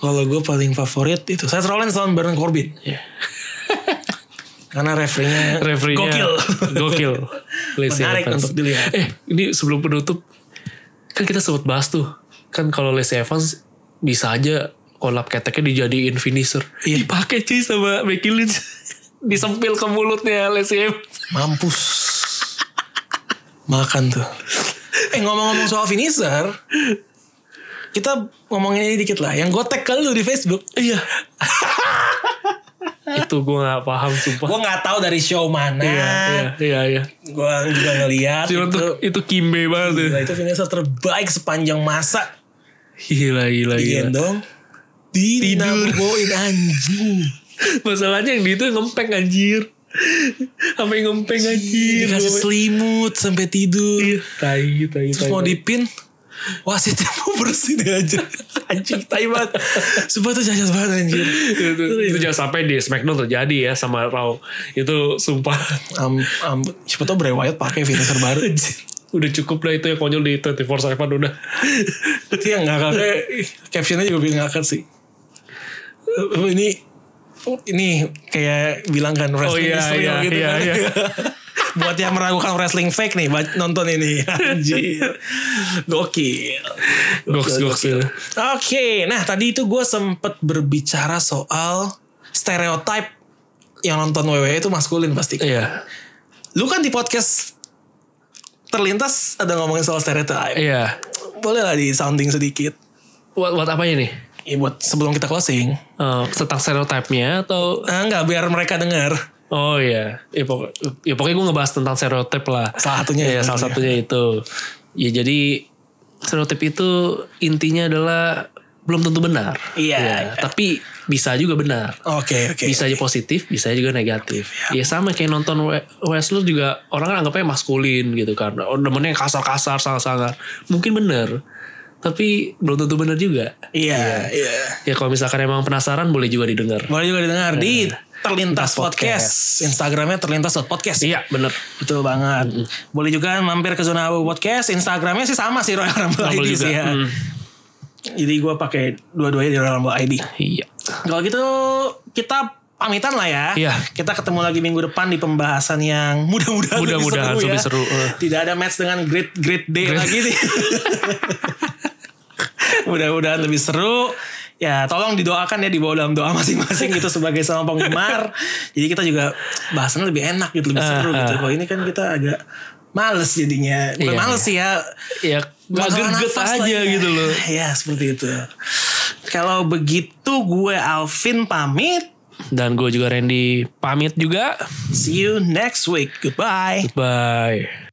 Speaker 1: Kalau gue paling favorit itu Seth Rollins lawan Baron Corbin.
Speaker 2: Iya.
Speaker 1: Karena referee-nya
Speaker 2: Referee-nya
Speaker 1: gokil.
Speaker 2: Gokil. Lacey
Speaker 1: Menarik
Speaker 2: Evans.
Speaker 1: untuk dilihat.
Speaker 2: Eh, ini sebelum penutup kan kita sempat bahas tuh. Kan kalau Lacey Evans bisa aja kolab keteknya dijadiin finisher.
Speaker 1: Iya.
Speaker 2: Dipakai cuy sama Becky Lynch. Disempil ke mulutnya Lacey Evans.
Speaker 1: Mampus. Makan tuh. Eh ngomong-ngomong soal finisher. Kita ngomongin ini dikit lah. Yang gue tag ke lu di Facebook. Iya.
Speaker 2: Itu gue gak paham sumpah.
Speaker 1: Gue gak tahu dari show mana.
Speaker 2: Iya, iya, iya.
Speaker 1: Gue juga ngeliat.
Speaker 2: Cuma
Speaker 1: itu.
Speaker 2: tuh itu kimbe banget. ya. tuh.
Speaker 1: Gila, itu finisher terbaik sepanjang masa.
Speaker 2: Gila, gila, gila.
Speaker 1: Digendong. Dinaboin anjing.
Speaker 2: Masalahnya yang di itu ngempeng anjir. Sampai ngempeng anjir.
Speaker 1: Dikasih selimut sampai tidur.
Speaker 2: Tai, tai,
Speaker 1: Terus
Speaker 2: tai,
Speaker 1: mau
Speaker 2: tai.
Speaker 1: dipin. Wasitnya mau bersih dia aja. Anjing tai banget. Sumpah tuh cacat banget anjir.
Speaker 2: itu, itu jangan sampai di Smackdown terjadi ya sama Raw itu sumpah
Speaker 1: Am, am, siapa tau Bray Wyatt pakai finisher baru.
Speaker 2: udah cukup lah itu yang konyol di 24 7 udah
Speaker 1: Itu yang ngakak. Captionnya juga bilang ngakak sih. Eh, Ini ini kayak bilang kan
Speaker 2: oh
Speaker 1: wrestling
Speaker 2: iya
Speaker 1: history
Speaker 2: iya
Speaker 1: gitu
Speaker 2: iya
Speaker 1: kan.
Speaker 2: iya
Speaker 1: Buat yang meragukan wrestling fake nih ba- nonton ini. Anjir. Gokil.
Speaker 2: Goks goks.
Speaker 1: Oke, nah tadi itu gue sempet berbicara soal stereotype yang nonton WWE itu maskulin pasti.
Speaker 2: Iya.
Speaker 1: Lu kan di podcast terlintas ada ngomongin soal stereotype.
Speaker 2: Iya.
Speaker 1: Boleh lah di sounding sedikit.
Speaker 2: What what apanya nih?
Speaker 1: Ya buat sebelum kita closing.
Speaker 2: Eh, tentang stereotipnya atau
Speaker 1: Ah enggak biar mereka dengar.
Speaker 2: oh iya ya, pokok- ya pokoknya gue ngebahas tentang stereotip lah
Speaker 1: Salah satunya
Speaker 2: ya,
Speaker 1: itu,
Speaker 2: salah
Speaker 1: iya.
Speaker 2: satunya itu ya jadi stereotip itu intinya adalah belum tentu benar
Speaker 1: Iya,
Speaker 2: Ya,
Speaker 1: iya.
Speaker 2: tapi bisa juga benar
Speaker 1: Oke, oke. Iya.
Speaker 2: bisa aja positif bisa juga negatif ya sama kayak nonton we- wrestler juga orang kan anggapnya maskulin gitu kan oh demennya yang kasar-kasar sangar-sangar mungkin benar tapi belum tentu benar juga
Speaker 1: Iya, iya.
Speaker 2: ya kalau misalkan emang penasaran boleh juga didengar
Speaker 1: Boleh juga didengar di Terlintas
Speaker 2: Iya. Podcast.
Speaker 1: Podcast. Instagramnya terlintas.podcast.
Speaker 2: iya benar
Speaker 1: Betul banget. Boleh juga mampir ke Zona Abu Podcast. Instagramnya sih sama sih Royal Rumble
Speaker 2: Rumble
Speaker 1: ID
Speaker 2: juga,
Speaker 1: sih ya.
Speaker 2: hmm.
Speaker 1: Jadi gue pakai dua-duanya di Royal Rumble ID.
Speaker 2: iya
Speaker 1: Kalau gitu kita pamitan lah ya.
Speaker 2: Iya.
Speaker 1: Kita ketemu lagi minggu depan di pembahasan yang mudah-mudahan lebih
Speaker 2: Mudah-mudahan
Speaker 1: seru
Speaker 2: lebih
Speaker 1: ya.
Speaker 2: seru, eh.
Speaker 1: Tidak ada match dengan Great Great Day lagi nih. mudah-mudahan lebih seru. Ya tolong didoakan ya dibawa dalam doa masing-masing gitu sebagai sama penggemar. Jadi kita juga bahasannya lebih enak gitu, lebih seru gitu. Kalau ini kan kita agak males jadinya.
Speaker 2: Ah,
Speaker 1: Bukan
Speaker 2: Iya,
Speaker 1: males
Speaker 2: iya.
Speaker 1: sih ya.
Speaker 2: ya mager-get
Speaker 1: Masalah nafas
Speaker 2: aja
Speaker 1: lah, ya.
Speaker 2: gitu loh
Speaker 1: Ya seperti itu. Kalau begitu gue Alvin pamit.
Speaker 2: dan gue juga Randy pamit juga
Speaker 1: See you next week. Goodbye.
Speaker 2: bye